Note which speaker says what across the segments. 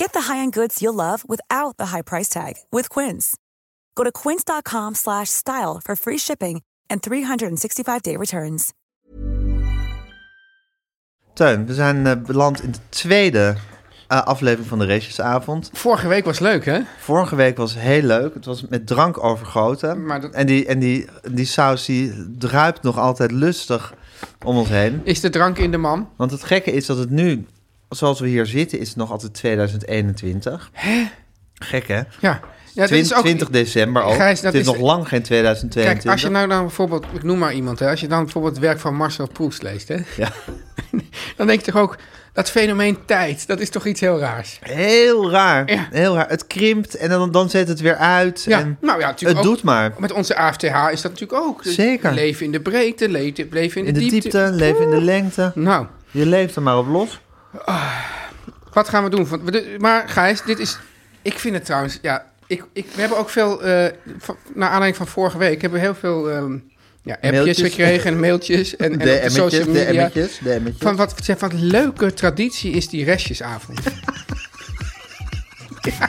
Speaker 1: Get the high-end goods you'll love without the high price tag with Quince. Go to quince.com slash style for free shipping en 365-day returns.
Speaker 2: Teun, we zijn eh, beland in de tweede eh, aflevering van de racesavond.
Speaker 3: Vorige week was leuk, hè?
Speaker 2: Vorige week was heel leuk. Het was met drank overgoten.
Speaker 3: Maar dat-
Speaker 2: En, die, en die, die saus die druipt nog altijd lustig om ons heen.
Speaker 3: Is de drank in de man?
Speaker 2: Want het gekke is dat het nu, zoals we hier zitten, is het nog altijd 2021. Hè? Gek hè?
Speaker 3: Ja. ja dat
Speaker 2: 20,
Speaker 3: is ook,
Speaker 2: 20 december al.
Speaker 3: Gijs, dat
Speaker 2: het is,
Speaker 3: is-
Speaker 2: nog lang geen
Speaker 3: Kijk,
Speaker 2: 2022.
Speaker 3: als je nou dan bijvoorbeeld, ik noem maar iemand, hè, als je dan bijvoorbeeld het werk van Marcel Proefs leest, hè,
Speaker 2: Ja.
Speaker 3: dan denk je toch ook, dat fenomeen tijd, dat is toch iets heel raars?
Speaker 2: Heel raar.
Speaker 3: Ja.
Speaker 2: Heel raar. Het krimpt en dan, dan zet het weer uit.
Speaker 3: Ja,
Speaker 2: en
Speaker 3: nou ja,
Speaker 2: het
Speaker 3: natuurlijk ook-
Speaker 2: doet maar.
Speaker 3: Met onze AFTH is dat natuurlijk ook. Dus
Speaker 2: Zeker.
Speaker 3: Leven in de breedte, le- leven in de,
Speaker 2: In de diepte, leven in de lengte.
Speaker 3: Nou,
Speaker 2: Je leeft er maar op los.
Speaker 3: wat gaan we doen? Van- we- Maar Gijs, dit is, ik vind het trouwens, ja, ik, ik, we hebben ook veel, eh, van- naar aanleiding van vorige week, hebben we heel veel ehm, ja, appjes
Speaker 2: Mailtjes.
Speaker 3: gekregen en mailtjes en, en op de social
Speaker 2: de
Speaker 3: media.
Speaker 2: emmetjes, de emmetjes.
Speaker 3: Van wat, zeg, wat leuke traditie is die restjesavond. ja.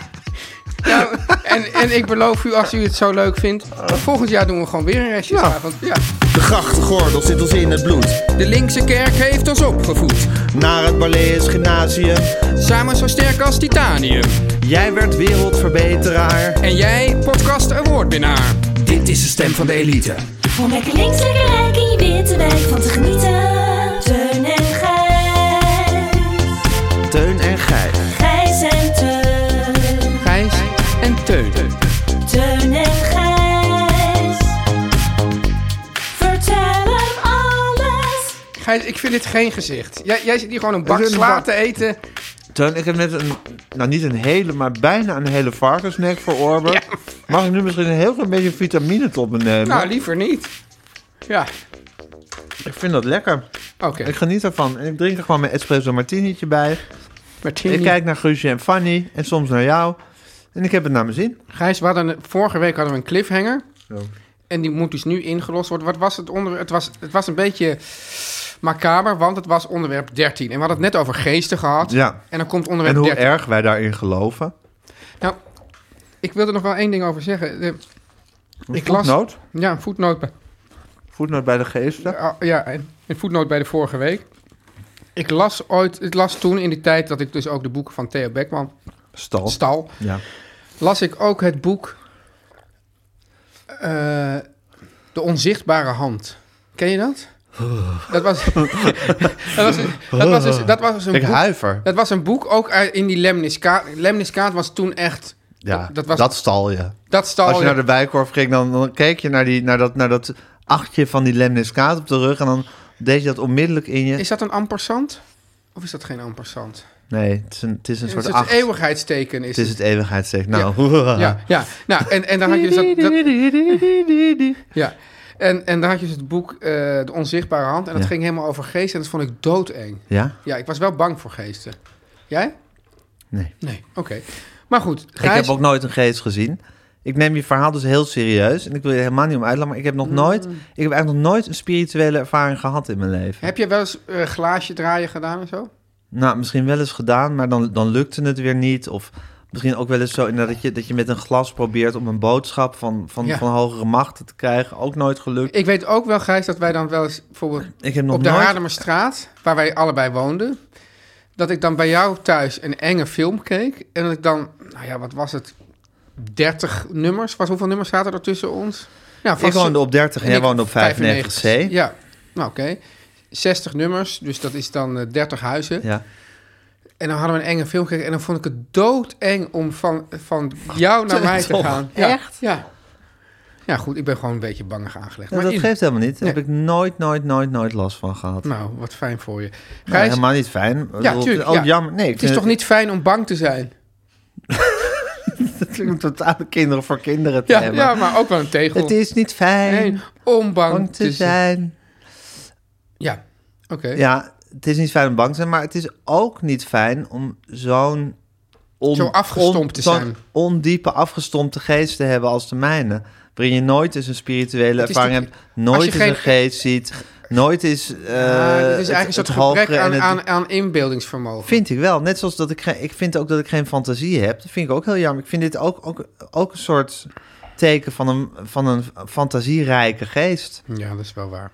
Speaker 3: Ja, Nou, en, en ik beloof u, als u het zo leuk vindt, volgend jaar doen we gewoon weer een restjesavond. Ja.
Speaker 2: De grachtengordel zit ons in het bloed.
Speaker 3: De linkse kerk heeft ons opgevoed.
Speaker 2: Naar het Barlees Gymnasium.
Speaker 3: Samen zo sterk als titanium.
Speaker 2: Jij werd wereldverbeteraar.
Speaker 3: En jij, podcast awardwinnaar.
Speaker 4: Dit is de stem van de elite.
Speaker 5: Om lekker links, lekker rijk in je witte wijk van te genieten. Teun en Gijs.
Speaker 2: Teun en Gijs.
Speaker 5: Gijs en Teun.
Speaker 3: Gijs en Teun.
Speaker 5: Teun en Gijs. Vertel hem alles.
Speaker 3: Gijs, ik vind dit geen gezicht. Jij, jij zit hier gewoon een bak
Speaker 2: Het is een
Speaker 3: sla
Speaker 2: bak.
Speaker 3: te eten.
Speaker 2: Teun, ik heb net een, nou niet een hele, maar bijna een hele varkensnek verorberd. Mag ik nu misschien een heel klein beetje vitamine tot me nemen?
Speaker 3: Nou, liever niet. Ja,
Speaker 2: ik vind dat lekker.
Speaker 3: oké.
Speaker 2: Ik geniet ervan. En ik drink er gewoon mijn espresso martinietje bij.
Speaker 3: Martini.
Speaker 2: Ik kijk naar Guusje en Fanny en soms naar jou. En ik heb het naar mijn zin.
Speaker 3: Gijs, we hadden, vorige week hadden we een cliffhanger.
Speaker 2: Ja.
Speaker 3: En die moet dus nu ingelost worden. Wat was het onderwerp? Het was, het was een beetje macaber, want het was onderwerp 13. En we hadden het net over geesten gehad.
Speaker 2: Ja.
Speaker 3: En dan komt onderwerp
Speaker 2: En hoe
Speaker 3: 13.
Speaker 2: erg wij daarin geloven.
Speaker 3: Nou, ik wil er nog wel één ding over zeggen. De- ik
Speaker 2: Voetnoot.
Speaker 3: Ja, een voetnoot. bij-
Speaker 2: Voetnoot bij de geesten.
Speaker 3: ah, Ja, een een voetnoot bij de vorige week. Ik las ooit, ik las toen in die tijd dat ik dus ook de boeken van Theo Beckman
Speaker 2: Stal.
Speaker 3: stal.
Speaker 2: Ja.
Speaker 3: las ik ook het boek eh, De Onzichtbare Hand. Ken je dat? Dat was, dat was, dat was, dus, dat was dus een
Speaker 2: Ik
Speaker 3: boek.
Speaker 2: huiver.
Speaker 3: Dat was een boek ook uit- in die Lemniskaat. Lemniskaat was toen echt.
Speaker 2: Ja,
Speaker 3: dat,
Speaker 2: dat,
Speaker 3: was,
Speaker 2: stal je.
Speaker 3: dat stal.
Speaker 2: Als je
Speaker 3: ja.
Speaker 2: naar de Bijkorf ging, dan, dan keek je naar, die, naar, dat, naar dat achtje van die lemniskaat op de rug. En dan deed je dat onmiddellijk in je...
Speaker 3: Is dat een ampersand? Of is dat geen ampersand?
Speaker 2: Nee, het is een, het is een
Speaker 3: Het
Speaker 2: soort
Speaker 3: is het
Speaker 2: acht.
Speaker 3: eeuwigheidsteken. Is
Speaker 2: Het is
Speaker 3: het.
Speaker 2: het eeuwigheidsteken. Nou, ja.
Speaker 3: Ja, ja. Nou, en, en dan had je dus dat, dat- Ja. En, en daar had je dus het boek eh, De Onzichtbare Hand. En dat
Speaker 2: Ja.
Speaker 3: ging helemaal over geesten. En dat vond ik doodeng.
Speaker 2: Ja?
Speaker 3: Ja, ik was wel bang voor geesten. Jij?
Speaker 2: Nee.
Speaker 3: Nee. Oké. Maar goed,
Speaker 2: Ik
Speaker 3: Gijs,
Speaker 2: heb ook nooit een geest gezien. Ik neem je verhaal dus heel serieus. En ik wil je helemaal niet om uitlachen, maar ik heb nog
Speaker 3: Mm.
Speaker 2: nooit... Ik heb eigenlijk nog nooit een spirituele ervaring gehad in mijn leven.
Speaker 3: heb je wel eens eh, glaasje draaien gedaan en zo?
Speaker 2: Nou, misschien wel eens gedaan, maar dan, dan lukte het weer niet. Of misschien ook wel eens zo inderdaad dat je, dat je met een glas probeert om een boodschap van, van,
Speaker 3: Ja.
Speaker 2: van hogere machten te krijgen. Ook nooit gelukt.
Speaker 3: Ik weet ook wel, Gijs, dat wij dan wel eens bijvoorbeeld
Speaker 2: Ik heb nog
Speaker 3: op de
Speaker 2: nooit...
Speaker 3: Haarlemmerstraat, waar wij allebei woonden, dat ik dan bij jou thuis een enge film keek. En dat ik dan, nou ja, wat was het? 30 nummers? Was, hoeveel nummers zaten er tussen ons? Ja,
Speaker 2: Ik woonde op 30 en,
Speaker 3: en
Speaker 2: jij
Speaker 3: ik
Speaker 2: woonde op 95C.
Speaker 3: 95. Ja. Nou, oké. 60 nummers, dus dat is dan eh, 30 huizen.
Speaker 2: Ja. Nou,
Speaker 3: En dan hadden we een enge film gekeken. En dan vond ik het doodeng om van, van jou naar mij te
Speaker 2: toch?
Speaker 3: gaan. Ja,
Speaker 2: Echt?
Speaker 3: Ja. Ja, goed. Ik ben gewoon een beetje bangig aangelegd.
Speaker 2: Nou,
Speaker 3: maar
Speaker 2: dat
Speaker 3: in-
Speaker 2: geeft helemaal niet. Daar
Speaker 3: Nee.
Speaker 2: heb ik nooit, nooit, nooit, nooit last van gehad.
Speaker 3: Nou, wat fijn voor je.
Speaker 2: Nou,
Speaker 3: Gijs,
Speaker 2: helemaal niet fijn. Ik bedoel,
Speaker 3: tuurlijk,
Speaker 2: ook
Speaker 3: ja.
Speaker 2: jammer. Nee, ik
Speaker 3: het
Speaker 2: vind
Speaker 3: is toch niet fijn om bang te zijn?
Speaker 2: Het is natuurlijk totale kinderen voor kinderen te
Speaker 3: Ja,
Speaker 2: hebben.
Speaker 3: ja maar ook wel een tegel.
Speaker 2: Het is niet fijn
Speaker 3: Nee, om bang,
Speaker 2: bang te zijn.
Speaker 3: Ja, oké.
Speaker 2: Ja, het is niet fijn om bang te zijn, maar het is ook niet fijn om zo'n... on-
Speaker 3: Zo afgestompt
Speaker 2: on-
Speaker 3: te
Speaker 2: zo'n
Speaker 3: zijn.
Speaker 2: ondiepe, afgestompte geest te hebben als de mijne. Waarin je nooit eens een spirituele
Speaker 3: Het is
Speaker 2: ervaring hebt,
Speaker 3: toch- als
Speaker 2: nooit
Speaker 3: je
Speaker 2: eens
Speaker 3: geen-
Speaker 2: een geest ziet, nooit eens eh
Speaker 3: Ja, dit is
Speaker 2: het-
Speaker 3: eigenlijk een soort
Speaker 2: het hogere
Speaker 3: gebrek aan,
Speaker 2: en het-
Speaker 3: aan, aan inbeeldingsvermogen.
Speaker 2: Vind ik wel. Net zoals dat ik, geen- ik vind ook dat ik geen fantasie heb. Dat vind ik ook heel jammer. Ik vind dit ook, ook, ook een soort teken van een, van een fantasierijke geest.
Speaker 3: Ja, dat is wel waar.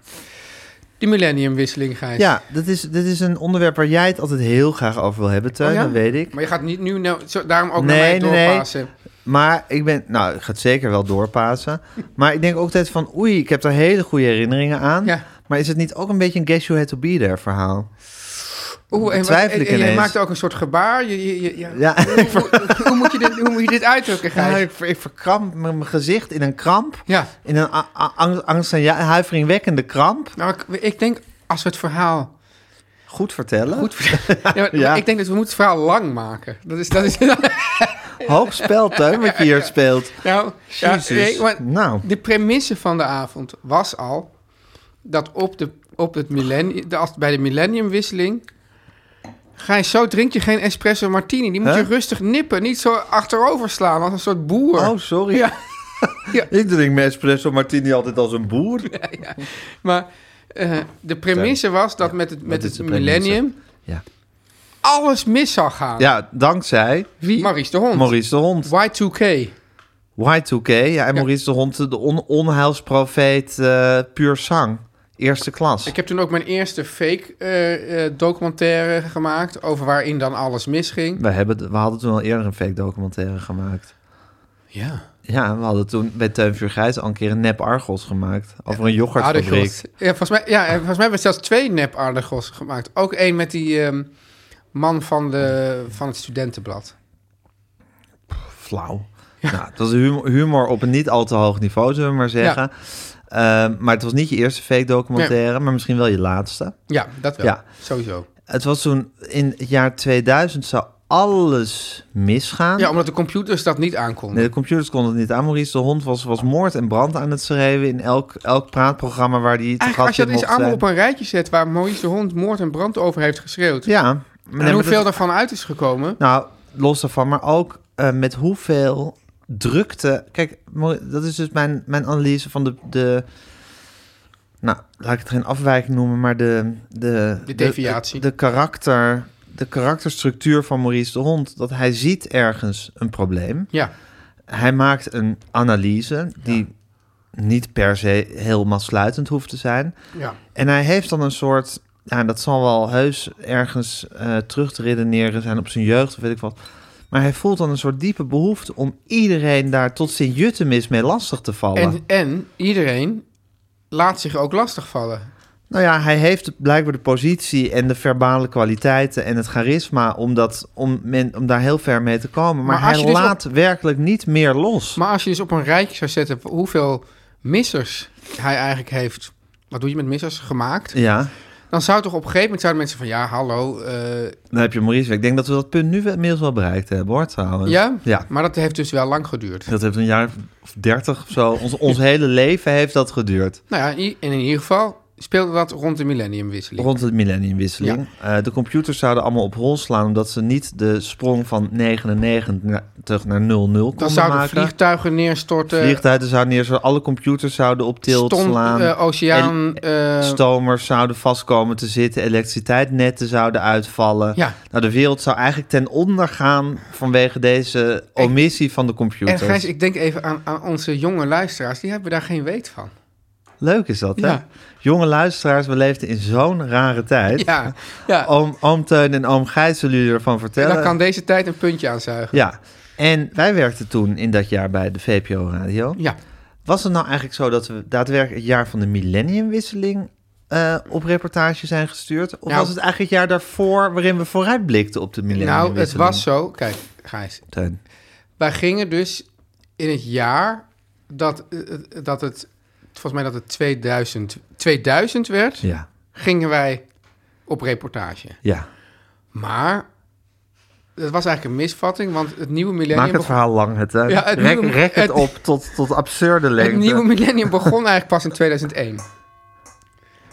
Speaker 3: Die millenniumwisseling, Gijs.
Speaker 2: Ja, dat is, dit is een onderwerp waar jij het altijd heel graag over wil hebben, Teun.
Speaker 3: Oh ja?
Speaker 2: Dat weet ik.
Speaker 3: Maar je gaat niet nu nou, zo, daarom ook
Speaker 2: Nee,
Speaker 3: naar mij
Speaker 2: nee, nee.
Speaker 3: doorpassen.
Speaker 2: Maar ik ben... Nou, ik ga het zeker wel doorpassen. Maar ik denk ook altijd van... Oei, ik heb daar hele goede herinneringen aan.
Speaker 3: Ja.
Speaker 2: Maar is het niet ook een beetje een guess you had to be there verhaal?
Speaker 3: Oeh, en, wat,
Speaker 2: Twijfel
Speaker 3: en,
Speaker 2: ik
Speaker 3: en jij
Speaker 2: ineens.
Speaker 3: maakt ook een soort gebaar. Je, je, je- ja.
Speaker 2: Ja,
Speaker 3: Hoe, hoe- hoe moet je dit, hoe moet je dit uitdrukken,
Speaker 2: Ja,
Speaker 3: Gijs?
Speaker 2: ik, ik verkramp mijn mijn gezicht in een kramp.
Speaker 3: Ja.
Speaker 2: In een a- a- angst- angst- en ja- huiveringwekkende kramp.
Speaker 3: Nou, ik, ik denk, als we het verhaal...
Speaker 2: Goed vertellen.
Speaker 3: Goed ver- ja, maar
Speaker 2: Ja.
Speaker 3: Ik denk dat we moeten het verhaal lang maken. Dat is... Dat is
Speaker 2: Hoog spel, Teun, wat je hier speelt.
Speaker 3: nou, ja,
Speaker 2: Jezus.
Speaker 3: nee, maar
Speaker 2: Nou.
Speaker 3: De premisse van de avond was al... dat op, de, op het millennium, de, als, bij de millenniumwisseling... Gijs, zo drink je geen espresso martini. Die moet
Speaker 2: Huh?
Speaker 3: je rustig nippen. Niet zo achterover slaan als een soort boer.
Speaker 2: Oh, sorry.
Speaker 3: Ja.
Speaker 2: Ik drink mijn espresso martini altijd als een boer.
Speaker 3: Maar eh, de premisse was dat met het,
Speaker 2: is
Speaker 3: met het
Speaker 2: de premisse?
Speaker 3: millennium
Speaker 2: Ja,
Speaker 3: alles mis zou gaan.
Speaker 2: ja dankzij
Speaker 3: Wie? Maurice de Hond.
Speaker 2: Maurice de Hond.
Speaker 3: Y2K.
Speaker 2: Y2K. Ja, en Maurice de Hond, de on onheilsprofeet eh, puur zang. Eerste klas.
Speaker 3: Ik heb toen ook mijn eerste fake eh, eh, documentaire gemaakt over waarin dan alles misging.
Speaker 2: We, hebben, we hadden toen al eerder een fake documentaire gemaakt.
Speaker 3: Ja.
Speaker 2: Ja, we hadden toen bij Teun Vuurgrijs al een keer een nep Argos gemaakt. Over een yoghurtfabriek.
Speaker 3: Ja, volgens mij, ja, en volgens mij hebben we zelfs twee nep Argos gemaakt. Ook één met die ehm, man van, de, van het studentenblad.
Speaker 2: Flauw. Nou, het was humor, humor op een niet al te hoog niveau, zullen we maar zeggen. Ehm, maar het was niet je eerste fake documentaire, maar misschien wel je laatste.
Speaker 3: Ja, dat wel.
Speaker 2: Ja.
Speaker 3: Sowieso.
Speaker 2: Het was toen in het jaar 2000 zou alles misgaan.
Speaker 3: Ja, omdat de computers dat niet aankonden.
Speaker 2: Nee, de computers konden het niet aan. Maurice de Hond was, was moord en brand aan het schreeuwen in elk, elk praatprogramma waar die te
Speaker 3: Eigenlijk,
Speaker 2: gast
Speaker 3: als je
Speaker 2: in
Speaker 3: dat eens
Speaker 2: mocht
Speaker 3: allemaal
Speaker 2: zijn.
Speaker 3: op een rijtje zet waar Maurice de Hond moord en brand over heeft geschreeuwd.
Speaker 2: Ja. maar nee, maar
Speaker 3: en
Speaker 2: dat-
Speaker 3: hoeveel daarvan uit is gekomen?
Speaker 2: Nou, los daarvan, maar ook eh, met hoeveel drukte. Kijk, Mauri- dat is dus mijn, mijn analyse van de, de. Nou, laat ik het geen afwijking noemen, maar de. De,
Speaker 3: De deviatie.
Speaker 2: De, de karakter. De karakterstructuur van Maurice de Hond. Dat hij ziet ergens een probleem.
Speaker 3: Ja,
Speaker 2: Hij maakt een analyse die niet per se helemaal sluitend hoeft te zijn.
Speaker 3: ja.
Speaker 2: En hij heeft dan een soort. Ja, dat zal wel heus ergens eh, terug te redeneren zijn op zijn jeugd of weet ik wat. Maar hij voelt dan een soort diepe behoefte om iedereen daar tot sint Juttemis mee lastig te vallen.
Speaker 3: En, en iedereen laat zich ook lastigvallen.
Speaker 2: Nou ja, hij heeft blijkbaar de positie en de verbale kwaliteiten en het charisma om, dat, om, men, om daar heel ver mee te komen. Maar,
Speaker 3: Maar als
Speaker 2: hij
Speaker 3: je dus
Speaker 2: laat werkelijk niet meer los.
Speaker 3: Maar als je dus op een rijtje zou zetten hoeveel missers hij eigenlijk heeft... Wat doe je met missers? Gemaakt.
Speaker 2: Ja,
Speaker 3: Dan zou toch op een gegeven moment zouden mensen van... Ja, hallo. eh,
Speaker 2: dan heb je Maurice. Ik denk dat we dat punt nu wel- inmiddels wel bereikt hebben, hoor, trouwens.
Speaker 3: ja?
Speaker 2: Ja.
Speaker 3: Maar dat heeft dus wel lang geduurd.
Speaker 2: Dat heeft een jaar of dertig of zo. Ons, ons hele leven heeft dat geduurd.
Speaker 3: Nou ja, in i- en in ieder geval speelde dat rond de millenniumwisseling.
Speaker 2: Rond het millenniumwisseling. Eh, de computers zouden allemaal op hol slaan... omdat ze niet de sprong van 99 naar 00 konden
Speaker 3: Dan zouden
Speaker 2: maken.
Speaker 3: vliegtuigen eh, neerstorten.
Speaker 2: Vliegtuigen zouden neer... zo- Alle computers zouden op tilt
Speaker 3: stomp,
Speaker 2: slaan.
Speaker 3: eh, oceaan... eh,
Speaker 2: Stomers zouden vastkomen te zitten. Elektriciteitsnetten zouden uitvallen.
Speaker 3: Ja.
Speaker 2: Nou, de wereld zou eigenlijk ten onder gaan... vanwege deze omissie van de
Speaker 3: en
Speaker 2: computers.
Speaker 3: Gijs, ik denk even aan, aan onze jonge luisteraars. Die hebben daar geen weet van.
Speaker 2: Leuk is dat, hè?
Speaker 3: Ja.
Speaker 2: Jonge luisteraars, we leefden in zo'n rare tijd.
Speaker 3: Ja, ja.
Speaker 2: Oom, oom Teun en oom Gijs zullen jullie ervan
Speaker 3: En
Speaker 2: vertellen.
Speaker 3: dan kan deze tijd een puntje aanzuigen.
Speaker 2: Ja, en wij werkten toen in dat jaar bij de VPO Radio.
Speaker 3: Ja.
Speaker 2: Was het nou eigenlijk zo dat we daadwerkelijk het jaar van de millenniumwisseling eh, op reportage zijn gestuurd? Of
Speaker 3: Nou-
Speaker 2: was het eigenlijk het jaar daarvoor waarin we vooruitblikten op de millennium?
Speaker 3: Nou, het was zo. Kijk, Gijs. Wij gingen dus in het jaar dat, eh, eh, dat het, volgens mij dat het 2000, 2000 werd,
Speaker 2: Ja,
Speaker 3: gingen wij op reportage.
Speaker 2: ja.
Speaker 3: Maar dat was eigenlijk een misvatting, want het nieuwe millennium...
Speaker 2: Maak het
Speaker 3: begon-
Speaker 2: verhaal lang. Het, eh,
Speaker 3: Ja, het
Speaker 2: rek,
Speaker 3: nieuwe-
Speaker 2: rek het,
Speaker 3: het-
Speaker 2: op tot, tot absurde
Speaker 3: het
Speaker 2: lengte.
Speaker 3: nieuwe millennium begon eigenlijk pas in 2001.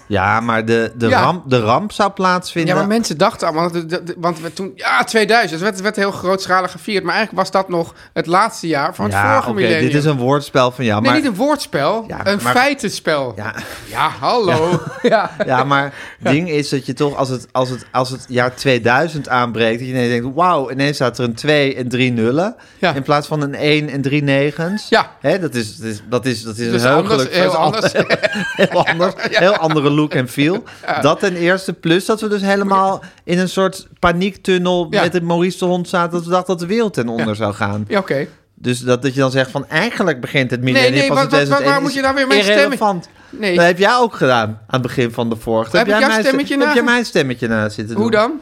Speaker 2: Ja, maar de, de,
Speaker 3: Ja.
Speaker 2: Ramp, de ramp zou plaatsvinden.
Speaker 3: Ja, maar mensen dachten allemaal, dat- dat- dat- want we toen, ja, 2000, het werd, werd heel grootschalig gevierd. Maar eigenlijk was dat nog het laatste jaar van het
Speaker 2: Ja,
Speaker 3: vorige
Speaker 2: oké,
Speaker 3: millennium.
Speaker 2: dit is een woordspel van jou.
Speaker 3: Nee,
Speaker 2: maar,
Speaker 3: niet een woordspel,
Speaker 2: Ja,
Speaker 3: een
Speaker 2: maar-
Speaker 3: feitenspel.
Speaker 2: ja,
Speaker 3: Ja, hallo. Ja.
Speaker 2: ja, maar het ding is dat je toch, als het, als het, als het jaar 2000 aanbreekt, dat je ineens denkt, wauw, ineens staat er een 2 en 3 nullen.
Speaker 3: Ja.
Speaker 2: In plaats van een 1 en 3 negens.
Speaker 3: Ja.
Speaker 2: Hè, dat is, dat is, dat is, dat is
Speaker 3: Dus
Speaker 2: een
Speaker 3: anders,
Speaker 2: heugelijk...
Speaker 3: heel
Speaker 2: dat is al-
Speaker 3: anders.
Speaker 2: Heel, heel anders, heel andere look en feel. Dat ten eerste. Plus dat we dus helemaal in een soort paniektunnel
Speaker 3: Ja.
Speaker 2: met het Maurice de Hond zaten, dat we dachten dat de wereld ten onder zou gaan.
Speaker 3: Ja, oké.
Speaker 2: Dus dat, dat je dan zegt van eigenlijk begint het millennium
Speaker 3: Nee, nee,
Speaker 2: pas
Speaker 3: wat-
Speaker 2: in
Speaker 3: wat- wat-
Speaker 2: 2001
Speaker 3: waar moet je nou weer mijn
Speaker 2: is irrelevant.
Speaker 3: Nee.
Speaker 2: Dat heb jij ook gedaan aan het begin van de vorige.
Speaker 3: Heb ik jouw
Speaker 2: mijn
Speaker 3: stemmetje
Speaker 2: Heb
Speaker 3: na-
Speaker 2: jij mijn stemmetje na zitten doen?
Speaker 3: Hoe dan?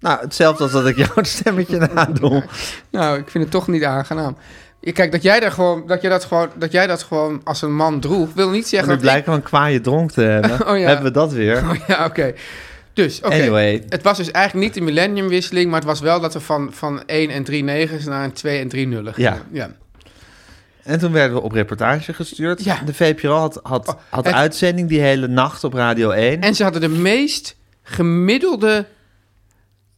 Speaker 2: Nou, hetzelfde als dat ik jouw stemmetje na doe.
Speaker 3: Nou, ik vind het toch niet aangenaam. Je- Kijk, dat jij, daar gewoon, dat, jij dat, gewoon, dat jij dat gewoon als een man droeg, wil niet
Speaker 2: En
Speaker 3: zeggen
Speaker 2: nu
Speaker 3: dat ik-
Speaker 2: blijken we een kwaaie dronk te hebben.
Speaker 3: Oh ja.
Speaker 2: Hebben we dat weer.
Speaker 3: Oh ja, oké. Dus, oké.
Speaker 2: Anyway.
Speaker 3: Het was dus eigenlijk niet de millenniumwisseling, maar het was wel dat we van, van 1 en 3 negens naar een 2 en 3 nullen
Speaker 2: Ja.
Speaker 3: gingen. ja.
Speaker 2: En toen werden we op reportage gestuurd.
Speaker 3: Ja.
Speaker 2: De VPRO had, had,
Speaker 3: Oh,
Speaker 2: had
Speaker 3: het-
Speaker 2: uitzending die hele nacht op Radio 1.
Speaker 3: En ze hadden de meest gemiddelde,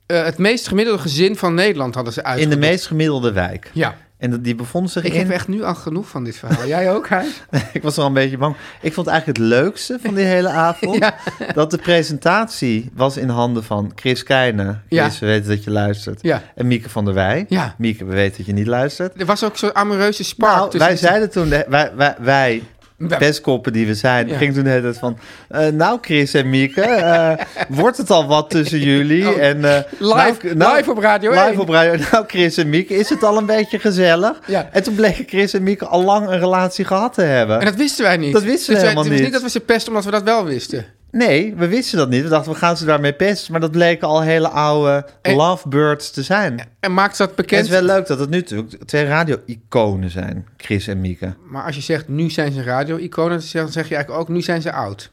Speaker 3: eh, het meest gemiddelde gezin van Nederland hadden ze uit.
Speaker 2: in de meest gemiddelde wijk.
Speaker 3: Ja.
Speaker 2: En dat- die bevond zich
Speaker 3: Ik
Speaker 2: in...
Speaker 3: heb echt nu al genoeg van dit verhaal. Jij ook, hè?
Speaker 2: Ik was er al een beetje bang. Ik vond eigenlijk het leukste van die hele avond... dat de presentatie was in handen van Chris Keijne. Chris,
Speaker 3: Ja.
Speaker 2: we weten dat je luistert.
Speaker 3: Ja.
Speaker 2: En Mieke van der Wij.
Speaker 3: Ja.
Speaker 2: Mieke, we weten dat je niet luistert.
Speaker 3: Er was ook zo'n amoureuze spark.
Speaker 2: Nou,
Speaker 3: tussen
Speaker 2: wij
Speaker 3: de-
Speaker 2: zeiden toen... de- wij, wij, wij
Speaker 3: Wij-
Speaker 2: pestkoppen die we zijn,
Speaker 3: Ja.
Speaker 2: gingen toen de hele tijd van... eh, nou, Chris en Mieke, eh, wordt het al wat tussen jullie?
Speaker 3: Oh.
Speaker 2: en, eh,
Speaker 3: Live- live op Radio
Speaker 2: live
Speaker 3: 1.
Speaker 2: op Radio Nou, Chris en Mieke, is het al een beetje gezellig?
Speaker 3: Ja.
Speaker 2: En toen bleken Chris en Mieke al lang een relatie gehad te hebben.
Speaker 3: En dat wisten wij niet. Dus
Speaker 2: Dat wisten we
Speaker 3: wij-
Speaker 2: helemaal
Speaker 3: het was
Speaker 2: niet.
Speaker 3: niet dat we ze pesten omdat we dat wel wisten.
Speaker 2: Nee, we wisten dat niet. We dachten, we gaan ze daarmee pesten. Maar dat bleken al hele oude
Speaker 3: En-
Speaker 2: lovebirds te zijn. En
Speaker 3: En maakt dat
Speaker 2: het is
Speaker 3: bekend.
Speaker 2: wel leuk dat het nu natuurlijk twee radio-iconen zijn, Chris en Mieke.
Speaker 3: Maar als je zegt, nu zijn ze radio-iconen, dan zeg je eigenlijk ook, nu zijn ze oud.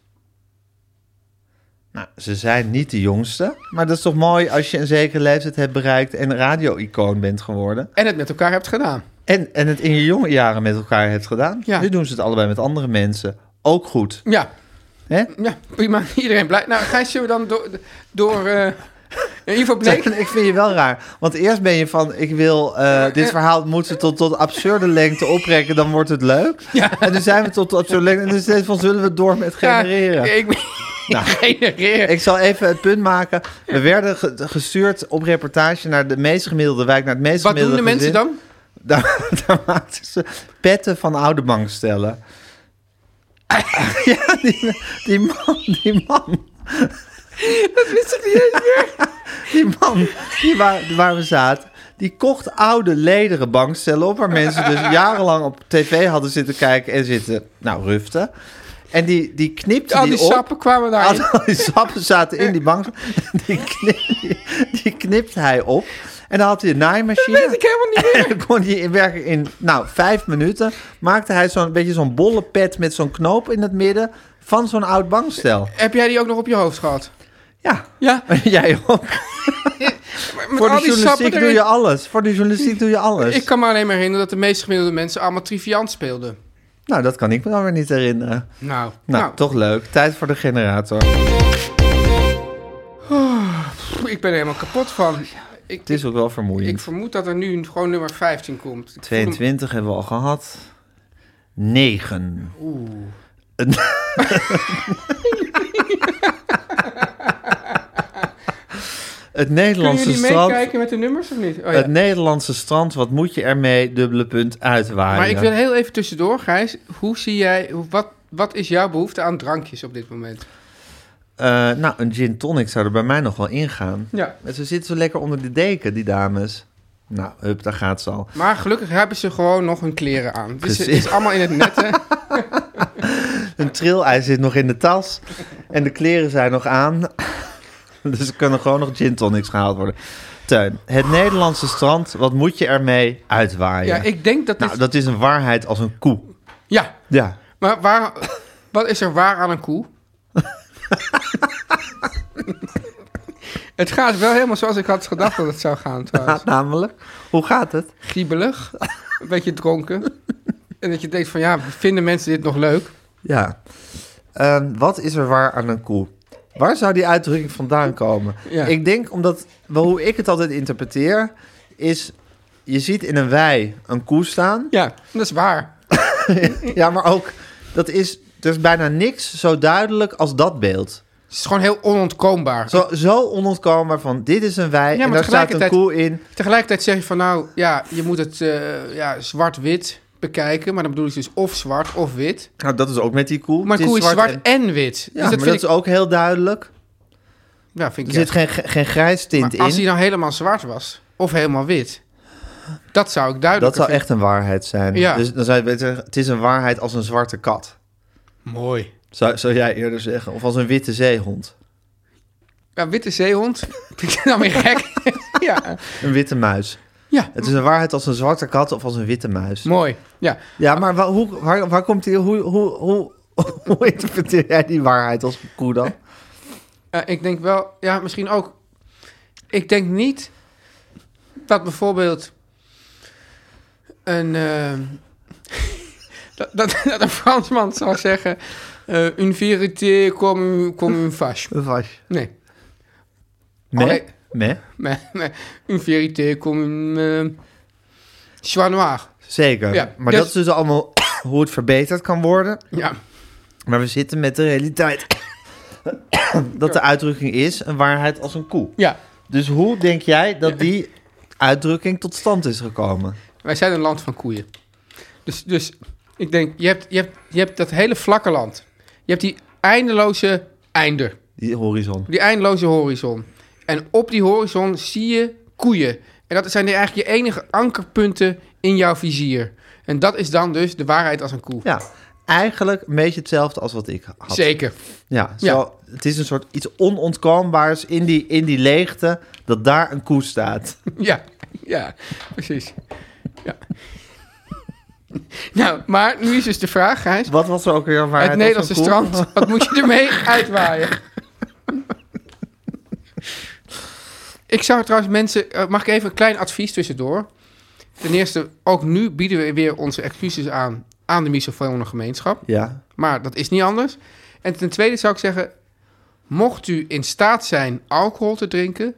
Speaker 2: Nou, ze zijn niet de jongste. Maar dat is toch mooi als je een zekere leeftijd hebt bereikt en radio-icoon bent geworden.
Speaker 3: En het met elkaar hebt gedaan.
Speaker 2: En, en het in je jonge jaren met elkaar hebt gedaan.
Speaker 3: Ja.
Speaker 2: Nu doen ze het allebei met andere mensen. Ook goed.
Speaker 3: Ja,
Speaker 2: Hè?
Speaker 3: ja prima. Iedereen blij. Nou, Gijs, zullen we dan door... door eh Ivo Bleek...
Speaker 2: Ik vind je wel raar. Want eerst ben je van, ik wil eh, dit verhaal moeten tot, tot absurde lengte oprekken, dan wordt het leuk.
Speaker 3: Ja.
Speaker 2: En toen zijn we tot absurde lengte. En toen steeds van, zullen we het door met genereren?
Speaker 3: Ja, ik ben...
Speaker 2: Nou.
Speaker 3: genereren.
Speaker 2: Ik zal even het punt maken. We werden ge- gestuurd op reportage naar de meest gemiddelde wijk, naar het meest
Speaker 3: Wat doen
Speaker 2: gemiddelde
Speaker 3: de
Speaker 2: gezin.
Speaker 3: mensen dan?
Speaker 2: Daar, daar maakten ze petten van oude bankstellen. ja, die, die man, die man. Die man die waar, waar we zaten, die kocht oude lederen bankstellen op... waar mensen dus jarenlang op tv hadden zitten kijken en zitten, nou, ruften. En die, die knipte
Speaker 3: Al
Speaker 2: die,
Speaker 3: die
Speaker 2: op.
Speaker 3: sappen kwamen
Speaker 2: Als
Speaker 3: daarin.
Speaker 2: al die sappen zaten in die bank. Die, knip, die knipt hij op. En dan had hij een naaimachine.
Speaker 3: Dat weet ik helemaal niet meer.
Speaker 2: En dan kon hij in werken in, nou, vijf minuten... maakte hij zo'n beetje zo'n bolle pet met zo'n knoop in het midden... van zo'n oud bankstel.
Speaker 3: Heb jij die ook nog op je hoofd gehad?
Speaker 2: Ja,
Speaker 3: Ja.
Speaker 2: jij ook.
Speaker 3: Met
Speaker 2: Voor de
Speaker 3: al die sappen
Speaker 2: journalistiek doe
Speaker 3: erin.
Speaker 2: je alles. Voor de journalistiek doe je alles.
Speaker 3: Ik kan me alleen maar herinneren dat de meest gemiddelde mensen allemaal triviant speelden.
Speaker 2: Nou, dat kan ik me dan weer niet herinneren.
Speaker 3: Nou,
Speaker 2: Nou,
Speaker 3: nou,
Speaker 2: toch leuk. Tijd voor de generator.
Speaker 3: pff, ik ben er helemaal kapot van. Ik,
Speaker 2: Het is ook wel
Speaker 3: ik
Speaker 2: vermoeiend.
Speaker 3: vermoed dat er nu gewoon nummer 15 komt. Ik voel hem-
Speaker 2: 22 hebben we al gehad. 9. het
Speaker 3: Kunnen
Speaker 2: Nederlandse
Speaker 3: jullie
Speaker 2: strand.
Speaker 3: meekijken met de nummers of niet? Oh, ja.
Speaker 2: Het Nederlandse strand, wat moet je ermee? Dubbele punt uitwaaien.
Speaker 3: maar ik wil heel even tussendoor, Gijs. Hoe zie jij, hoe- wat, wat is jouw behoefte aan drankjes op dit moment?
Speaker 2: Eh, nou, een gin tonic zou er bij mij nog wel ingaan.
Speaker 3: Ja.
Speaker 2: Maar Ze zitten zo lekker onder de deken, die dames. Nou, hup, daar gaat ze al.
Speaker 3: Maar gelukkig hebben ze gewoon nog hun kleren aan. Dus het
Speaker 2: Precies.
Speaker 3: is allemaal in het nette.
Speaker 2: Hun trilij zit nog in de tas. En de kleren zijn nog aan. Dus er kunnen gewoon nog gin tonics gehaald worden. Teun, het Nederlandse strand, wat moet je ermee uitwaaien?
Speaker 3: Ja, ik denk dat dit...
Speaker 2: Nou, dat is een waarheid als een koe.
Speaker 3: Ja,
Speaker 2: Ja.
Speaker 3: maar waar, wat is er waar aan een koe? het gaat wel helemaal zoals ik had gedacht dat het zou gaan trouwens.
Speaker 2: Namelijk, hoe gaat het?
Speaker 3: Giebelig, een beetje dronken. En dat je denkt van ja, vinden mensen dit nog leuk?
Speaker 2: Ja. Ehm, wat is er waar aan een koe? Waar zou die uitdrukking vandaan komen?
Speaker 3: Ja.
Speaker 2: Ik denk omdat, wel, hoe ik het altijd interpreteer, is je ziet in een wei een koe staan.
Speaker 3: Ja, dat is waar.
Speaker 2: Ja, maar ook, dat is, er is bijna niks zo duidelijk als dat beeld.
Speaker 3: Het is gewoon heel onontkoombaar.
Speaker 2: Zo, zo onontkoombaar van, dit is een wei
Speaker 3: Ja,
Speaker 2: en
Speaker 3: maar
Speaker 2: daar staat een
Speaker 3: tegelijkertijd-
Speaker 2: koe in.
Speaker 3: Tegelijkertijd zeg je van nou, ja, je moet het eh, ja, zwart-wit bekijken. Maar dan bedoel ik dus of zwart of wit.
Speaker 2: Nou, dat is ook met die koe.
Speaker 3: Maar
Speaker 2: Het
Speaker 3: koe is zwart,
Speaker 2: en-
Speaker 3: en, wit.
Speaker 2: Ja,
Speaker 3: dus dat
Speaker 2: maar
Speaker 3: vind
Speaker 2: dat
Speaker 3: ik,
Speaker 2: is ook heel duidelijk.
Speaker 3: ja, vind
Speaker 2: Er
Speaker 3: ik
Speaker 2: zit
Speaker 3: ja.
Speaker 2: geen, geen grijs tint
Speaker 3: Maar als hij
Speaker 2: in.
Speaker 3: nou helemaal zwart was, of helemaal wit, dat zou ik
Speaker 2: Dat
Speaker 3: duidelijk
Speaker 2: zou echt een waarheid zijn.
Speaker 3: Ja.
Speaker 2: Dus dan zou je beter zeggen, het is een waarheid als een zwarte kat.
Speaker 3: Mooi.
Speaker 2: Zou, zou jij eerder zeggen. Of als een witte zeehond.
Speaker 3: Ja, witte zeehond. Vind ik dan weer gek. ja.
Speaker 2: Een witte muis.
Speaker 3: ja,
Speaker 2: Het is een waarheid als een zwarte kat of als een witte muis.
Speaker 3: mooi. Ja.
Speaker 2: Ja, maar wa- hoe, waar, waar komt die... Hoe, hoe, hoe, hoe interpreteer jij die waarheid als een koe dan?
Speaker 3: Ja, Eh, ik denk wel, ja, misschien ook. Ik denk niet dat bijvoorbeeld een. eh, dat, dat, dat een Fransman zou zeggen. eh une vérité comme, comme une vache.
Speaker 2: Een was.
Speaker 3: Nee.
Speaker 2: Me?
Speaker 3: Allee.
Speaker 2: Me?
Speaker 3: nee, nee, Une vérité comme une. eh, Choix noir.
Speaker 2: Zeker.
Speaker 3: Ja,
Speaker 2: maar
Speaker 3: dus-
Speaker 2: dat is dus allemaal hoe het verbeterd kan worden.
Speaker 3: Ja.
Speaker 2: Maar we zitten met de realiteit. dat de uitdrukking is een waarheid als een koe.
Speaker 3: ja.
Speaker 2: Dus hoe denk jij dat die uitdrukking tot stand is gekomen?
Speaker 3: Wij zijn een land van koeien. Dus, dus ik denk, je hebt, je, hebt, je hebt dat hele vlakke land. Je hebt die eindeloze einder.
Speaker 2: Die horizon.
Speaker 3: Die eindeloze horizon. En op die horizon zie je koeien. En dat zijn eigenlijk je enige ankerpunten in jouw vizier. En dat is dan dus de waarheid als een koe.
Speaker 2: Ja, eigenlijk een beetje hetzelfde als wat ik had.
Speaker 3: Zeker.
Speaker 2: Ja, zo,
Speaker 3: Ja.
Speaker 2: het is een soort iets onontkoombaars in die, in die leegte dat daar een koe staat.
Speaker 3: Ja, ja, precies. Ja. Nou, maar nu is dus de vraag, Gijs.
Speaker 2: Wat was er ook weer een waarheid
Speaker 3: Het
Speaker 2: als
Speaker 3: Nederlandse
Speaker 2: een koe?
Speaker 3: strand, wat moet je ermee uitwaaien? ik zou trouwens mensen... eh, mag ik even een klein advies tussendoor? Ten eerste, ook nu bieden we weer onze excuses aan... aan de misofone gemeenschap.
Speaker 2: Ja,
Speaker 3: Maar dat is niet anders. En ten tweede zou ik zeggen... mocht u in staat zijn alcohol te drinken...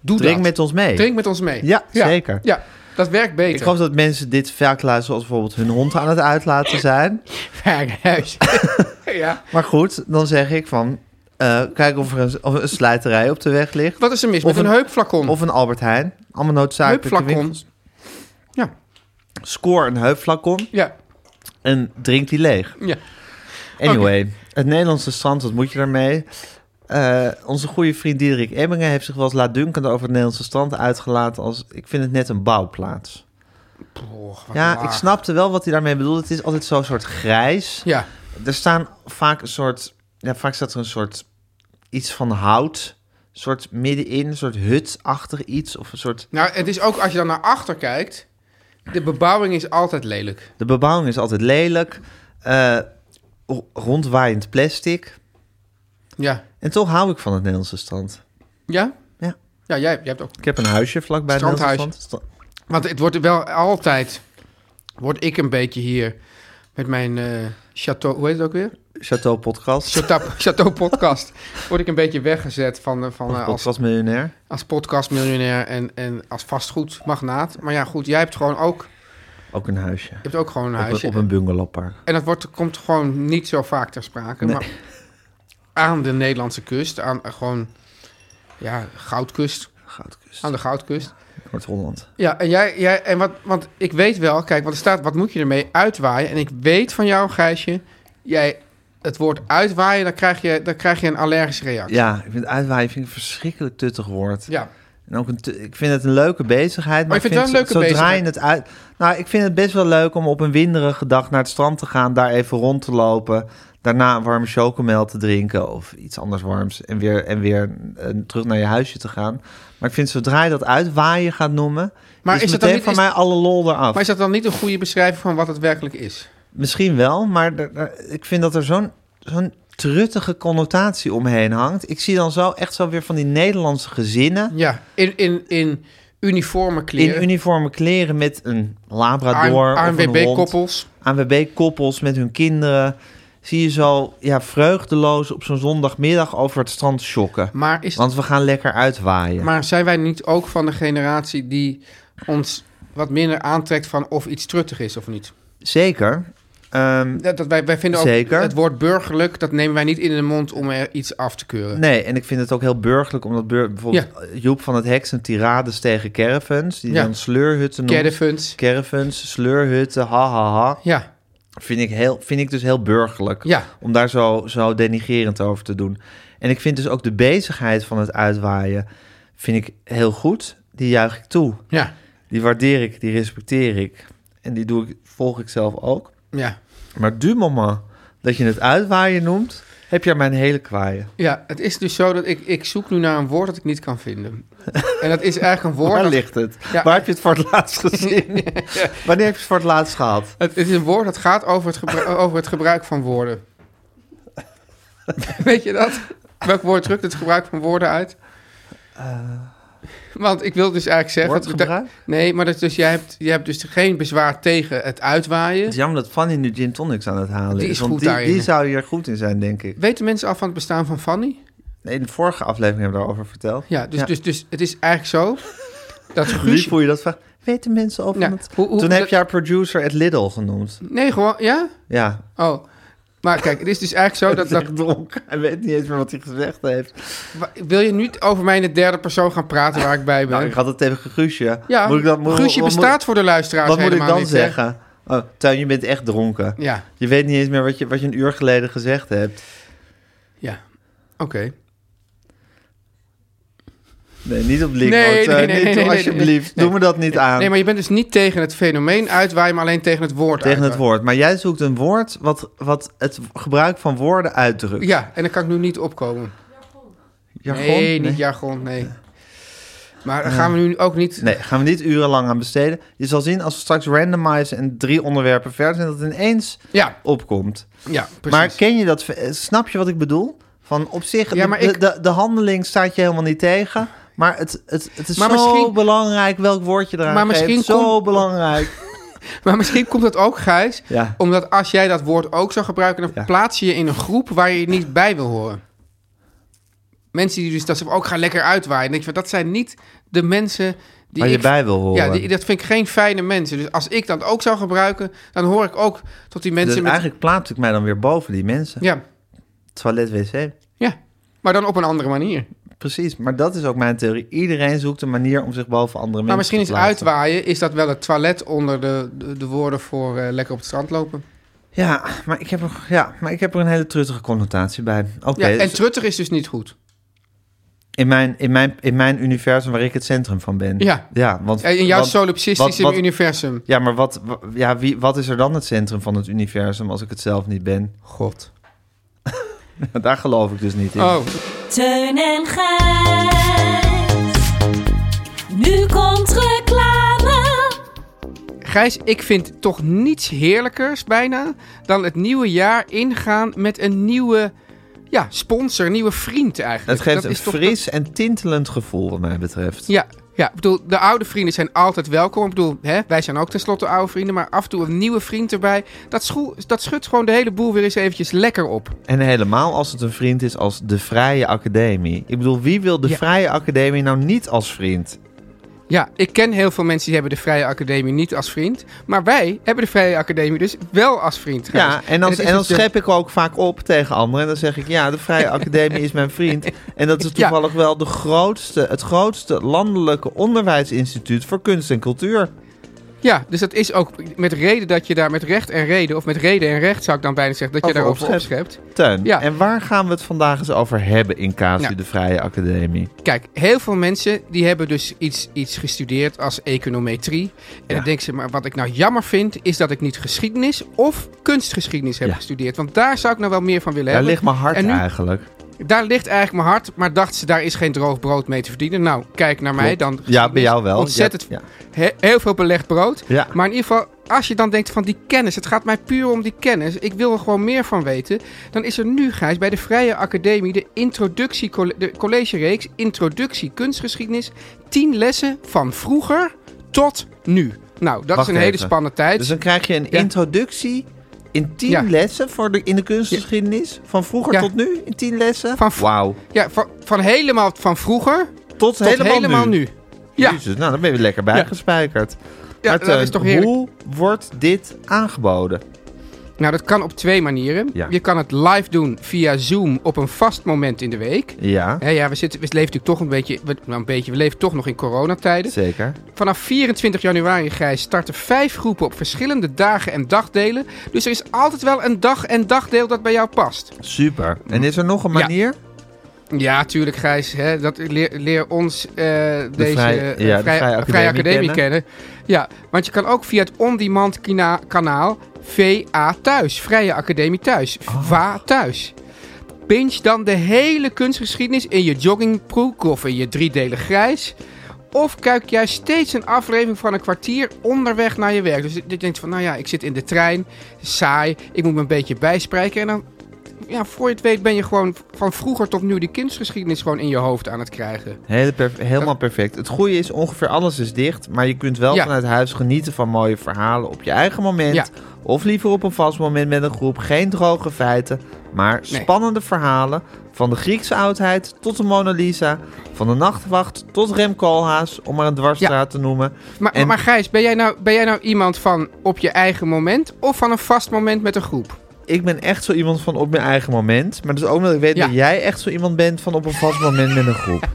Speaker 3: doe
Speaker 2: drink
Speaker 3: dat.
Speaker 2: met ons mee.
Speaker 3: Drink met ons mee.
Speaker 2: Ja, zeker.
Speaker 3: Ja, dat werkt beter.
Speaker 2: Ik geloof dat mensen dit vaak luisteren als bijvoorbeeld hun hond aan het uitlaten zijn.
Speaker 3: Huis. ja.
Speaker 2: Maar goed, dan zeg ik van, eh, kijk of er een, of een slijterij op de weg ligt.
Speaker 3: Wat is er
Speaker 2: Of
Speaker 3: mis met een,
Speaker 2: een-
Speaker 3: heupflacon?
Speaker 2: Of een Albert Heijn. Allemaal noodzakelijke
Speaker 3: Hm. Heupflacon.
Speaker 2: winkels.
Speaker 3: Ja.
Speaker 2: Score een heupflacon
Speaker 3: Ja,
Speaker 2: en drink die leeg.
Speaker 3: ja.
Speaker 2: Anyway, het Nederlandse strand, wat moet je daarmee? Eh, onze goede vriend Diederik Emmingen heeft zich wel eens laatdunkend over het Nederlandse strand uitgelaten als... Ik vind het net een bouwplaats.
Speaker 3: Och, wat
Speaker 2: Ja,
Speaker 3: laag.
Speaker 2: ik snapte wel wat hij daarmee bedoelde. Het is altijd zo'n soort grijs.
Speaker 3: Ja,
Speaker 2: Er staan vaak een soort... Ja, vaak staat er een soort iets van hout. Een soort middenin, een soort hutachtig iets. Of een soort...
Speaker 3: nou, het is ook als je dan naar achter kijkt. De bebouwing is altijd lelijk.
Speaker 2: De bebouwing is altijd lelijk. eh, ro- rondwaaiend plastic.
Speaker 3: Ja.
Speaker 2: En toch hou ik van het Nederlandse strand.
Speaker 3: Ja?
Speaker 2: Ja.
Speaker 3: Ja, jij, jij hebt ook.
Speaker 2: Ik heb een huisje vlakbij het
Speaker 3: Strandhuis.
Speaker 2: Nederlandse strand. Sta-
Speaker 3: Want het wordt wel altijd. Word ik een beetje hier. Met mijn eh château. Hoe heet het ook weer?
Speaker 2: Chateau Podcast.
Speaker 3: Château, château Podcast. Word ik een beetje weggezet van, eh, van, eh, als,
Speaker 2: Podcast miljonair.
Speaker 3: als podcastmiljonair en, en als vastgoedmagnaat. Maar ja, goed, jij hebt gewoon ook.
Speaker 2: Ook een huisje.
Speaker 3: Je hebt ook gewoon een
Speaker 2: Op een,
Speaker 3: huisje.
Speaker 2: op een bungalowpark.
Speaker 3: En dat wordt, komt gewoon niet zo vaak ter sprake.
Speaker 2: Nee.
Speaker 3: Maar aan de Nederlandse kust, aan eh, gewoon ja, goudkust,
Speaker 2: Goudkust.
Speaker 3: aan de goudkust.
Speaker 2: Noord-Holland.
Speaker 3: Ja, en jij, jij en wat, want ik weet wel, kijk, want er staat, wat moet je ermee uitwaaien? En ik weet van jou, Gijsje, jij het woord uitwaaien, dan krijg je, dan krijg je een allergische reactie.
Speaker 2: Ja, ik vind uitwaaien vind ik een verschrikkelijk tuttig woord.
Speaker 3: Ja,
Speaker 2: En ook een tu- ik vind het een leuke bezigheid. Maar
Speaker 3: Oh, je vindt
Speaker 2: ik
Speaker 3: het wel een
Speaker 2: zo-
Speaker 3: leuke
Speaker 2: zodra je het uit. Nou, ik vind het best wel leuk om op een winderige dag naar het strand te gaan, daar even rond te lopen. daarna een warme chocomel te drinken of iets anders warms en weer, en weer eh, terug naar je huisje te gaan. Maar ik vind zodra je dat uitwaaien gaat noemen,
Speaker 3: Maar
Speaker 2: maar
Speaker 3: is
Speaker 2: is,
Speaker 3: dat dan
Speaker 2: meteen
Speaker 3: niet-
Speaker 2: van
Speaker 3: is-
Speaker 2: mij alle lol eraf.
Speaker 3: Maar is dat dan niet een goede beschrijving van wat het werkelijk is?
Speaker 2: Misschien wel, maar er- er- ik vind dat er zo'n zo'n truttige connotatie omheen hangt. Ik zie dan zo echt zo weer van die Nederlandse gezinnen
Speaker 3: Ja, in, in, in uniforme kleren.
Speaker 2: in uniforme kleren met een labrador of een hond.
Speaker 3: ANWB-koppels.
Speaker 2: ANWB-koppels met hun kinderen. Zie je zo ja, vreugdeloos op zo'n zondagmiddag over het strand schokken.
Speaker 3: Maar, is,
Speaker 2: Want we gaan lekker uitwaaien.
Speaker 3: maar zijn wij niet ook van de generatie die ons wat minder aantrekt van of iets truttig is of niet?
Speaker 2: Zeker. Ehm,
Speaker 3: Dat, dat wij, wij vinden ook
Speaker 2: Zeker.
Speaker 3: het woord burgerlijk, dat nemen wij niet in de mond om er iets af te keuren.
Speaker 2: nee, en ik vind het ook heel burgerlijk, omdat bur- bijvoorbeeld Joep van het Hek zijn tirades tegen caravans, die
Speaker 3: Ja.
Speaker 2: dan sleurhutten noemt.
Speaker 3: Caravans.
Speaker 2: caravans, sleurhutten, ha ha ha.
Speaker 3: Ja,
Speaker 2: Vind ik, heel, vind ik dus heel burgerlijk.
Speaker 3: Ja.
Speaker 2: Om daar zo, zo denigerend over te doen. En ik vind dus ook de bezigheid van het uitwaaien vind ik heel goed. Die juich ik toe.
Speaker 3: ja,
Speaker 2: Die waardeer ik, die respecteer ik. En die doe ik, volg ik zelf ook.
Speaker 3: ja.
Speaker 2: Maar du moment dat je het uitwaaien noemt, heb je aan mijn hele kwaaien.
Speaker 3: Ja, het is dus zo dat ik, ik zoek nu naar een woord dat ik niet kan vinden. En dat is eigenlijk een woord...
Speaker 2: Waar
Speaker 3: dat-
Speaker 2: ligt het?
Speaker 3: Ja.
Speaker 2: Waar heb je het voor het laatst gezien? Wanneer heb je het voor het laatst gehad?
Speaker 3: Het, het is een woord dat gaat over het, gebru- over het gebruik van woorden. Weet je dat? Welk woord drukt het gebruik van woorden uit? Want ik wil dus eigenlijk zeggen... dat-
Speaker 2: Eh. Woordgebruik?
Speaker 3: nee, maar dat is dus, jij, hebt, jij hebt dus geen bezwaar tegen het uitwaaien.
Speaker 2: Het is jammer dat Fanny nu gin tonics aan het halen
Speaker 3: Die
Speaker 2: is.
Speaker 3: is
Speaker 2: want
Speaker 3: goed
Speaker 2: die,
Speaker 3: daarin.
Speaker 2: die zou hier goed in zijn, denk ik.
Speaker 3: Weten mensen al van het bestaan van Fanny?
Speaker 2: Nee, in de vorige aflevering hebben we daarover verteld.
Speaker 3: Ja, dus,
Speaker 2: Ja.
Speaker 3: Dus, dus het is eigenlijk zo... dat
Speaker 2: Lief
Speaker 3: Guus...
Speaker 2: hoe je dat vraagt. Weten mensen over
Speaker 3: Ja,
Speaker 2: het...
Speaker 3: hoe- hoe-
Speaker 2: Toen heb
Speaker 3: dat-
Speaker 2: je haar producer at Lidl genoemd.
Speaker 3: Nee, gewoon... Ja?
Speaker 2: Ja,
Speaker 3: Oh. Maar kijk, het is dus eigenlijk zo dat... dat
Speaker 2: echt dronken. Hij weet niet eens meer wat hij gezegd heeft.
Speaker 3: wa- wil je niet over mij in de derde persoon gaan praten waar ik bij ben?
Speaker 2: Nou, ik had het tegen Guusje.
Speaker 3: ja,
Speaker 2: moet ik dat, moet,
Speaker 3: Guusje
Speaker 2: wat moet-
Speaker 3: bestaat voor de luisteraars
Speaker 2: Wat moet ik
Speaker 3: helemaal
Speaker 2: dan
Speaker 3: niet, hè?
Speaker 2: zeggen? Oh, Tuin, je bent echt dronken.
Speaker 3: Ja,
Speaker 2: Je weet niet eens meer wat je, wat je een uur geleden gezegd hebt.
Speaker 3: ja. Oké.
Speaker 2: Nee, niet op LinkedIn.
Speaker 3: Nee, nee,
Speaker 2: Tuin,
Speaker 3: nee, nee,
Speaker 2: niet,
Speaker 3: nee, nee,
Speaker 2: alsjeblieft,
Speaker 3: nee.
Speaker 2: doe me dat niet aan.
Speaker 3: Nee, maar je bent dus niet tegen het fenomeen uitwaaien, maar alleen tegen het woord
Speaker 2: Tegen het
Speaker 3: uitwaaien.
Speaker 2: woord. Maar jij zoekt een woord wat, wat het gebruik van woorden uitdrukt.
Speaker 3: Ja, en daar kan ik nu niet opkomen.
Speaker 2: Jargon?
Speaker 3: Nee, niet jargon, nee. Maar daar gaan we nu ook niet...
Speaker 2: Nee, gaan we niet urenlang aan besteden. Je zal zien als we straks randomizen en drie onderwerpen verder zijn, dat het ineens
Speaker 3: Ja,
Speaker 2: opkomt.
Speaker 3: ja, precies.
Speaker 2: Maar ken je dat? eh, Snap je wat ik bedoel? Van op zich,
Speaker 3: Ja,
Speaker 2: de-
Speaker 3: maar
Speaker 2: de,
Speaker 3: ik-
Speaker 2: de, de handeling staat je helemaal niet tegen. Maar het, het, het is
Speaker 3: Maar
Speaker 2: zo
Speaker 3: misschien-
Speaker 2: belangrijk welk woord je eraan
Speaker 3: Maar
Speaker 2: geeft.
Speaker 3: misschien
Speaker 2: zo
Speaker 3: komt-
Speaker 2: belangrijk.
Speaker 3: Maar misschien komt dat ook, Gijs,
Speaker 2: Ja.
Speaker 3: omdat als jij dat woord ook zou gebruiken, dan
Speaker 2: Ja.
Speaker 3: plaats je je in een groep waar je niet bij wil horen. Mensen die dus dat ze ook gaan lekker uitwaaien. Dan Denk je, van, dat zijn niet de mensen die
Speaker 2: Waar je
Speaker 3: ik
Speaker 2: bij wil horen.
Speaker 3: Ja, die, dat vind ik geen fijne mensen. Dus als ik dat ook zou gebruiken, dan hoor ik ook tot die
Speaker 2: Dus
Speaker 3: mensen met...
Speaker 2: eigenlijk plaats ik mij dan weer boven die mensen.
Speaker 3: Ja,
Speaker 2: Toilet, wc.
Speaker 3: ja. Maar dan op een andere manier.
Speaker 2: Precies, maar dat is ook mijn theorie. Iedereen zoekt een manier om zich boven andere
Speaker 3: Maar
Speaker 2: mensen te
Speaker 3: misschien is
Speaker 2: plaatsen.
Speaker 3: uitwaaien, is dat wel het toilet onder de, de, de woorden voor eh, lekker op het strand lopen.
Speaker 2: Ja maar, ik heb er, ja, maar ik heb er een hele truttige connotatie bij. Oké,
Speaker 3: ja, en
Speaker 2: dus
Speaker 3: trutter is dus niet goed.
Speaker 2: in, mijn, in, mijn, in mijn universum waar ik het centrum van ben.
Speaker 3: Ja.
Speaker 2: ja want,
Speaker 3: En in jouw
Speaker 2: want-
Speaker 3: solipsistische
Speaker 2: wat- wat-
Speaker 3: universum.
Speaker 2: Ja, maar wat, wa- ja, wie, wat is er dan het centrum van het universum als ik het zelf niet ben?
Speaker 3: God.
Speaker 2: Daar geloof ik dus niet in.
Speaker 3: Oh,
Speaker 5: Teun en Gijs. Nu komt reclame.
Speaker 3: Gijs, ik vind toch niets heerlijkers bijna dan het nieuwe jaar ingaan met een nieuwe ja, sponsor, een nieuwe vriend eigenlijk.
Speaker 2: het geeft
Speaker 3: Dat
Speaker 2: een
Speaker 3: is toch-
Speaker 2: fris en tintelend gevoel wat mij betreft.
Speaker 3: Ja, ja, ik bedoel, de oude vrienden zijn altijd welkom. Ik bedoel, hè, wij zijn ook tenslotte oude vrienden, maar af en toe een nieuwe vriend erbij. Dat, schoe- dat schudt gewoon de hele boel weer eens eventjes lekker op.
Speaker 2: En helemaal als het een vriend is als de Vrije Academie. Ik bedoel, wie wil de
Speaker 3: Ja.
Speaker 2: Vrije Academie nou niet als vriend?
Speaker 3: Ja, ik ken heel veel mensen die hebben de Vrije Academie niet als vriend. Maar wij hebben de Vrije Academie dus wel als vriend. Gijs.
Speaker 2: Ja, en dan,
Speaker 3: het is
Speaker 2: en dan
Speaker 3: dus de-
Speaker 2: schep ik ook vaak op tegen anderen. En dan zeg ik, ja, de Vrije Academie is mijn vriend. En dat is
Speaker 3: Ja.
Speaker 2: toevallig wel de grootste, het grootste landelijke onderwijsinstituut voor kunst en cultuur.
Speaker 3: Ja, dus dat is ook met reden dat je daar met recht en reden, of met reden en recht zou ik dan bijna zeggen, dat
Speaker 2: Over
Speaker 3: je daarover
Speaker 2: opschept.
Speaker 3: opschept.
Speaker 2: Tuin,
Speaker 3: Ja.
Speaker 2: en waar gaan we het vandaag eens over hebben in Casu
Speaker 3: Ja.
Speaker 2: de Vrije Academie?
Speaker 3: Kijk, heel veel mensen die hebben dus iets, iets gestudeerd als econometrie. En
Speaker 2: Ja.
Speaker 3: dan denken ze, maar wat ik nou jammer vind, is dat ik niet geschiedenis of kunstgeschiedenis heb
Speaker 2: Ja.
Speaker 3: gestudeerd. Want daar zou ik nou wel meer van willen
Speaker 2: Daar
Speaker 3: hebben.
Speaker 2: ligt mijn hart
Speaker 3: En nu-
Speaker 2: eigenlijk.
Speaker 3: Daar ligt eigenlijk mijn hart, maar dacht ze, daar is geen droog brood mee te verdienen. Nou, kijk naar mij, dan
Speaker 2: Ja, bij jou wel.
Speaker 3: ontzettend
Speaker 2: Ja.
Speaker 3: he- heel veel belegd brood.
Speaker 2: Ja.
Speaker 3: Maar in ieder geval, als je dan denkt van die kennis, het gaat mij puur om die kennis, ik wil er gewoon meer van weten, dan is er nu, Gijs, bij de Vrije Academie de introductie, de collegereeks Introductie Kunstgeschiedenis, 10 lessen van vroeger tot nu. Nou, dat
Speaker 2: Wacht
Speaker 3: is een hele
Speaker 2: even.
Speaker 3: spannende tijd.
Speaker 2: Dus dan krijg je een
Speaker 3: Ja.
Speaker 2: introductie in tien
Speaker 3: Ja.
Speaker 2: lessen voor de, in de kunstgeschiedenis. Van vroeger
Speaker 3: Ja.
Speaker 2: tot nu in tien lessen.
Speaker 3: Van v-
Speaker 2: Wauw.
Speaker 3: Ja, van, van helemaal van vroeger
Speaker 2: Tot,
Speaker 3: tot helemaal, nu. Ja,
Speaker 2: Jezus, nou dan ben je lekker bijgespijkerd.
Speaker 3: ja
Speaker 2: Maar
Speaker 3: dat
Speaker 2: Teun,
Speaker 3: is toch heerlijk.
Speaker 2: hoe wordt dit aangeboden?
Speaker 3: Nou, dat kan op twee manieren.
Speaker 2: Ja.
Speaker 3: Je kan het live doen via Zoom op een vast moment in de week.
Speaker 2: Ja,
Speaker 3: Hè, ja, we, zitten, we leven natuurlijk toch een beetje, we, nou, een beetje, we leven toch nog in coronatijden.
Speaker 2: zeker.
Speaker 3: Vanaf 24 januari, Gijs, starten vijf groepen op verschillende dagen en dagdelen. Dus er is altijd wel een dag en dagdeel dat bij jou past.
Speaker 2: Super. En is er nog een
Speaker 3: Ja.
Speaker 2: manier?
Speaker 3: Ja, tuurlijk, Gijs. Hè, dat leer, leer ons eh, deze
Speaker 2: Vrij-
Speaker 3: eh,
Speaker 2: ja, de
Speaker 3: Vrij-
Speaker 2: Vrije Academie
Speaker 3: Academie kennen. Ja, want je kan ook via het on-demand kina- kanaal VA Thuis, Vrije Academie Thuis,
Speaker 2: Oh.
Speaker 3: VA Thuis. Pinch dan de hele kunstgeschiedenis in je joggingbroek of in je driedelig grijs. Of kijk jij steeds een aflevering van een kwartier onderweg naar je werk. Dus je denkt van, nou ja, ik zit in de trein, saai, ik moet me een beetje bijspreken. En dan, ja, voor je het weet ben je gewoon van vroeger tot nu die kunstgeschiedenis gewoon in je hoofd aan het krijgen.
Speaker 2: Hele perf- helemaal perfect. Het goede is, ongeveer alles is dicht. Maar je kunt wel
Speaker 3: Ja.
Speaker 2: vanuit huis genieten van mooie verhalen op je eigen moment.
Speaker 3: Ja.
Speaker 2: Of liever op een vast moment met een groep. Geen droge feiten, maar spannende verhalen. Van de Griekse oudheid tot de Mona Lisa. Van de Nachtwacht tot Rem Koolhaas, om maar een dwarsstraat te noemen.
Speaker 3: Maar,
Speaker 2: En-
Speaker 3: maar Gijs, ben jij, nou, ben jij nou iemand van op je eigen moment of van een vast moment met een groep?
Speaker 2: Ik ben echt zo iemand van op mijn eigen moment. Maar dat is ook omdat ik weet
Speaker 3: Ja.
Speaker 2: dat jij echt zo iemand bent van op een vast moment met een groep.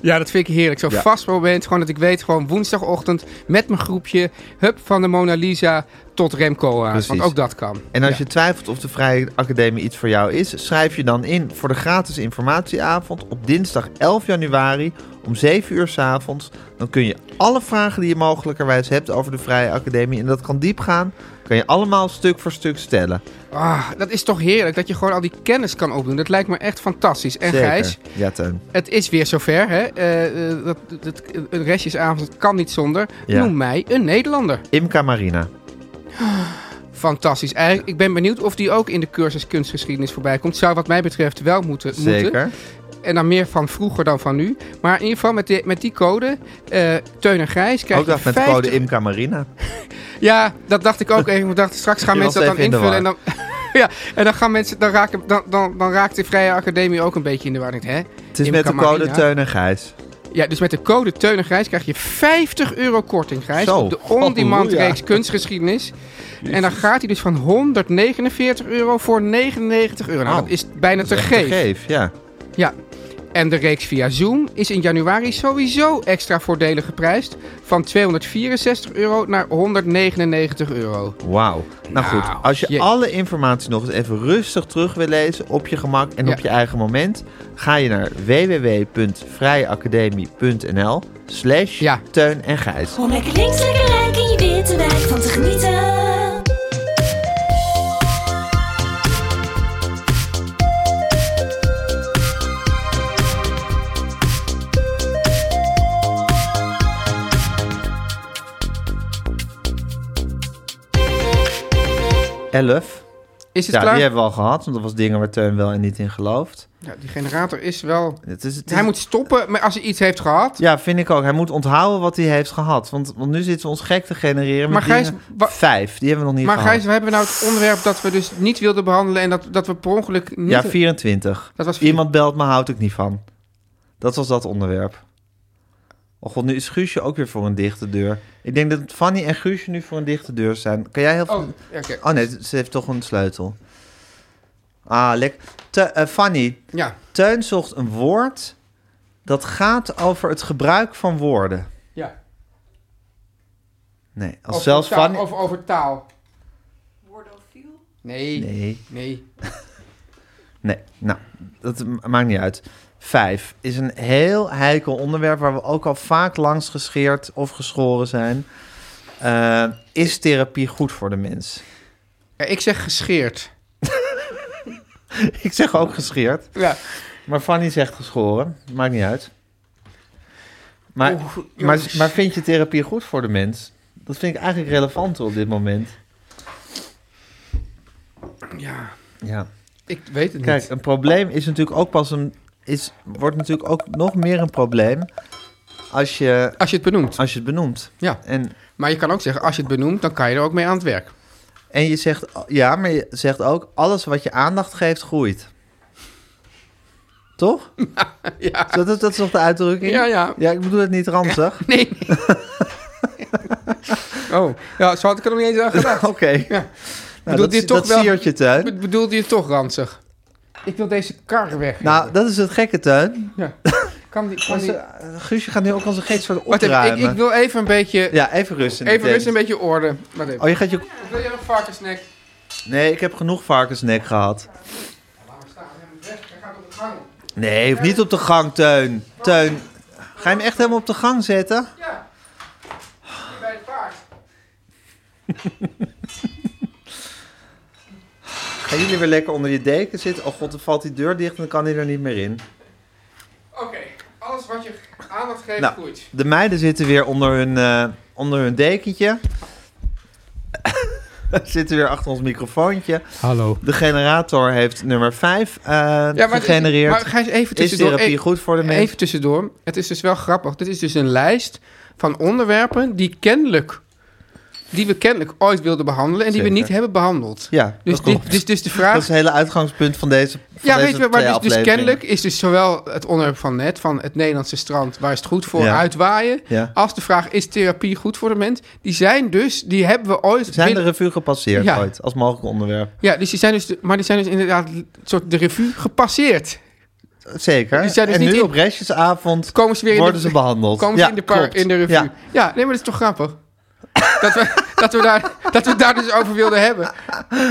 Speaker 3: Ja, dat vind ik heerlijk. Zo'n
Speaker 2: Ja.
Speaker 3: vast moment, gewoon dat ik weet, gewoon woensdagochtend met mijn groepje, hup, van de Mona Lisa tot Remco aan.
Speaker 2: Precies.
Speaker 3: Want ook dat kan.
Speaker 2: En als
Speaker 3: Ja.
Speaker 2: je twijfelt of de Vrije Academie iets voor jou is, schrijf je dan in voor de gratis informatieavond op dinsdag 11 januari om 7 uur 's avonds. Dan kun je alle vragen die je mogelijkerwijs hebt over de Vrije Academie, en dat kan diep gaan, kan je allemaal stuk voor stuk stellen.
Speaker 3: Ah, dat is toch heerlijk dat je gewoon al die kennis kan opdoen. Dat lijkt me echt fantastisch. En
Speaker 2: Zeker.
Speaker 3: Gijs,
Speaker 2: Ja, Teun.
Speaker 3: het is weer zover, hè? Eh, eh, dat, dat, een restjesavond dat kan niet zonder.
Speaker 2: Ja.
Speaker 3: Noem mij een Nederlander.
Speaker 2: Imca Marina.
Speaker 3: Fantastisch. Eigenlijk, ik ben benieuwd of die ook in de cursus kunstgeschiedenis voorbij komt. Zou wat mij betreft wel moeten. moeten.
Speaker 2: Zeker.
Speaker 3: En dan meer van vroeger dan van nu. Maar in ieder geval met, die- met die code, eh Teun en Grijs, krijg
Speaker 2: Ook dat
Speaker 3: je
Speaker 2: met de code
Speaker 3: 50
Speaker 2: Imca Marina.
Speaker 3: Ja, dat dacht ik ook even. Ik dacht, straks gaan
Speaker 2: Je
Speaker 3: mensen dat
Speaker 2: was
Speaker 3: dan
Speaker 2: even in
Speaker 3: invullen.
Speaker 2: de
Speaker 3: En dan, ja, en dan, gaan mensen, dan, raken, dan, dan, dan raakt de Vrije Academie ook een beetje in de war. Ik denk, Hè?
Speaker 2: Het is
Speaker 3: Imca
Speaker 2: met de code
Speaker 3: Marina.
Speaker 2: Teun en Gijs.
Speaker 3: Ja, dus met de code Teun en Grijs krijg je 50 euro korting, Grijs.
Speaker 2: Zo,
Speaker 3: op de on-demand
Speaker 2: halleluja.
Speaker 3: reeks kunstgeschiedenis. En dan gaat hij dus van 149 euro voor 99 euro. Nou,
Speaker 2: Oh,
Speaker 3: dat is bijna
Speaker 2: Dat
Speaker 3: te
Speaker 2: is echt
Speaker 3: geef.
Speaker 2: ja.
Speaker 3: Ja. En de reeks via Zoom is in januari sowieso extra voordelig geprijsd. Van 264 euro naar 199 euro.
Speaker 2: Wauw. Nou
Speaker 3: Nou,
Speaker 2: goed, als je
Speaker 3: jee.
Speaker 2: alle informatie nog eens even rustig terug wil lezen op je gemak en
Speaker 3: Ja.
Speaker 2: op je eigen moment, ga je naar www.vrijeacademie.nl slash
Speaker 3: Ja.
Speaker 2: Teun en Gijs.
Speaker 5: Om lekker links, lekker rijk in je witte wijk van te genieten.
Speaker 2: Elf.
Speaker 3: Is het
Speaker 2: Ja,
Speaker 3: klaar?
Speaker 2: die hebben we al gehad, want dat was dingen waar Teun wel en niet in gelooft.
Speaker 3: Ja, die generator is wel...
Speaker 2: Het is, het is-
Speaker 3: Hij moet stoppen maar als hij iets heeft gehad.
Speaker 2: Ja, vind ik ook. Hij moet onthouden wat hij heeft gehad. Want, want nu zitten ze ons gek te genereren met
Speaker 3: Maar Gijs,
Speaker 2: dingen-
Speaker 3: wa-
Speaker 2: Vijf, die hebben we nog niet
Speaker 3: Maar
Speaker 2: gehad.
Speaker 3: Gijs, we hebben nou het onderwerp dat we dus niet wilden behandelen... en dat, dat we per ongeluk niet...
Speaker 2: Ja, 24.
Speaker 3: Dat was vier-
Speaker 2: Iemand belt me, houd ik niet van. Dat was dat onderwerp. Oh god, nu is Guusje ook weer voor een dichte deur. Ik denk dat Fanny en Guusje nu voor een dichte deur zijn. Kan jij heel
Speaker 3: Oh,
Speaker 2: veel...
Speaker 3: ja, oké.
Speaker 2: Oh nee, ze heeft toch een sleutel. Ah, lekker. Te- eh, Fanny,
Speaker 3: Ja,
Speaker 2: Teun zocht een woord dat gaat over het gebruik van woorden.
Speaker 3: ja.
Speaker 2: Nee, als
Speaker 3: Over
Speaker 2: zelfs
Speaker 3: taal-
Speaker 2: Fanny...
Speaker 3: Over, over taal.
Speaker 6: Wordofiel?
Speaker 3: Nee. Nee.
Speaker 2: Nee, nee. Nou, dat ma- maakt niet uit. Vijf is een heel heikel onderwerp waar we ook al vaak langs gescheerd of geschoren zijn. Eh, is therapie goed voor de mens?
Speaker 3: Ja, ik zeg gescheerd.
Speaker 2: Ik zeg ook gescheerd,
Speaker 3: Ja.
Speaker 2: maar Fanny zegt geschoren. Maakt niet uit. Maar,
Speaker 3: Oeh,
Speaker 2: maar,
Speaker 3: jongens.
Speaker 2: maar vind je therapie goed voor de mens? Dat vind ik eigenlijk relevanter op dit moment.
Speaker 3: Ja.
Speaker 2: Ja.
Speaker 3: Ik weet het
Speaker 2: Kijk,
Speaker 3: niet.
Speaker 2: een probleem is natuurlijk ook pas een. Is, wordt natuurlijk ook nog meer een probleem als je,
Speaker 3: Als je het benoemt.
Speaker 2: als je het benoemt.
Speaker 3: Ja.
Speaker 2: En,
Speaker 3: Maar je kan ook zeggen, als je het benoemt, dan kan je er ook mee aan het werk.
Speaker 2: en je zegt, ja, maar je zegt ook, alles wat je aandacht geeft, groeit. Toch?
Speaker 3: ja.
Speaker 2: Dat, is- dat is toch de uitdrukking?
Speaker 3: Ja, ja.
Speaker 2: Ja, ik bedoel het niet ranzig.
Speaker 3: Nee. oh, ja, zo had ik er nog niet eens aan gedacht.
Speaker 2: Oké.
Speaker 3: Ja.
Speaker 2: Nou,
Speaker 3: Bedoelt
Speaker 2: dat
Speaker 3: hij
Speaker 2: is
Speaker 3: het toch
Speaker 2: dat
Speaker 3: wel-
Speaker 2: siert je tuin.
Speaker 3: Be- Bedoelde je het toch ranzig? Ik wil deze kar weg.
Speaker 2: Nou, dat is het gekke tuin.
Speaker 3: Ja. Kan die... Kan
Speaker 2: Maar
Speaker 3: die...
Speaker 2: ze- eh, Guusje gaat nu ook als een geest voor de
Speaker 3: Wacht even, ik,
Speaker 2: opruimen.
Speaker 3: ik wil even een beetje...
Speaker 2: Ja, even rust in de
Speaker 3: even
Speaker 2: tent.
Speaker 3: rust, een beetje orde. Wacht even.
Speaker 2: Oh, je gaat je...
Speaker 3: Wil jij een varkensnek?
Speaker 2: Nee, ik heb genoeg varkensnek gehad. Nee, hoeft niet op de gang, Teun. Teun, ga je hem echt helemaal op de gang zetten?
Speaker 3: Ja. Hier bij het paard.
Speaker 2: Gaan jullie weer lekker onder je deken zitten? Oh god, dan valt die deur dicht en dan kan hij er niet meer in.
Speaker 3: Oké, alles wat je aandacht geeft
Speaker 2: Nou.
Speaker 3: groeit.
Speaker 2: De meiden zitten weer onder hun, eh, onder hun dekentje. zitten weer achter ons microfoontje.
Speaker 7: Hallo.
Speaker 2: De generator heeft nummer 5
Speaker 3: Het,
Speaker 2: gegenereerd.
Speaker 3: maar Gijs, even
Speaker 2: is
Speaker 3: tussendoor.
Speaker 2: therapie
Speaker 3: e-
Speaker 2: goed voor de mens?
Speaker 3: Even tussendoor. Het is dus wel grappig. Dit is dus een lijst van onderwerpen die kennelijk... Die we kennelijk ooit wilden behandelen en die we
Speaker 2: Zeker.
Speaker 3: niet hebben behandeld.
Speaker 2: Ja,
Speaker 3: Dus,
Speaker 2: dat klopt.
Speaker 3: dit, dus, dus de
Speaker 2: Dat
Speaker 3: vraag...
Speaker 2: is het hele uitgangspunt van deze van
Speaker 3: Ja,
Speaker 2: deze
Speaker 3: weet je, maar
Speaker 2: twee
Speaker 3: dus, dus
Speaker 2: afleveringen.
Speaker 3: kennelijk is dus zowel het onderwerp van net, van het Nederlandse strand, waar is het goed voor,
Speaker 2: Ja.
Speaker 3: uitwaaien,
Speaker 2: Ja.
Speaker 3: als de vraag is therapie goed voor de mens, die zijn dus, die hebben we ooit...
Speaker 2: Zijn de
Speaker 3: binnen-
Speaker 2: revue gepasseerd
Speaker 3: Ja.
Speaker 2: ooit als mogelijk onderwerp?
Speaker 3: Ja, dus die zijn dus, de- maar die zijn dus inderdaad een soort de revue gepasseerd.
Speaker 2: Zeker.
Speaker 3: Die zijn dus
Speaker 2: en
Speaker 3: niet
Speaker 2: nu
Speaker 3: in-
Speaker 2: op restjesavond
Speaker 3: Komen ze weer
Speaker 2: worden
Speaker 3: in de,
Speaker 2: ze behandeld.
Speaker 3: komen ze
Speaker 2: Ja,
Speaker 3: in, de par-
Speaker 2: klopt.
Speaker 3: in de revue. Ja.
Speaker 2: Ja.
Speaker 3: nee, maar dat is toch grappig? dat, we, dat, we daar, dat we het daar dus over wilden hebben,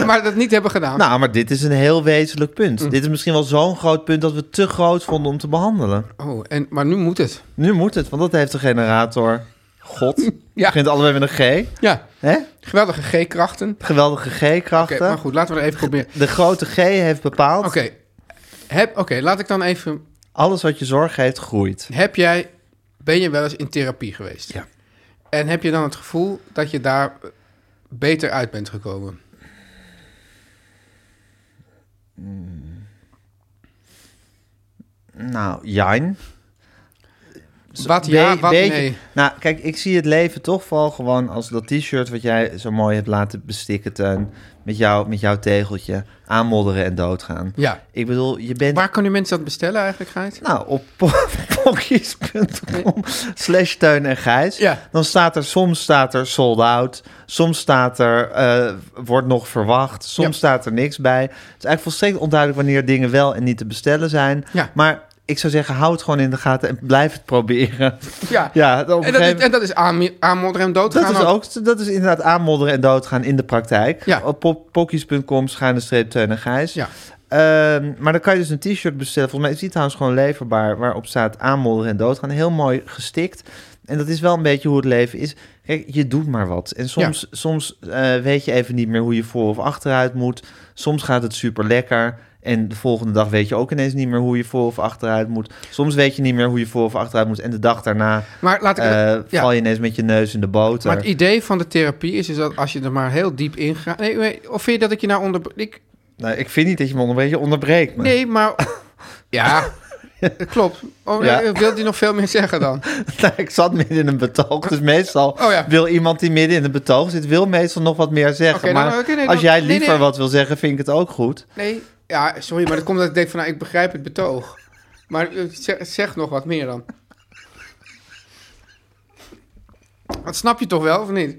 Speaker 3: maar dat niet hebben gedaan.
Speaker 2: Nou, maar dit is een heel wezenlijk punt.
Speaker 3: Mm.
Speaker 2: Dit is misschien wel zo'n groot punt dat we het te groot vonden om te behandelen.
Speaker 3: Oh, en, maar nu moet het.
Speaker 2: Nu moet het, want dat heeft de generator. God.
Speaker 3: Ja.
Speaker 2: Begint allebei met een G.
Speaker 3: Ja,
Speaker 2: Hè?
Speaker 3: geweldige G-krachten.
Speaker 2: Geweldige
Speaker 3: Oké,
Speaker 2: G-krachten.
Speaker 3: maar goed, laten we er even proberen.
Speaker 2: de grote G heeft bepaald.
Speaker 3: Oké, heb, oké, laat ik dan even
Speaker 2: Alles wat je zorg geeft, groeit.
Speaker 3: Heb jij, ben je wel eens in therapie geweest?
Speaker 2: Ja.
Speaker 3: En heb je dan het gevoel dat je daar beter uit bent gekomen?
Speaker 2: Nou, Jijn.
Speaker 3: Wat ja,
Speaker 2: Be-
Speaker 3: wat
Speaker 2: beetje-
Speaker 3: nee.
Speaker 2: Nou, kijk, ik zie het leven toch wel gewoon als dat t-shirt wat jij zo mooi hebt laten bestikken, Teun. Met, jou, met jouw tegeltje. Aanmodderen en doodgaan.
Speaker 3: Ja.
Speaker 2: Ik bedoel, je bent...
Speaker 3: Waar kunnen mensen dat bestellen eigenlijk, Gijs?
Speaker 2: Nou, op po- pokkies.com slash Teun en Gijs.
Speaker 3: Ja.
Speaker 2: Dan staat er, soms staat er sold out. Soms staat er, eh, wordt nog verwacht. Soms
Speaker 3: Ja.
Speaker 2: staat er niks bij. Het is eigenlijk volstrekt onduidelijk wanneer dingen wel en niet te bestellen zijn.
Speaker 3: Ja.
Speaker 2: Maar ik zou zeggen, hou het gewoon in de gaten en blijf het proberen.
Speaker 3: Ja.
Speaker 2: Ja, op een
Speaker 3: En dat,
Speaker 2: gegeven
Speaker 3: is, en dat is aan- aanmodderen en doodgaan.
Speaker 2: dat is, ook, dat is inderdaad aanmodderen en doodgaan in de praktijk.
Speaker 3: Ja.
Speaker 2: Op pop- pokkies.com schuine streep Teun en Gijs.
Speaker 3: Ja.
Speaker 2: Ehm, maar dan kan je dus een t-shirt bestellen. Volgens mij is die trouwens gewoon leverbaar... waarop staat aanmodderen en doodgaan. Heel mooi gestikt. En dat is wel een beetje hoe het leven is. Kijk, je doet maar wat. En soms, soms eh, weet je even niet meer hoe je voor of achteruit moet. Soms gaat het super lekker. En de volgende dag weet je ook ineens niet meer hoe je voor of achteruit moet. Soms weet je niet meer hoe je voor of achteruit moet. En de dag daarna
Speaker 3: Maar laat ik...
Speaker 2: eh,
Speaker 3: ja.
Speaker 2: val je ineens met je neus in de boter.
Speaker 3: Maar het idee van de therapie is, is dat als je er maar heel diep in gaat... Nee, nee, of vind je dat ik je nou onder... Ik,
Speaker 2: Nou, ik vind niet dat je me een beetje onderbreekt. maar-
Speaker 3: nee, maar... ja, dat klopt. Oh,
Speaker 2: Ja.
Speaker 3: eh, Wil die nog veel meer zeggen dan?
Speaker 2: Nou, ik zat midden in een betoog, dus meestal
Speaker 3: Oh ja.
Speaker 2: wil iemand die midden in een betoog zit, wil meestal nog wat meer zeggen.
Speaker 3: Oké, nou,
Speaker 2: maar
Speaker 3: oké, nee,
Speaker 2: als
Speaker 3: dan-
Speaker 2: jij
Speaker 3: nee,
Speaker 2: liever
Speaker 3: nee.
Speaker 2: wat wil zeggen, vind ik het ook goed.
Speaker 3: Nee, ja, sorry, maar dat komt dat ik denk van, nou, ik begrijp het betoog. Maar eh, zeg, zeg nog wat meer dan. Dat snap je toch wel, of niet?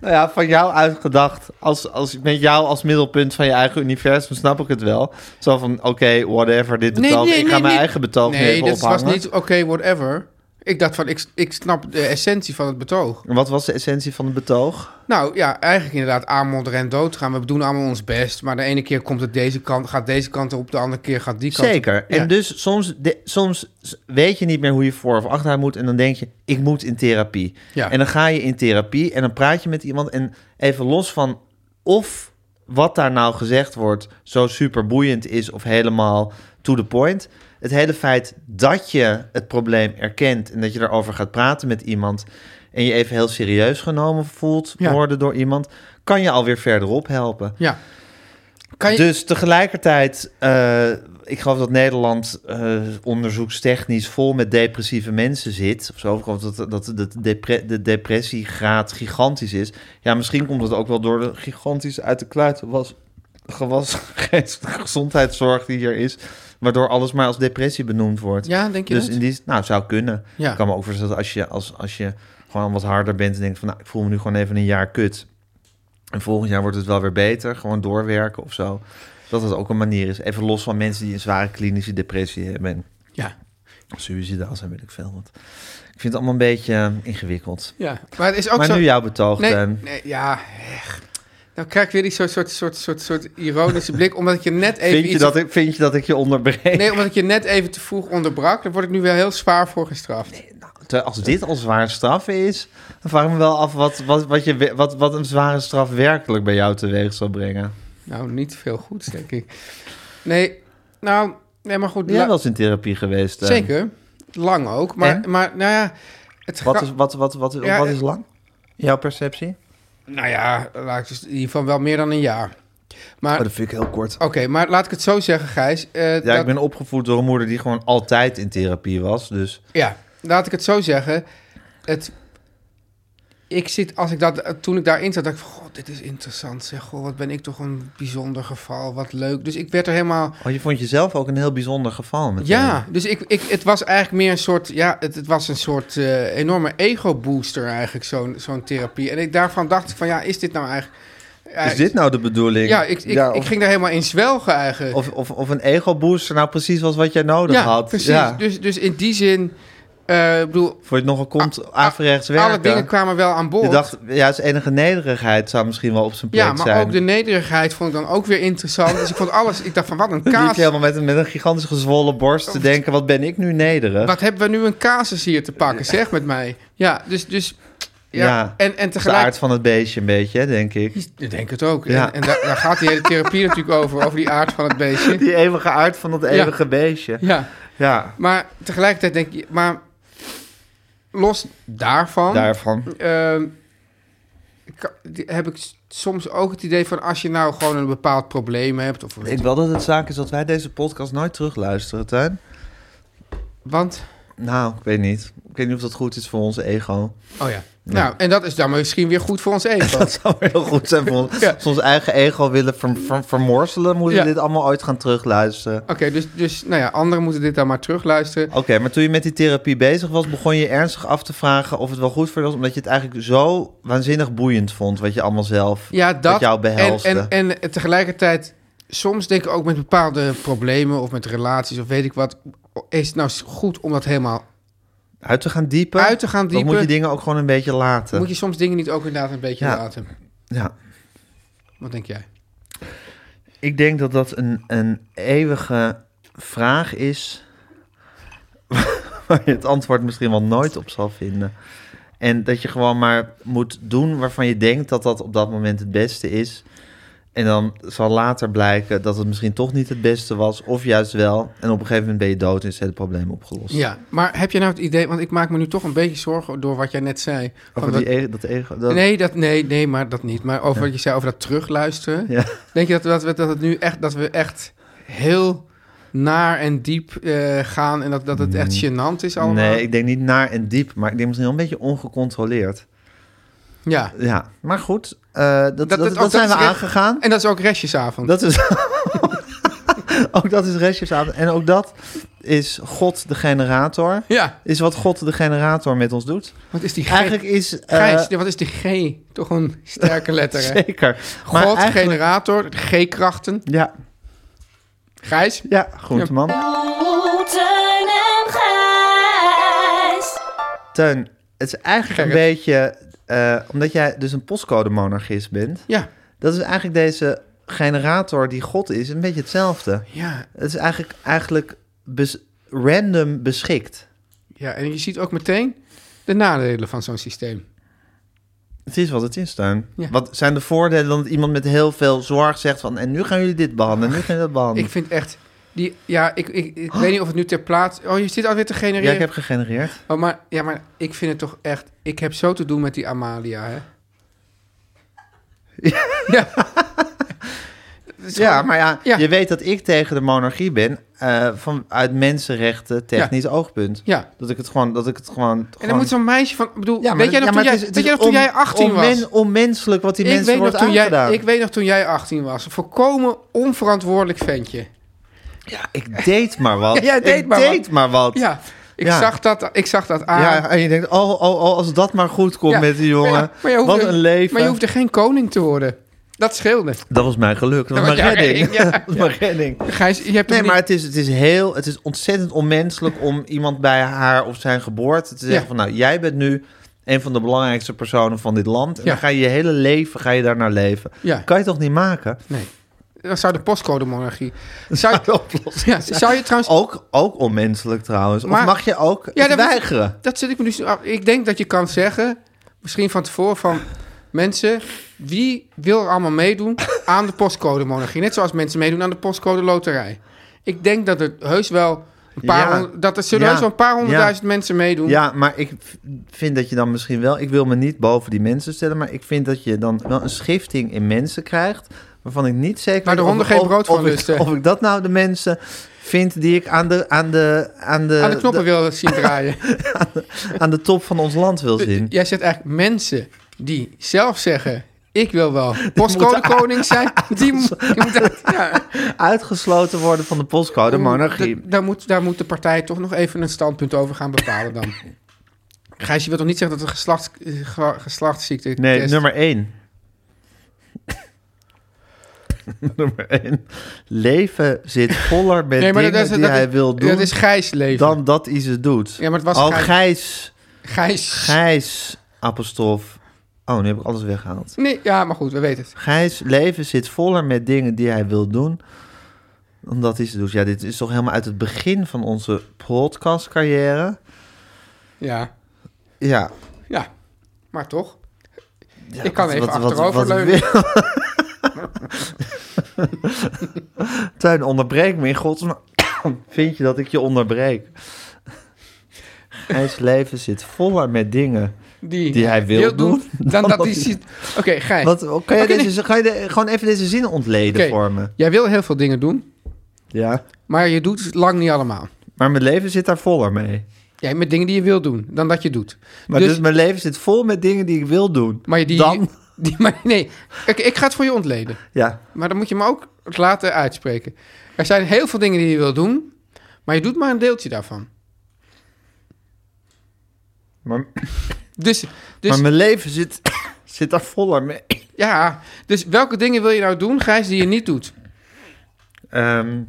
Speaker 2: Nou ja, van jou uitgedacht, als, als, met jou als middelpunt van je eigen universum, snap ik het wel. Zo van, oké, whatever, dit
Speaker 3: Nee,
Speaker 2: betoog,
Speaker 3: nee,
Speaker 2: ik ga
Speaker 3: nee,
Speaker 2: mijn
Speaker 3: nee.
Speaker 2: eigen betoog nu
Speaker 3: Nee,
Speaker 2: even
Speaker 3: dit
Speaker 2: ophangen.
Speaker 3: was niet oké, whatever. Ik dacht van, ik, ik snap de essentie van het betoog.
Speaker 2: En Wat was de essentie van het betoog?
Speaker 3: Nou ja, eigenlijk inderdaad aanmodderen en doodgaan. We doen allemaal ons best, maar de ene keer komt het deze kant, gaat deze kant op, de andere keer gaat die kant
Speaker 2: Zeker.
Speaker 3: op.
Speaker 2: En
Speaker 3: Ja.
Speaker 2: dus soms, de- soms weet je niet meer hoe je voor of achteruit moet. En dan denk je, ik moet in therapie.
Speaker 3: Ja.
Speaker 2: En dan ga je in therapie en dan praat je met iemand. En even los van of wat daar nou gezegd wordt zo super boeiend is of helemaal to the point. Het hele feit dat je het probleem erkent en dat je daarover gaat praten met iemand. En je even heel serieus genomen voelt
Speaker 3: Ja.
Speaker 2: worden door iemand. Kan je alweer verderop helpen.
Speaker 3: Ja. Kan je,
Speaker 2: Dus tegelijkertijd, eh, ik geloof dat Nederland eh, onderzoekstechnisch vol met depressieve mensen zit. Of zo, ik geloof dat, dat de, depre- de depressiegraad gigantisch is. Ja, misschien komt dat ook wel door de gigantische uit de kluit was, gewas, geestelijke gezondheidszorg die hier is. Waardoor alles maar als depressie benoemd wordt.
Speaker 3: ja, denk je
Speaker 2: dus
Speaker 3: dat?
Speaker 2: in die, nou, zou kunnen.
Speaker 3: Ja.
Speaker 2: Ik kan me ook voorstellen dat als je, als, als je gewoon wat harder bent en denkt van... nou, ik voel me nu gewoon even een jaar kut. En volgend jaar wordt het wel weer beter. Gewoon doorwerken of zo. Dat dat ook een manier is. Even los van mensen die een zware klinische depressie hebben. En
Speaker 3: Ja.
Speaker 2: suicidaal zijn, weet ik veel. Want ik vind het allemaal een beetje eh, ingewikkeld.
Speaker 3: ja. Maar het is ook
Speaker 2: maar
Speaker 3: zo...
Speaker 2: nu jouw betoog, eh,
Speaker 3: nee,
Speaker 2: Teun.
Speaker 3: nee, ja, echt. Nou krijg ik weer die soort, soort, soort, soort, soort ironische blik, omdat ik je net even
Speaker 2: Vind je,
Speaker 3: iets...
Speaker 2: dat ik, vind je dat ik je onderbreek?
Speaker 3: Nee, omdat ik je net even te vroeg onderbrak. Daar word ik nu wel heel zwaar voor gestraft.
Speaker 2: Te- Als dit al zware straf is, dan vraag ik me wel af wat, wat, wat, je, we- wat, wat een zware straf werkelijk bij jou teweeg zal brengen.
Speaker 3: Nou, niet veel goeds, denk ik. Nee, nou... Nee, maar goed.
Speaker 2: Ben jij
Speaker 3: la-
Speaker 2: wel eens in therapie geweest? eh? Teun?
Speaker 3: Zeker. Lang ook. Maar,
Speaker 2: En?
Speaker 3: maar nou ja... Het
Speaker 2: Wat
Speaker 3: gra-
Speaker 2: is, wat, wat, wat,
Speaker 3: Ja,
Speaker 2: wat
Speaker 3: eh,
Speaker 2: is lang? Jouw perceptie?
Speaker 3: Nou ja, laat ik dus in ieder geval wel meer dan een jaar. Maar,
Speaker 2: Oh,
Speaker 3: oké,
Speaker 2: dat vind ik heel kort.
Speaker 3: maar laat ik het zo zeggen, Gijs. eh,
Speaker 2: Ja, ik
Speaker 3: dat-
Speaker 2: ben opgevoed door een moeder die gewoon altijd in therapie was. Dus
Speaker 3: ja, laat ik het zo zeggen. Het, ik zit, als ik dat, toen ik daarin zat, dacht ik van... God, dit is interessant, zeg. Goh, wat ben ik toch een bijzonder geval. Wat leuk. Dus ik werd er helemaal...
Speaker 2: oh, je vond jezelf ook een heel bijzonder geval. Met
Speaker 3: Ja, dus ik, ik, het was eigenlijk meer een soort, ja, het, het was een soort eh, enorme ego-booster eigenlijk, zo'n zo'n therapie. En ik, daarvan dacht ik van, ja, is dit nou eigenlijk...
Speaker 2: therapie. Is dit nou de bedoeling?
Speaker 3: Ja, ik, ik,
Speaker 2: of,
Speaker 3: ik ging daar helemaal in zwelgen eigenlijk.
Speaker 2: of, of, of een ego-booster nou precies was wat jij nodig
Speaker 3: ja,
Speaker 2: had.
Speaker 3: precies.
Speaker 2: Ja.
Speaker 3: Dus, dus in die zin, eh, ik bedoel,
Speaker 2: Voor je het nogal komt, averechts werken.
Speaker 3: Ah, alle dingen kwamen wel aan boord.
Speaker 2: je dacht, ja, zijn enige nederigheid zou misschien wel op zijn plek
Speaker 3: ja, maar
Speaker 2: zijn.
Speaker 3: ook de nederigheid vond ik dan ook weer interessant. Dus ik vond alles, ik dacht van, wat een
Speaker 2: Liep
Speaker 3: kaas.
Speaker 2: je helemaal met een, met een gigantisch gezwollen borst te denken, wat ben ik nu nederig?
Speaker 3: Wat hebben we nu een casus hier te pakken, zeg, met mij. Ja, dus, dus ja,
Speaker 2: Ja,
Speaker 3: en, en
Speaker 2: Dat is de
Speaker 3: tegelijk...
Speaker 2: aard van het beestje een beetje, hè, denk ik.
Speaker 3: Ik denk het ook.
Speaker 2: Ja.
Speaker 3: En, en daar, daar gaat die hele therapie natuurlijk over, over die aard van het beestje.
Speaker 2: Die eeuwige aard van dat eeuwige beestje.
Speaker 3: Ja,
Speaker 2: Ja,
Speaker 3: maar tegelijkertijd denk je, maar los daarvan
Speaker 2: daarvan.
Speaker 3: ehm, ka- die- heb ik s- soms ook het idee van als je nou gewoon een bepaald probleem hebt. Of,
Speaker 2: Ik wel dat het zaak is dat wij deze podcast nooit terugluisteren, Tuin.
Speaker 3: Want,
Speaker 2: Nou, ik weet niet. Ik weet niet of dat goed is voor ons ego.
Speaker 3: oh ja. Nou, en dat is dan misschien weer goed voor ons ego.
Speaker 2: Dat zou heel goed zijn voor ons.
Speaker 3: Ja.
Speaker 2: Als we ons eigen ego willen ver- ver- vermorselen, moeten we
Speaker 3: Ja.
Speaker 2: dit allemaal ooit gaan terugluisteren.
Speaker 3: Oké, dus, dus nou ja, anderen moeten dit dan maar terugluisteren.
Speaker 2: Oké, maar toen je met die therapie bezig was, begon je ernstig af te vragen of het wel goed voor je was, omdat je het eigenlijk zo waanzinnig boeiend vond wat je allemaal zelf,
Speaker 3: Ja, dat.
Speaker 2: wat jou
Speaker 3: en,
Speaker 2: behelste.
Speaker 3: en, en tegelijkertijd, soms denk ik ook met bepaalde problemen of met relaties of weet ik wat. Is het nou goed om dat helemaal
Speaker 2: uit te gaan diepen.
Speaker 3: uit te gaan diepen?
Speaker 2: Dan moet je dingen ook gewoon een beetje laten.
Speaker 3: moet je soms dingen niet ook inderdaad een beetje
Speaker 2: Ja.
Speaker 3: laten.
Speaker 2: Ja.
Speaker 3: Wat denk jij?
Speaker 2: Ik denk dat dat een, een eeuwige vraag is. Waar je het antwoord misschien wel nooit op zal vinden. En dat je gewoon maar moet doen waarvan je denkt dat dat op dat moment het beste is. En dan zal later blijken dat het misschien toch niet het beste was. Of juist wel. En op een gegeven moment ben je dood en is het hele probleem opgelost.
Speaker 3: Ja, maar heb je nou het idee, want ik maak me nu toch een beetje zorgen door wat jij net zei. Van
Speaker 2: Over
Speaker 3: dat-
Speaker 2: die ego, dat ego. dat-
Speaker 3: nee, dat, nee, nee, maar dat niet. Maar over wat je zei over dat terugluisteren.
Speaker 2: Ja.
Speaker 3: Denk je dat, dat, we, dat, het nu echt, dat we echt heel naar en diep eh, gaan en dat, dat het echt gênant is allemaal?
Speaker 2: Mm. Nee, ik denk niet naar en diep. Maar ik denk misschien wel een beetje ongecontroleerd.
Speaker 3: Ja,
Speaker 2: Ja, maar goed. eh, dat, dat,
Speaker 3: dat-
Speaker 2: dat,
Speaker 3: ook dat
Speaker 2: zijn
Speaker 3: is
Speaker 2: we
Speaker 3: weer-
Speaker 2: aangegaan.
Speaker 3: en dat is ook restjesavond.
Speaker 2: Dat is. ook dat is restjesavond. En ook dat is God de generator.
Speaker 3: Ja,
Speaker 2: Is wat God de generator met ons doet.
Speaker 3: wat is die G?
Speaker 2: Eigenlijk is. eh,
Speaker 3: Gijs, wat is die G? Toch een sterke letter, hè?
Speaker 2: zeker. Maar
Speaker 3: God,
Speaker 2: eigenlijk-
Speaker 3: generator, G-krachten.
Speaker 2: Ja,
Speaker 3: Gijs?
Speaker 2: ja, groenteman.
Speaker 5: Teun en Gijs.
Speaker 2: Teun, het is eigenlijk een
Speaker 3: Gerrit.
Speaker 2: beetje... eh, omdat jij dus een postcode-monarchist bent...
Speaker 3: Ja,
Speaker 2: dat is eigenlijk deze generator die God is een beetje hetzelfde.
Speaker 3: ja,
Speaker 2: Het is eigenlijk, eigenlijk bes- random beschikt.
Speaker 3: ja. En je ziet ook meteen de nadelen van zo'n systeem.
Speaker 2: Het is wat het is, Teun.
Speaker 3: Ja.
Speaker 2: Wat zijn de voordelen dat iemand met heel veel zorg zegt van... en nu gaan jullie dit behandelen, en nu gaan jullie dat behandelen.
Speaker 3: Oh, Ik vind echt... Die, ja, ik, ik, ik weet niet of het nu ter plaatse... Oh, je zit alweer te genereren.
Speaker 2: Oh. ja, ik heb gegenereerd.
Speaker 3: oh, maar, ja, maar ik vind het toch echt... Ik heb zo te doen met die Amalia, hè. ja. Het is
Speaker 2: Ja,
Speaker 3: gewoon-
Speaker 2: maar ja,
Speaker 3: Ja.
Speaker 2: je weet dat ik tegen de monarchie ben... eh, vanuit mensenrechten technisch oogpunt.
Speaker 3: Ja.
Speaker 2: Dat ik het gewoon... Dat ik het gewoon,
Speaker 3: En dan moet zo'n meisje van... ik bedoel, weet jij nog
Speaker 2: maar
Speaker 3: toen jij,
Speaker 2: het is- het
Speaker 3: weet
Speaker 2: is
Speaker 3: jij, nog toen
Speaker 2: on-
Speaker 3: jij 18 was?
Speaker 2: onmen- onmenselijk wat die
Speaker 3: Ik
Speaker 2: mensen
Speaker 3: weet, nog
Speaker 2: wordt
Speaker 3: toen
Speaker 2: aangedaan.
Speaker 3: jij, ik weet nog toen jij 18 was. Een Volkomen onverantwoordelijk ventje.
Speaker 2: Ja, ik deed maar wat.
Speaker 3: Ja, jij deed
Speaker 2: ik
Speaker 3: maar wat.
Speaker 2: deed maar wat.
Speaker 3: Ja, ik,
Speaker 2: Ja.
Speaker 3: Zag, dat, ik zag dat aan.
Speaker 2: Ja, en je denkt, oh, oh, oh, als dat maar goed komt
Speaker 3: Ja,
Speaker 2: met die
Speaker 3: maar
Speaker 2: jongen.
Speaker 3: ja, maar je hoefde-
Speaker 2: wat een leven.
Speaker 3: Maar je hoefde geen koning te worden. Dat scheelde.
Speaker 2: Dat was mijn geluk. Dat was
Speaker 3: Ja,
Speaker 2: mijn
Speaker 3: ja,
Speaker 2: redding.
Speaker 3: ja, ja.
Speaker 2: Dat was mijn redding.
Speaker 3: Gijs, je hebt
Speaker 2: Nee,
Speaker 3: hem
Speaker 2: maar
Speaker 3: niet-
Speaker 2: het is, het is heel, het is ontzettend onmenselijk om iemand bij haar of zijn geboorte te zeggen
Speaker 3: Ja.
Speaker 2: van, nou, jij bent nu een van de belangrijkste personen van dit land. En
Speaker 3: Ja.
Speaker 2: dan ga je je hele leven, ga je daar naar leven.
Speaker 3: Ja.
Speaker 2: Kan je toch niet maken?
Speaker 3: Nee. Dat zou de postcode-monarchie... Zou, je- ja, zou je trouwens...
Speaker 2: Ook, ook onmenselijk trouwens.
Speaker 3: Maar-
Speaker 2: of mag je ook
Speaker 3: Ja,
Speaker 2: het
Speaker 3: dat-
Speaker 2: weigeren?
Speaker 3: Dat zit ik me dus af. Ik denk dat je kan zeggen, misschien van tevoren, van mensen, wie wil er allemaal meedoen aan de postcode-monarchie? Net zoals mensen meedoen aan de postcode-loterij. Ik denk dat er heus wel een paar,
Speaker 2: Ja.
Speaker 3: honderd- dat er zullen
Speaker 2: Ja.
Speaker 3: heus wel een paar honderdduizend mensen meedoen.
Speaker 2: Ja, maar ik v- vind dat je dan misschien wel... Ik wil me niet boven die mensen stellen... maar ik vind dat je dan wel een schifting in mensen krijgt... waarvan ik niet zeker
Speaker 3: Waar de
Speaker 2: weet of
Speaker 3: honden
Speaker 2: ik-
Speaker 3: geen brood
Speaker 2: of,
Speaker 3: van
Speaker 2: of ik,
Speaker 3: lusten.
Speaker 2: of ik dat nou de mensen vind die ik aan de, aan de, aan eh, de,
Speaker 3: aan de knoppen wil zien draaien. Dus
Speaker 2: de- aan de top van ons land wil zien.
Speaker 3: Jij zegt eigenlijk mensen die zelf zeggen, ik wil wel postcode-koning zijn. Die moet, die moet dat- ja.
Speaker 2: Uitgesloten worden van de postcode monarchie.
Speaker 3: D- Daar moet, daar moet de partij toch nog even een standpunt over gaan bepalen dan. Gijs, je wilt toch niet zeggen dat het geslacht, eh, ge- geslachtsziekte
Speaker 2: Nee,
Speaker 3: test-
Speaker 2: nummer één. nummer één. Leven zit voller met
Speaker 3: Nee, maar
Speaker 2: dingen
Speaker 3: dat is,
Speaker 2: die
Speaker 3: dat
Speaker 2: hij
Speaker 3: is-
Speaker 2: wil doen...
Speaker 3: Dat is Gijs leven.
Speaker 2: dan dat hij ze doet.
Speaker 3: Ja, maar het was
Speaker 2: oh,
Speaker 3: Gijs.
Speaker 2: Gijs.
Speaker 3: Gijs.
Speaker 2: Gijs, apostrof. Oh, nu heb ik alles weggehaald.
Speaker 3: Nee, ja, maar goed, we weten het.
Speaker 2: Gijs, leven zit voller met dingen die hij wil doen. Omdat hij ze doet. Ja, dit is toch helemaal uit het begin van onze podcastcarrière.
Speaker 3: Ja,
Speaker 2: Ja.
Speaker 3: ja. Maar toch?
Speaker 2: Ja,
Speaker 3: Ik kan
Speaker 2: wat-
Speaker 3: even
Speaker 2: wat- wat-
Speaker 3: achterover
Speaker 2: wat
Speaker 3: leunen.
Speaker 2: wil- Teun, onderbreek me in godsnaam. Vind je dat ik je onderbreek? Gijs, leven zit voller met dingen.
Speaker 3: Die,
Speaker 2: Die hij wil doen,
Speaker 3: Dan,
Speaker 2: dan
Speaker 3: dat
Speaker 2: dat
Speaker 3: hij
Speaker 2: hij-
Speaker 3: ziet... Oké, Gijs.
Speaker 2: Wat, kan jij
Speaker 3: Oké,
Speaker 2: deze, ga je de- gewoon even deze zin ontleden
Speaker 3: Oké.
Speaker 2: voor me?
Speaker 3: Jij wil heel veel dingen doen,
Speaker 2: Ja.
Speaker 3: maar je doet het lang niet allemaal.
Speaker 2: Maar mijn leven zit daar voller mee.
Speaker 3: Jij met dingen die je wil doen, dan dat je doet.
Speaker 2: Maar dus, mijn leven zit vol met dingen die ik wil doen.
Speaker 3: maar je die,
Speaker 2: Dan?
Speaker 3: Die, maar, nee, ik, ik ga het voor je ontleden.
Speaker 2: Ja.
Speaker 3: Maar dan moet je me ook laten uitspreken. Er zijn heel veel dingen die je wil doen, maar je doet maar een deeltje daarvan.
Speaker 2: Maar,
Speaker 3: Dus, dus
Speaker 2: maar mijn leven zit, zit daar voller mee.
Speaker 3: ja, dus welke dingen wil je nou doen, Gijs, die je niet doet?
Speaker 2: Ehm,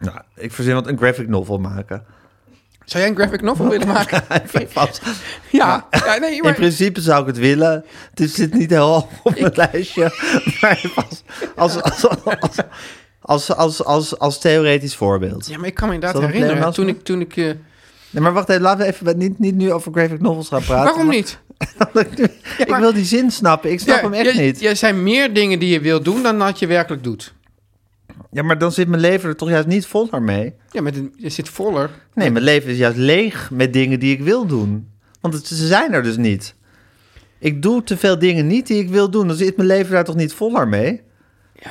Speaker 2: nou, ik verzin wat een graphic novel maken.
Speaker 3: Zou jij een graphic novel willen maken?
Speaker 2: Even vast.
Speaker 3: Ja, ja nee,
Speaker 2: In
Speaker 3: maar,
Speaker 2: principe zou ik het willen. Het is- zit niet heel hoog op mijn lijstje. Maar even als, als, als, als, als, als, als, als theoretisch voorbeeld.
Speaker 3: ja, maar ik kan
Speaker 2: Zal
Speaker 3: me inderdaad
Speaker 2: dat een
Speaker 3: herinneren
Speaker 2: pleonasme?
Speaker 3: toen ik... Toen ik eh,
Speaker 2: Nee, maar wacht even, laten we even niet, niet nu over graphic novels gaan praten.
Speaker 3: waarom
Speaker 2: maar-
Speaker 3: niet?
Speaker 2: ik wil die zin snappen. Ik snap
Speaker 3: Ja,
Speaker 2: hem echt
Speaker 3: je-
Speaker 2: niet.
Speaker 3: Er zijn meer dingen die je wil doen dan dat je werkelijk doet.
Speaker 2: Ja, maar dan zit mijn leven er toch juist niet voller mee.
Speaker 3: Ja, maar het- je zit voller.
Speaker 2: Nee, mijn leven is juist leeg met dingen die ik wil doen. Want het, ze zijn er dus niet. Ik doe te veel dingen niet die ik wil doen. Dan zit mijn leven daar toch niet voller mee? Nou,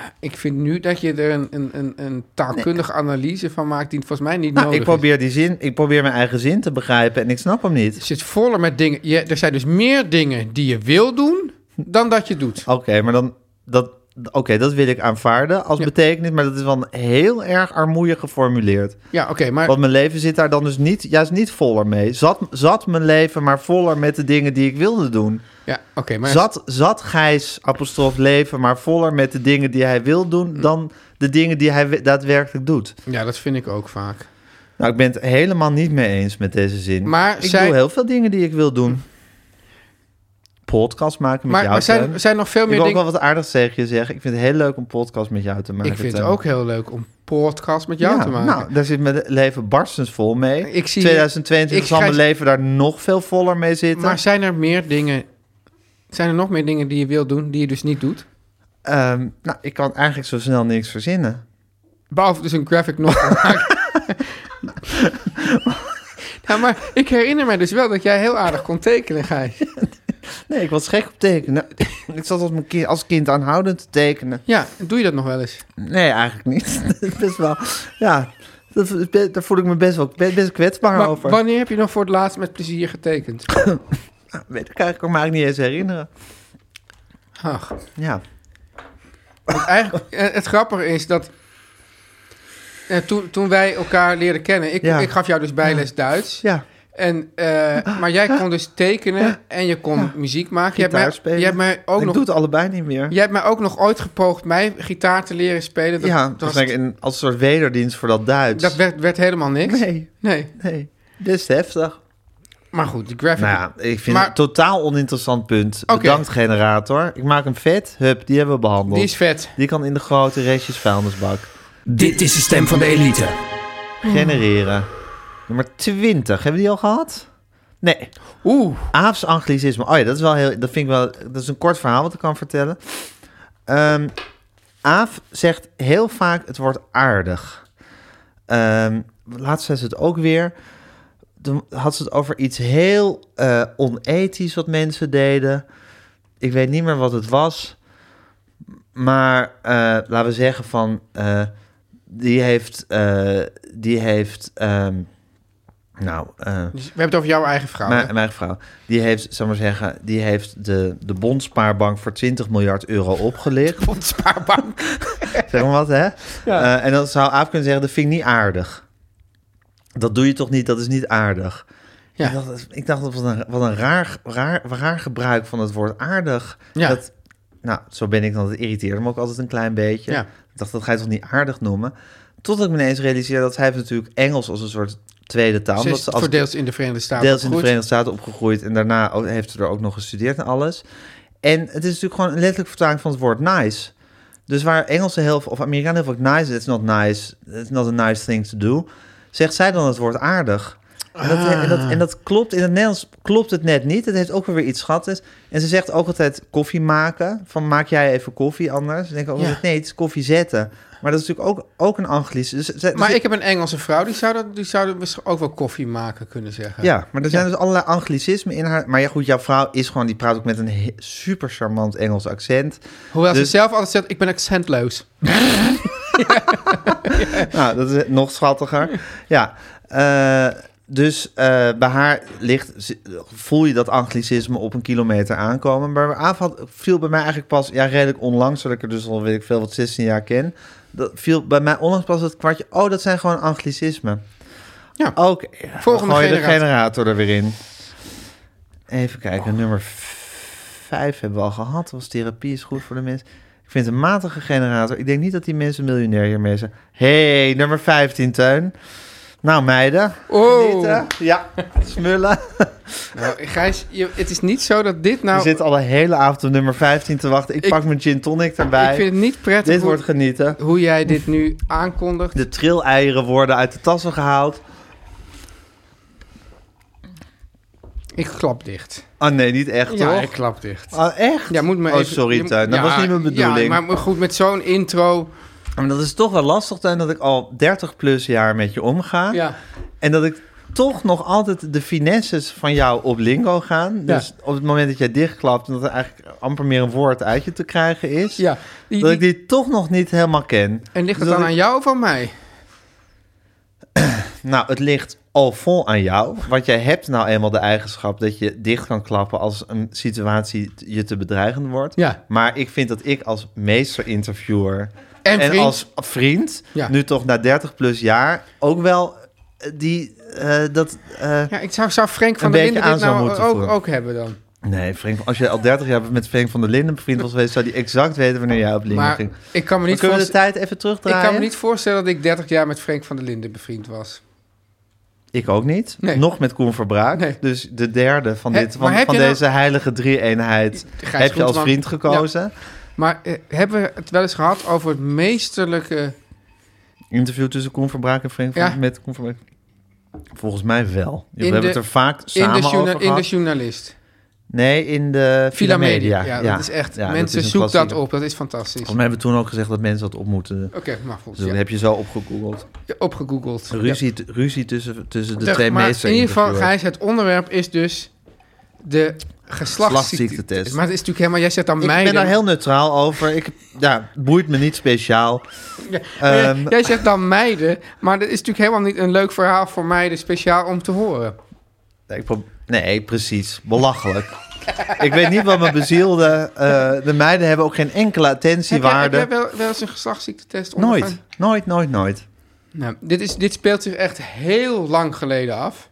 Speaker 3: Ja, ik vind nu dat je er een, een, een, een taalkundige analyse van maakt die volgens mij niet
Speaker 2: Nou,
Speaker 3: nodig
Speaker 2: ik probeer, die zin, ik probeer mijn eigen zin te begrijpen en ik snap hem
Speaker 3: Je
Speaker 2: niet.
Speaker 3: zit voller met dingen. Je, er zijn dus meer dingen die je wil doen dan dat je doet.
Speaker 2: Oké, maar dan... Dat, Oké, dat wil ik aanvaarden als
Speaker 3: Ja.
Speaker 2: betekenis, maar dat is wel heel erg armoeig geformuleerd.
Speaker 3: Ja, oké, maar
Speaker 2: Want mijn leven zit daar dan dus niet, juist niet voller mee. Zat, zat mijn leven maar voller met de dingen die ik wilde doen.
Speaker 3: ja, oké, maar
Speaker 2: Zat, zat Gijs apostrof leven maar voller met de dingen
Speaker 3: Mm.
Speaker 2: die hij wil doen dan de dingen die hij we- daadwerkelijk doet.
Speaker 3: ja, dat vind ik ook vaak.
Speaker 2: Nou, ik ben het helemaal niet mee eens met deze zin.
Speaker 3: Maar
Speaker 2: ik
Speaker 3: zij-
Speaker 2: doe heel veel dingen die ik wil doen. Podcast maken met
Speaker 3: Maar,
Speaker 2: jou.
Speaker 3: maar zijn,
Speaker 2: Teun.
Speaker 3: zijn nog veel
Speaker 2: ik
Speaker 3: meer
Speaker 2: wil ook
Speaker 3: dingen...
Speaker 2: wel wat aardigs tegen je zeggen. Ik vind het heel leuk om podcast met jou te maken.
Speaker 3: Ik vind het
Speaker 2: Teun.
Speaker 3: ook heel leuk om podcast met jou
Speaker 2: Ja,
Speaker 3: te maken.
Speaker 2: Nou, daar zit mijn leven barstens vol mee.
Speaker 3: Ik zie-
Speaker 2: 2022
Speaker 3: ik
Speaker 2: zal mijn
Speaker 3: schrijf-
Speaker 2: leven daar nog veel voller mee zitten.
Speaker 3: maar zijn er meer dingen... Zijn er nog meer dingen die je wilt doen, die je dus niet doet?
Speaker 2: Ehm, nou, ik kan eigenlijk zo snel niks verzinnen.
Speaker 3: Behalve dus een graphic novel maken. nou, maar ik herinner mij dus wel dat jij heel aardig kon tekenen, Gijs.
Speaker 2: Nee, ik was gek op tekenen. ik zat als, mijn kind, als kind aanhoudend te tekenen.
Speaker 3: Ja, doe je dat nog wel eens?
Speaker 2: Nee, eigenlijk niet. best wel. Ja, dat is be- daar voel ik me best wel be- best kwetsbaar
Speaker 3: Maar
Speaker 2: over.
Speaker 3: wanneer heb je nog voor het laatst met plezier getekend?
Speaker 2: Nou, weet ik eigenlijk, kan ik me eigenlijk niet eens herinneren.
Speaker 3: Ach,
Speaker 2: Ja.
Speaker 3: want eigenlijk, eh, het grappige is dat... eh, toen, toen wij elkaar leerden kennen, ik,
Speaker 2: Ja.
Speaker 3: ik gaf jou dus bijles Duits.
Speaker 2: Ja.
Speaker 3: En, eh, maar jij kon dus tekenen en je kon muziek maken. Je hebt,
Speaker 2: Gitaar
Speaker 3: mij,
Speaker 2: spelen.
Speaker 3: je hebt mij ook
Speaker 2: ik
Speaker 3: nog,
Speaker 2: doe het allebei niet meer.
Speaker 3: jij hebt mij ook nog ooit gepoogd mij gitaar te leren spelen. Dat,
Speaker 2: ja,
Speaker 3: dat,
Speaker 2: dat
Speaker 3: was-
Speaker 2: was een, als een soort wederdienst voor dat Duits.
Speaker 3: dat werd, werd helemaal niks.
Speaker 2: Nee,
Speaker 3: Nee.
Speaker 2: nee. Best heftig.
Speaker 3: Maar goed, die graphic.
Speaker 2: Nou ja, ik vind
Speaker 3: Maar-
Speaker 2: het een totaal oninteressant punt.
Speaker 3: Oké.
Speaker 2: Bedankt, generator. Ik maak hem vet. Hup, die hebben we behandeld.
Speaker 3: die is vet.
Speaker 2: Die kan in de grote restjes vuilnisbak
Speaker 4: Dit is de stem van de elite.
Speaker 2: genereren. Nummer 20. Hebben we die al gehad? Nee.
Speaker 3: Oeh,
Speaker 2: Aafs anglicisme. Oh ja, dat is wel heel. Dat vind ik wel. Dat is een kort verhaal wat ik kan vertellen. Ehm, Aaf zegt heel vaak het woord aardig. Ehm, laatst zei ze het ook weer. Toen had ze het over iets heel eh, onethisch wat mensen deden. Ik weet niet meer wat het was. Maar eh, laten we zeggen van. eh, die heeft. eh, die heeft. ehm, nou. eh,
Speaker 3: dus we hebben het over jouw eigen vrouw. hè?
Speaker 2: mijn, mijn vrouw, die heeft, zal ik maar zeggen, die heeft de, de bondspaarbank voor 20 miljard euro opgelicht.
Speaker 3: Fondspaarbank.
Speaker 2: zeg maar wat, hè? Eh, en dan zou Aaf kunnen zeggen, dat vind ik niet aardig. Dat doe je toch niet, dat is niet aardig.
Speaker 3: Ja.
Speaker 2: Ik dacht, ik dacht wat een, wat een raar, raar, raar gebruik van het woord aardig.
Speaker 3: Ja.
Speaker 2: Dat, nou, zo ben ik dan, het irriteerde me ook altijd een klein beetje.
Speaker 3: Ja.
Speaker 2: Ik dacht, dat ga je toch niet aardig noemen? Totdat ik me ineens realiseerde dat hij heeft natuurlijk Engels als een soort tweede taal.
Speaker 3: Ze
Speaker 2: omdat
Speaker 3: is
Speaker 2: ze als
Speaker 3: deels in de Verenigde Staten.
Speaker 2: Deels in de
Speaker 3: opgegroeid.
Speaker 2: Verenigde Staten opgegroeid en daarna ook- heeft ze er ook nog gestudeerd en alles. En het is natuurlijk gewoon een letterlijk vertaling van het woord nice. Dus waar Engelsen heel veel, of Amerikanen heel vaak nice, it's not nice, it's not a nice thing to do, zegt zij dan het woord aardig. En dat, en, dat, en dat klopt, in het Nederlands klopt het net niet. Het heeft ook wel weer iets schattigs. En ze zegt ook altijd koffie maken, van maak jij even koffie anders. Dan denk ik ook
Speaker 3: Ja.
Speaker 2: altijd, nee, het is koffie zetten. Maar dat is natuurlijk ook, ook een Anglisch. Dus, ze- dus
Speaker 3: Maar
Speaker 2: ik-
Speaker 3: ik heb een Engelse vrouw, die zou, dat, die zou dat misschien ook wel koffie maken kunnen zeggen.
Speaker 2: Ja, maar er zijn dus allerlei anglicismen in haar. Maar ja, goed, jouw vrouw is gewoon, die praat ook met een he- super charmant Engels accent.
Speaker 3: Hoewel ze
Speaker 2: Dus-
Speaker 3: zelf altijd zegt, ik ben accentloos.
Speaker 2: Nou, dat is nog schattiger. Ja, eh, dus eh, bij haar ligt, z- voel je dat anglicisme op een kilometer aankomen. Maar bij Aaf had- viel bij mij eigenlijk pas, ja, redelijk onlangs, dat ik er dus al weet ik veel wat 16 jaar ken. Dat viel bij mij onlangs pas het kwartje. Oh, dat zijn gewoon anglicismen.
Speaker 3: Ja.
Speaker 2: oké.
Speaker 3: Volgende
Speaker 2: gooi je
Speaker 3: generator.
Speaker 2: de generator er weer in. Even kijken, nummer 5 hebben we al gehad. Was therapie is goed voor de mensen. Ik vind het een matige generator. Ik denk niet dat die mensen miljonair hiermee zijn. Hé, hey, nummer 15, Teun. Nou, meiden.
Speaker 3: Oh.
Speaker 2: genieten. Ja, smullen.
Speaker 3: Nou, Gijs, je- het is niet zo dat dit nou...
Speaker 2: Je zit al de hele avond op nummer 15 te wachten. Ik,
Speaker 3: Ik-
Speaker 2: pak mijn gin tonic erbij.
Speaker 3: Ik vind het niet prettig
Speaker 2: Dit
Speaker 3: hoe,
Speaker 2: wordt genieten.
Speaker 3: hoe jij dit nu aankondigt.
Speaker 2: De trilleieren worden uit de tassen gehaald.
Speaker 3: Ik klap dicht.
Speaker 2: Oh nee, niet echt,
Speaker 3: Ja, ik
Speaker 2: toch?
Speaker 3: klap dicht.
Speaker 2: Oh, echt?
Speaker 3: Ja, moet maar
Speaker 2: oh,
Speaker 3: even-
Speaker 2: sorry,
Speaker 3: je-
Speaker 2: Teun. Dat
Speaker 3: ja,
Speaker 2: was niet mijn bedoeling.
Speaker 3: Ja, maar goed, met zo'n intro...
Speaker 2: Maar dat is toch wel lastig, Teun, dat ik al 30 plus jaar met je omga.
Speaker 3: Ja.
Speaker 2: En dat ik toch nog altijd de finesses van jou op lingo gaan. Dus op het moment dat jij dichtklapt en dat er eigenlijk amper meer een woord uit je te krijgen is.
Speaker 3: ja. Die-
Speaker 2: dat
Speaker 3: die-
Speaker 2: ik die toch nog niet helemaal ken. Dus
Speaker 3: en ligt het
Speaker 2: dat
Speaker 3: dan
Speaker 2: ik-
Speaker 3: aan jou of aan mij?
Speaker 2: Nou, het ligt al vol aan jou. Want jij hebt nou eenmaal de eigenschap dat je dicht kan klappen als een situatie t- je te bedreigend wordt.
Speaker 3: Ja.
Speaker 2: Maar ik vind dat ik als meester-interviewer
Speaker 3: En vriend.
Speaker 2: als vriend,
Speaker 3: Ja.
Speaker 2: nu toch na 30 plus jaar, ook wel eh, die, eh, dat... eh,
Speaker 3: Ja, ik zou, zou Frank van
Speaker 2: Een
Speaker 3: der
Speaker 2: beetje
Speaker 3: Linden dit
Speaker 2: aan zou
Speaker 3: nou
Speaker 2: moeten
Speaker 3: ook,
Speaker 2: voelen.
Speaker 3: ook hebben dan.
Speaker 2: Nee, Frank, als je al 30 jaar met Frank van der Linden bevriend was geweest, zou die exact weten wanneer jij op Linden
Speaker 3: Maar
Speaker 2: ging.
Speaker 3: ik kan me
Speaker 2: Maar
Speaker 3: niet
Speaker 2: kunnen we de
Speaker 3: voorstellen...
Speaker 2: tijd even
Speaker 3: Ik
Speaker 2: terugdraaien?
Speaker 3: kan me niet voorstellen dat ik 30 jaar met Frank van der Linden bevriend was.
Speaker 2: Ik ook niet.
Speaker 3: Nee.
Speaker 2: Nog met Koen Verbraak.
Speaker 3: Nee.
Speaker 2: Dus de derde van,
Speaker 3: Hè,
Speaker 2: dit,
Speaker 3: maar
Speaker 2: van,
Speaker 3: heb
Speaker 2: van
Speaker 3: je nou-
Speaker 2: deze heilige drie-eenheid heb
Speaker 3: Gijs
Speaker 2: je als
Speaker 3: Groenteman.
Speaker 2: vriend gekozen.
Speaker 3: Maar eh, hebben we het wel eens gehad over het meesterlijke...
Speaker 2: Interview tussen Koen Verbraak en Frank van-
Speaker 3: Ja.
Speaker 2: met Koen Verbraak. Volgens mij wel. We
Speaker 3: In
Speaker 2: hebben
Speaker 3: de-
Speaker 2: het er vaak
Speaker 3: In
Speaker 2: samen
Speaker 3: de, journa-
Speaker 2: over
Speaker 3: in de
Speaker 2: gehad.
Speaker 3: journalist.
Speaker 2: nee, in de
Speaker 3: Villa Media.
Speaker 2: Media.
Speaker 3: Ja, dat is echt...
Speaker 2: Ja, dat
Speaker 3: mensen
Speaker 2: is een
Speaker 3: zoek dat
Speaker 2: klassieker.
Speaker 3: op. Dat is fantastisch.
Speaker 2: Volgens
Speaker 3: Oké,
Speaker 2: mij hebben we toen ook gezegd dat mensen dat op moeten.
Speaker 3: maar goed.
Speaker 2: Dus dat
Speaker 3: ja.
Speaker 2: heb je zo opgegoogeld.
Speaker 3: Ja, Opgegoogeld.
Speaker 2: Ruzie, ruzie tussen, tussen de
Speaker 3: Ja.
Speaker 2: twee
Speaker 3: maar
Speaker 2: meesters.
Speaker 3: in ieder geval, Gijs, het onderwerp is dus de
Speaker 2: Geslachtsziektetest.
Speaker 3: geslachtsziektetest. Maar het is natuurlijk helemaal... Jij zegt dan
Speaker 2: Ik
Speaker 3: meiden.
Speaker 2: ben daar heel neutraal over. Ik, ja, het boeit me niet speciaal.
Speaker 3: Ja, maar jij-
Speaker 2: Ehm,
Speaker 3: jij zegt dan meiden, maar dat is natuurlijk helemaal niet een leuk verhaal voor meiden speciaal om te horen.
Speaker 2: Nee, ik prob- nee, precies. Belachelijk. ik weet niet wat me bezielde. Eh, de meiden hebben ook geen enkele attentiewaarde.
Speaker 3: Heb jij, heb jij wel, wel eens een geslachtsziektetest ondergaan?
Speaker 2: Nooit. Nooit, nooit, nooit.
Speaker 3: Nou, dit, is, dit speelt zich echt heel lang geleden af.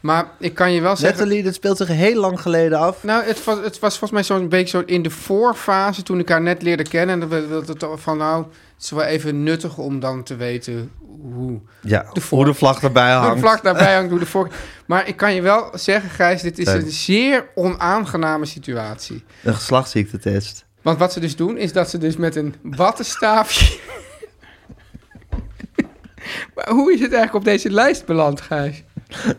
Speaker 3: Maar ik kan je wel zeggen...
Speaker 2: Natalie, dat speelt zich heel lang geleden af.
Speaker 3: Nou, het was, het was volgens mij zo'n beetje zo in de voorfase toen ik haar net leerde kennen. En dat we- dat het van nou, het is wel even nuttig om dan te weten hoe...
Speaker 2: Ja,
Speaker 3: De
Speaker 2: de
Speaker 3: voor-
Speaker 2: hoe de vlag erbij
Speaker 3: Hoe
Speaker 2: hangt.
Speaker 3: de vlag daarbij hangt, hoe de vork... Maar ik kan je wel zeggen, Gijs, dit is
Speaker 2: Nee.
Speaker 3: een zeer onaangename situatie.
Speaker 2: Een geslachtsziektetest.
Speaker 3: Want wat ze dus doen, is dat ze dus met een wattenstaafje... maar hoe is het eigenlijk op deze lijst beland, Gijs?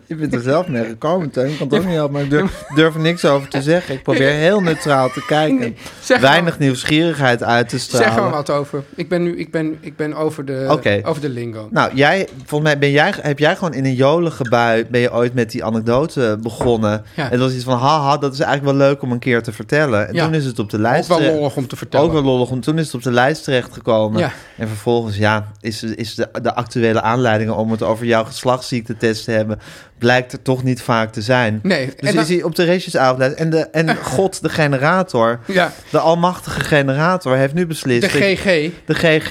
Speaker 2: Je bent er zelf mee gekomen, Teun. Ik kan het ook niet helpen, maar ik durf, durf er niks over te zeggen. Ik probeer heel neutraal te kijken.
Speaker 3: Zeg
Speaker 2: Weinig
Speaker 3: maar,
Speaker 2: nieuwsgierigheid uit te stralen.
Speaker 3: Zeg er maar wat over. Ik ben nu ik ben, ik ben over, de,
Speaker 2: Oké.
Speaker 3: over de lingo.
Speaker 2: Nou, jij, volgens mij ben jij, heb jij gewoon in een jolige bui... ben je ooit met die anekdote begonnen.
Speaker 3: Ja.
Speaker 2: En dat was iets van, haha, dat is eigenlijk wel leuk om een keer te vertellen. En
Speaker 3: Ja.
Speaker 2: toen is het op de lijst...
Speaker 3: ook wel
Speaker 2: terecht-
Speaker 3: lollig om te vertellen.
Speaker 2: Ook wel lollig, want toen is het op de lijst terechtgekomen.
Speaker 3: Ja.
Speaker 2: En vervolgens, ja, is, is de, de actuele aanleidingen om het over jouw geslachtsziektetest te hebben... blijkt er toch niet vaak te zijn.
Speaker 3: Nee,
Speaker 2: Dus
Speaker 3: en dan-
Speaker 2: is hij op de racejesavond en, de, en God, de generator,
Speaker 3: Ja,
Speaker 2: de almachtige generator, heeft nu beslist...
Speaker 3: de
Speaker 2: ik-
Speaker 3: GG.
Speaker 2: de GG,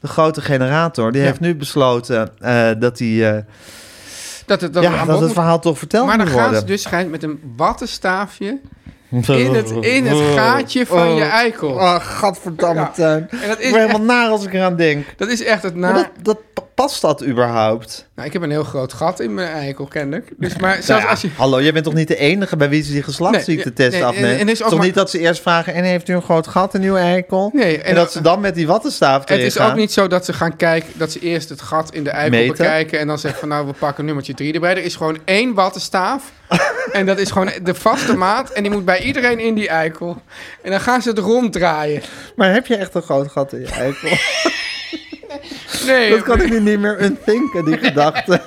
Speaker 2: de grote generator, die
Speaker 3: Ja.
Speaker 2: heeft nu besloten eh, dat, die, eh,
Speaker 3: Dat het, dat het
Speaker 2: ja,
Speaker 3: aan
Speaker 2: dat
Speaker 3: bod
Speaker 2: het
Speaker 3: moet.
Speaker 2: verhaal toch verteld
Speaker 3: Maar dan
Speaker 2: moet
Speaker 3: gaan
Speaker 2: worden.
Speaker 3: ze dus Gijs, met een wattenstaafje in het, in het gaatje van je eikel.
Speaker 2: Oh, gadverdamme
Speaker 3: Ja.
Speaker 2: tuin.
Speaker 3: En dat
Speaker 2: Ik
Speaker 3: is,
Speaker 2: ben
Speaker 3: echt,
Speaker 2: helemaal naar als ik eraan denk.
Speaker 3: dat is echt het
Speaker 2: Maar
Speaker 3: na...
Speaker 2: dat, dat, pa- past dat überhaupt?
Speaker 3: Nou, ik heb een heel groot gat in mijn eikel, kennelijk. Dus maar
Speaker 2: Nou
Speaker 3: zelfs
Speaker 2: ja,
Speaker 3: als je...
Speaker 2: Hallo, jij bent toch niet de enige bij wie ze die geslachtsziektetest
Speaker 3: Nee, nee,
Speaker 2: afnemen?
Speaker 3: en- en er is ook
Speaker 2: toch
Speaker 3: maar-
Speaker 2: niet dat ze eerst vragen, en heeft u een groot gat in uw eikel?
Speaker 3: Nee,
Speaker 2: en,
Speaker 3: en-
Speaker 2: dat ze dan met die wattenstaaf
Speaker 3: Het
Speaker 2: erin
Speaker 3: is
Speaker 2: gaan?
Speaker 3: ook niet zo dat ze gaan kijken, dat ze eerst het gat in de eikel
Speaker 2: Meten.
Speaker 3: bekijken en dan zeggen van nou we pakken nummertje 3 erbij. Er is gewoon één wattenstaaf en dat is gewoon de vaste maat en die moet bij iedereen in die eikel. En dan gaan ze het ronddraaien.
Speaker 2: Maar heb je echt een groot gat in je eikel?
Speaker 3: Nee,
Speaker 2: dat kan ik nu niet meer unthinken, die gedachte.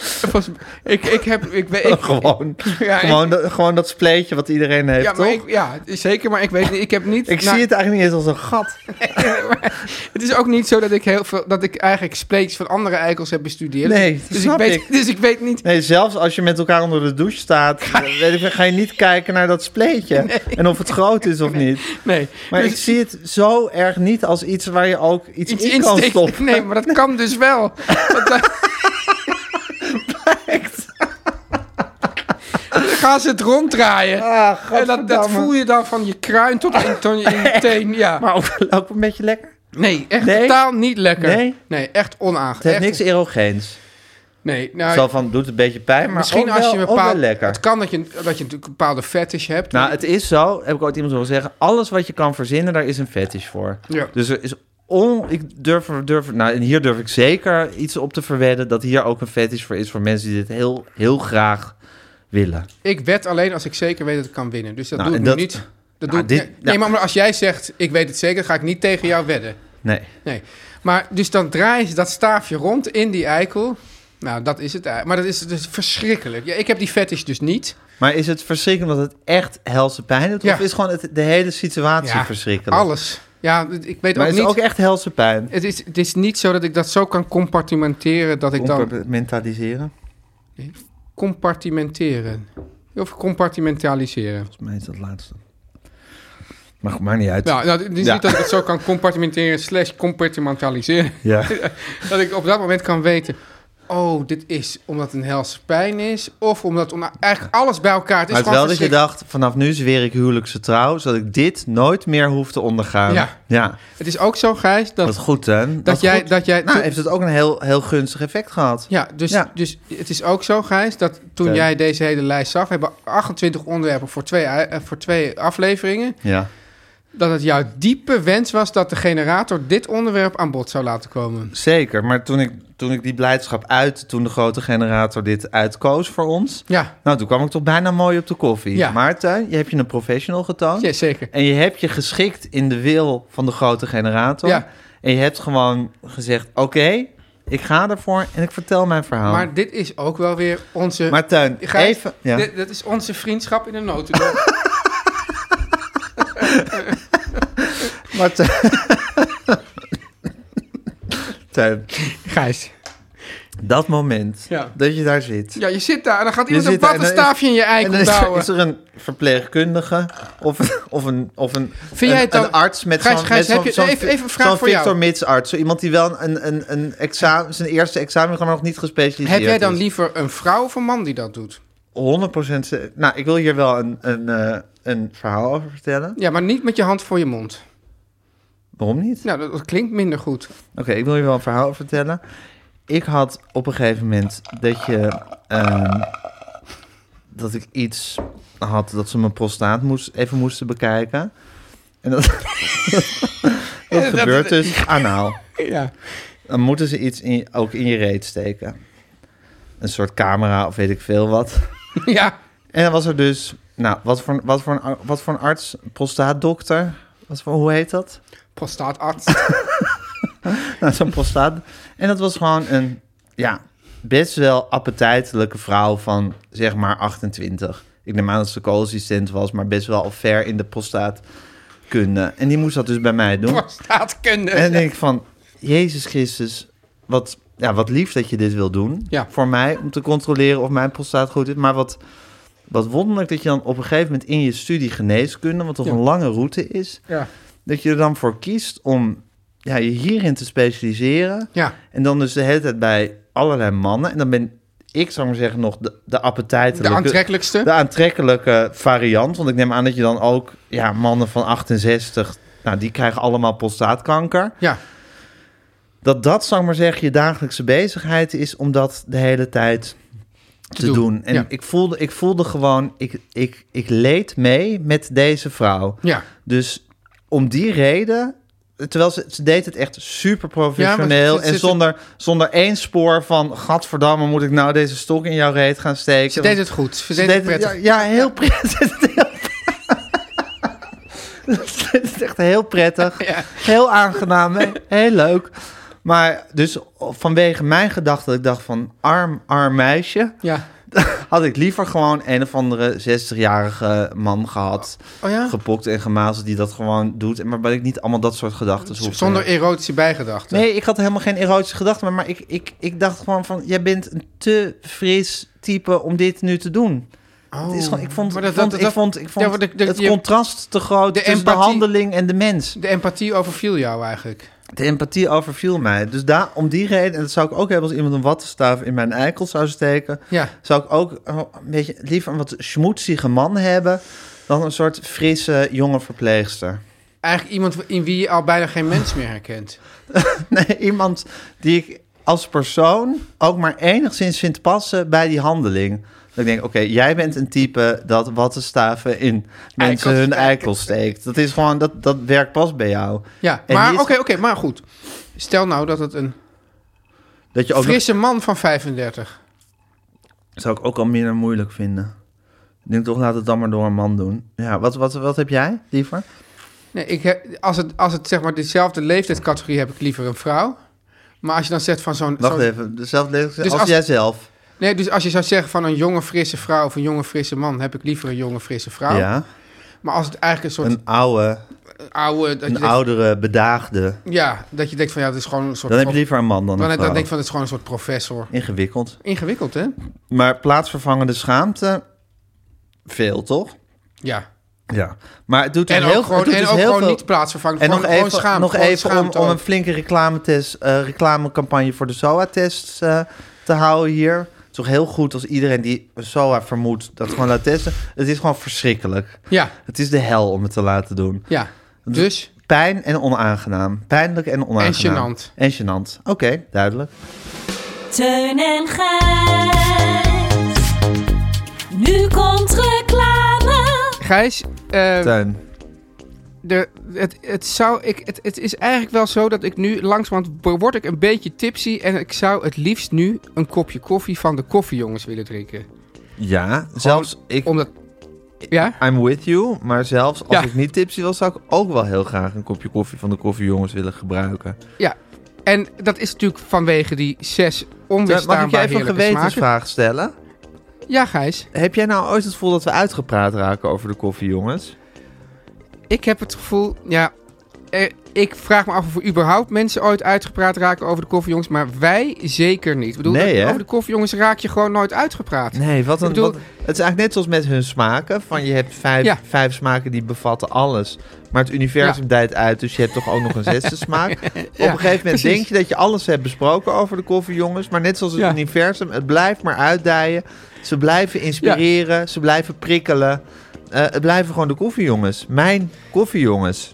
Speaker 3: volgens- ik, ik heb, ik weet, ik,
Speaker 2: gewoon,
Speaker 3: ja, ik-
Speaker 2: gewoon, dat- gewoon dat spleetje wat iedereen heeft,
Speaker 3: ja,
Speaker 2: toch?
Speaker 3: maar
Speaker 2: Ik,
Speaker 3: ik, ja, zeker, maar ik weet niet, ik heb niet. nou,
Speaker 2: zie het eigenlijk niet eens als een gat.
Speaker 3: Het is ook niet zo dat ik heel veel, dat ik eigenlijk spleetjes van andere eikels heb bestudeerd.
Speaker 2: Nee, dat
Speaker 3: dus
Speaker 2: snap
Speaker 3: ik weet,
Speaker 2: ik.
Speaker 3: Dus ik weet niet
Speaker 2: Nee, zelfs als je met elkaar onder de douche staat, weet ik, veel, ga je niet kijken naar dat spleetje. En of het groot is of niet.
Speaker 3: Nee.
Speaker 2: Maar
Speaker 3: Dus
Speaker 2: ik zie het zo erg niet als iets waar je ook iets,
Speaker 3: iets
Speaker 2: in kan
Speaker 3: insteken-
Speaker 2: stoppen.
Speaker 3: Nee, maar dat kan dus wel. Want dan- Dan gaan ze het ronddraaien.
Speaker 2: Ah,
Speaker 3: en dat, dat
Speaker 2: gadverdamme.
Speaker 3: voel je dan van je kruin tot in, tot in je teen. Ja.
Speaker 2: Maar ook, ook een beetje lekker.
Speaker 3: Nee, echt
Speaker 2: Nee?
Speaker 3: totaal niet lekker.
Speaker 2: Nee?
Speaker 3: echt
Speaker 2: Het heeft
Speaker 3: onaangenaam.
Speaker 2: niks erogeens.
Speaker 3: Nee, nou,
Speaker 2: Zo van, doet een beetje pijn, maar
Speaker 3: misschien
Speaker 2: ook
Speaker 3: als
Speaker 2: wel-
Speaker 3: je een
Speaker 2: ook
Speaker 3: bepaald...
Speaker 2: wel lekker.
Speaker 3: Het kan dat je, dat je natuurlijk een bepaalde fetish hebt.
Speaker 2: Nou, het is zo, heb ik ooit iemand horen zeggen, alles wat je kan verzinnen, daar is een fetish voor.
Speaker 3: Ja.
Speaker 2: Dus er is on... Ik durf, er- durf, er- nou, en hier durf ik zeker iets op te verwedden, dat hier ook een fetish voor is voor mensen die dit heel, heel graag willen.
Speaker 3: Ik wed alleen als ik zeker weet dat ik kan winnen. Dus dat
Speaker 2: Nou,
Speaker 3: doe ik
Speaker 2: en
Speaker 3: nu
Speaker 2: dat-
Speaker 3: niet.
Speaker 2: Nou,
Speaker 3: Dat doe ik,
Speaker 2: dit-
Speaker 3: nee,
Speaker 2: nou.
Speaker 3: nee, maar als jij zegt, ik weet het zeker, ga ik niet tegen jou wedden.
Speaker 2: Nee.
Speaker 3: Nee. Maar dus dan draaien ze dat staafje rond in die eikel. Nou, dat is het. eigenlijk. Maar dat is, dus verschrikkelijk. Ja, ik heb die fetish dus niet.
Speaker 2: Maar is het verschrikkelijk dat het echt helse pijn doet?
Speaker 3: Ja.
Speaker 2: Of is gewoon het, de hele situatie
Speaker 3: Ja,
Speaker 2: verschrikkelijk?
Speaker 3: Alles. Ja, ik weet
Speaker 2: Maar
Speaker 3: ook
Speaker 2: is
Speaker 3: niet.
Speaker 2: het ook echt helse pijn?
Speaker 3: het, is, het is niet zo dat ik dat zo kan compartimenteren dat ik dan.
Speaker 2: Compartimentaliseren?
Speaker 3: Compartimenteren. Of compartimentaliseren.
Speaker 2: Volgens mij is dat laatste. Maar maakt niet uit.
Speaker 3: Nou, nou, het is
Speaker 2: Ja.
Speaker 3: niet dat ik het zo kan compartimenteren slash compartimentaliseren.
Speaker 2: Ja.
Speaker 3: dat ik op dat moment kan weten. oh, dit is omdat het een helse pijn is. Of omdat om, eigenlijk alles bij elkaar. Het is
Speaker 2: Maar het
Speaker 3: gewoon
Speaker 2: wel dat je dacht, vanaf nu zweer ik huwelijkse trouw... zodat ik dit nooit meer hoef te ondergaan.
Speaker 3: Ja.
Speaker 2: ja.
Speaker 3: verschrikkelijk. Het is ook zo, Gijs, dat,
Speaker 2: Wat goed, hè? Dat,
Speaker 3: jij- dat jij-
Speaker 2: Nou, heeft het ook een heel, heel gunstig effect gehad.
Speaker 3: Ja, dus,
Speaker 2: Ja.
Speaker 3: dus het is ook zo, Gijs, dat toen
Speaker 2: Oké.
Speaker 3: jij deze hele lijst zag... we hebben 28 onderwerpen voor twee, ui- eh, voor twee afleveringen...
Speaker 2: Ja.
Speaker 3: dat het jouw diepe wens was dat de generator dit onderwerp aan bod zou laten komen.
Speaker 2: Zeker, maar toen ik, toen ik die blijdschap uit... toen de grote generator dit uitkoos voor ons...
Speaker 3: Ja,
Speaker 2: nou, toen kwam ik toch bijna mooi op de koffie.
Speaker 3: Ja.
Speaker 2: Maarten, je hebt je een professional getoond...
Speaker 3: ja zeker.
Speaker 2: en je hebt je geschikt in de wil van de grote generator...
Speaker 3: Ja.
Speaker 2: en je hebt gewoon gezegd, oké, ik ga ervoor en ik vertel mijn verhaal.
Speaker 3: Maar dit is ook wel weer onze...
Speaker 2: Nou. Maar Teun,
Speaker 3: Gijs,
Speaker 2: even... Ja.
Speaker 3: dit, dit is onze vriendschap in een notendop.
Speaker 2: Maar Teun... Teun,
Speaker 3: Gijs.
Speaker 2: dat moment
Speaker 3: Ja.
Speaker 2: dat je daar zit...
Speaker 3: Ja, je zit daar en dan gaat iemand
Speaker 2: zit
Speaker 3: een
Speaker 2: daar en dan is-
Speaker 3: wattenstaafje in je ei
Speaker 2: En dan is er,
Speaker 3: douwen.
Speaker 2: is er een verpleegkundige of, of een, of een,
Speaker 3: jij
Speaker 2: een,
Speaker 3: het dan-
Speaker 2: een arts met
Speaker 3: Gijs,
Speaker 2: zo'n
Speaker 3: Gijs,
Speaker 2: met zo'n-
Speaker 3: heb je-
Speaker 2: zo'n-
Speaker 3: even- even een vraag
Speaker 2: zo'n
Speaker 3: voor jou.
Speaker 2: Victor Mits arts. Zo iemand die wel een, een, een examen, zijn eerste examen gewoon nog niet gespecialiseerd
Speaker 3: Heb jij dan
Speaker 2: is.
Speaker 3: liever een vrouw of een man die dat doet?
Speaker 2: 100% ze- Nou, ik wil hier wel een, een, eh, een verhaal over vertellen.
Speaker 3: Ja, maar niet met je hand voor je mond.
Speaker 2: Waarom niet?
Speaker 3: Nou, dat, dat klinkt minder goed.
Speaker 2: Oké, ik wil je wel een verhaal over vertellen. Ik had op een gegeven moment dat je... ehm, dat ik iets had dat ze mijn prostaat moest, even moesten bekijken. En dat, dat gebeurt dus anaal.
Speaker 3: Ja.
Speaker 2: Dan moeten ze iets in, je- ook in je reet steken. Een soort camera of weet ik veel wat.
Speaker 3: Ja.
Speaker 2: En dan was er dus... Nou, wat voor, een- wat voor, een, ar- wat voor een arts? Prostaatdokter? Wat voor, hoe heet dat?
Speaker 3: Prostaatarts.
Speaker 2: Nou, zo'n prostaat. En dat was gewoon een, ja, best wel appetijtelijke vrouw van zeg maar 28. Ik neem aan dat ze co-assistent was, maar best wel al ver in de prostaatkunde. En die moest dat dus bij mij doen.
Speaker 3: Prostaatkunde.
Speaker 2: En dan denk ik van, Jezus Christus, wat, ja, wat lief dat je dit wil doen
Speaker 3: Ja.
Speaker 2: voor mij. Om te controleren of mijn prostaat goed is. Maar wat, wat wonderlijk dat je dan op een gegeven moment in je studie geneeskunde, wat toch
Speaker 3: Ja.
Speaker 2: een lange route is,
Speaker 3: Ja.
Speaker 2: dat je er dan voor kiest om ja, je hierin te specialiseren.
Speaker 3: Ja.
Speaker 2: En dan dus de hele tijd bij allerlei mannen. En dan ben ik, zou ik maar zeggen, nog de, de
Speaker 3: De
Speaker 2: appetijtelijke...
Speaker 3: aantrekkelijkste.
Speaker 2: de aantrekkelijke variant. Want ik neem aan dat je dan ook ja, mannen van 68... Nou, die krijgen allemaal prostaatkanker.
Speaker 3: Ja.
Speaker 2: Dat dat, zou ik maar zeggen, je dagelijkse bezigheid is... om dat de hele tijd te,
Speaker 3: doen,
Speaker 2: doen. En
Speaker 3: ja.
Speaker 2: ik, voelde, ik voelde gewoon... Ik, ik, ik leed mee met deze vrouw.
Speaker 3: Ja.
Speaker 2: Dus om die reden. Terwijl ze, ze deed het echt super
Speaker 3: Ja,
Speaker 2: professioneel.
Speaker 3: maar ze- ze-
Speaker 2: en zonder, zonder één spoor van. Gadverdamme, moet ik nou deze stok in jouw reet gaan steken?
Speaker 3: Ze deed het goed. Ze deed
Speaker 2: Ze
Speaker 3: het prettig.
Speaker 2: Ja, ja, heel prettig. Ze deed het echt heel prettig.
Speaker 3: Ja.
Speaker 2: Heel aangenaam. hè? Heel leuk. Maar dus vanwege mijn gedachte, dat ik dacht van arm, arm meisje,
Speaker 3: Ja.
Speaker 2: had ik liever gewoon een of andere 60-jarige man gehad
Speaker 3: Oh ja?
Speaker 2: gepokt en gemazeld die dat gewoon doet. En waarbij ik niet allemaal dat soort gedachten hoef. te
Speaker 3: Zonder
Speaker 2: hebben.
Speaker 3: erotische bijgedachten.
Speaker 2: Nee, ik had helemaal geen erotische gedachten. Maar, maar ik, ik, ik dacht gewoon van... Jij bent een te fris type om dit nu te doen.
Speaker 3: Oh.
Speaker 2: het is gewoon, ik vond,
Speaker 3: Maar
Speaker 2: ik vond, ik vond, ik vond
Speaker 3: Ja, maar de- de-
Speaker 2: het
Speaker 3: je-
Speaker 2: contrast te groot
Speaker 3: de
Speaker 2: tussen de
Speaker 3: empathie-
Speaker 2: handeling en de mens.
Speaker 3: De empathie overviel jou eigenlijk.
Speaker 2: De empathie overviel mij. Dus daar, om die reden... En dat zou ik ook hebben als iemand een wattenstaaf in mijn eikel zou steken.
Speaker 3: Ja.
Speaker 2: Zou ik ook eh, een beetje liever een wat schmoedzige man hebben... dan een soort frisse jonge verpleegster.
Speaker 3: Eigenlijk iemand in wie je al bijna geen mens meer herkent.
Speaker 2: Nee, iemand die ik als persoon ook maar enigszins vind passen bij die handeling. Dat ik denk, oké, jij bent een type dat wattenstaven in mensen
Speaker 3: Eikels
Speaker 2: hun
Speaker 3: steken.
Speaker 2: eikel steekt. Dat is gewoon, dat, dat werkt pas bij jou.
Speaker 3: Ja.
Speaker 2: En
Speaker 3: Maar
Speaker 2: die
Speaker 3: oké,
Speaker 2: is-
Speaker 3: oké. maar goed. Stel nou dat het een
Speaker 2: Dat je ook nog-
Speaker 3: frisse man van 35.
Speaker 2: zou ik ook al minder moeilijk vinden. Ik denk toch, laat het dan maar door een man doen. Ja, wat, wat, wat heb jij liever?
Speaker 3: Nee, ik heb, als, het, als het zeg maar dezelfde leeftijdscategorie heb ik liever een vrouw. Maar als je dan zegt van zo'n...
Speaker 2: Wacht
Speaker 3: zo'n-
Speaker 2: even, dezelfde leeftijd
Speaker 3: Dus
Speaker 2: als,
Speaker 3: als-
Speaker 2: jijzelf.
Speaker 3: Nee, dus als je zou zeggen van een jonge frisse vrouw of een jonge frisse man... heb ik liever een jonge frisse vrouw.
Speaker 2: Ja,
Speaker 3: Maar als het eigenlijk een soort
Speaker 2: een oude,
Speaker 3: oude... Dat je
Speaker 2: een
Speaker 3: denkt-
Speaker 2: oudere, bedaagde.
Speaker 3: Ja, dat je denkt van ja, dat is gewoon een soort...
Speaker 2: Dan heb je
Speaker 3: prof-
Speaker 2: liever een man dan
Speaker 3: dan,
Speaker 2: een
Speaker 3: dan
Speaker 2: vrouw.
Speaker 3: denk ik van het is gewoon een soort professor.
Speaker 2: Ingewikkeld.
Speaker 3: Ingewikkeld, hè?
Speaker 2: Maar plaatsvervangende schaamte, veel toch?
Speaker 3: Ja.
Speaker 2: Ja. Maar het doet er
Speaker 3: En
Speaker 2: heel,
Speaker 3: ook gewoon,
Speaker 2: het doet
Speaker 3: en
Speaker 2: dus
Speaker 3: ook
Speaker 2: heel
Speaker 3: gewoon
Speaker 2: veel.
Speaker 3: niet plaatsvervangend.
Speaker 2: en nog
Speaker 3: gewoon, gewoon
Speaker 2: even,
Speaker 3: schaamte,
Speaker 2: nog
Speaker 3: gewoon
Speaker 2: even om,
Speaker 3: schaamte
Speaker 2: om
Speaker 3: ook.
Speaker 2: een flinke reclametest, eh, reclamecampagne voor de SOA-tests eh, te houden hier. Het is toch heel goed als iedereen die SOA vermoedt dat gewoon laat testen. Het is gewoon verschrikkelijk.
Speaker 3: Ja,
Speaker 2: Het is de hel om het te laten doen.
Speaker 3: ja. Dus,
Speaker 2: Pijn en onaangenaam. Pijnlijk en onaangenaam.
Speaker 3: En gênant.
Speaker 2: En gênant. Oké, duidelijk.
Speaker 5: Teun en Gijs. Nu komt reclame.
Speaker 3: Gijs, eh,
Speaker 2: Tuin.
Speaker 3: de, het, het, zou, ik, het, het is eigenlijk wel zo dat ik nu langzamerhand bo- word ik een beetje tipsy. En ik zou het liefst nu een kopje koffie van de koffiejongens willen drinken.
Speaker 2: Ja, zelfs ik...
Speaker 3: Omdat, ja?
Speaker 2: I'm with you, maar zelfs als
Speaker 3: Ja.
Speaker 2: ik niet tipsy was, zou ik ook wel heel graag een kopje koffie van de koffiejongens willen gebruiken.
Speaker 3: Ja. En dat is natuurlijk vanwege die zes
Speaker 2: Tuin, Mag ik
Speaker 3: onweerstaanbaar
Speaker 2: jij even een
Speaker 3: heerlijke smaken.
Speaker 2: gewetensvraag stellen?
Speaker 3: Ja, Gijs.
Speaker 2: Heb jij nou ooit het gevoel dat we uitgepraat raken over de koffiejongens?
Speaker 3: Ik heb het gevoel, ja, er- ik vraag me af of er überhaupt mensen ooit uitgepraat raken over de koffiejongens, maar wij zeker niet. Ik bedoel,
Speaker 2: Nee, hè?
Speaker 3: over de koffiejongens raak je gewoon nooit uitgepraat.
Speaker 2: Nee, wat een...
Speaker 3: Ik bedoel-
Speaker 2: wat- het is eigenlijk net zoals met hun smaken. Van je hebt vijf,
Speaker 3: Ja.
Speaker 2: vijf smaken die bevatten alles. Maar het universum dijt uit, dus je hebt toch ook nog een zesde smaak. Op een gegeven moment
Speaker 3: precies.
Speaker 2: denk je dat je alles hebt besproken over de koffiejongens. Maar net zoals het
Speaker 3: Ja.
Speaker 2: universum, het blijft maar uitdijen. Ze blijven inspireren, ze blijven prikkelen. Eh, het blijven gewoon de koffiejongens. Mijn koffiejongens.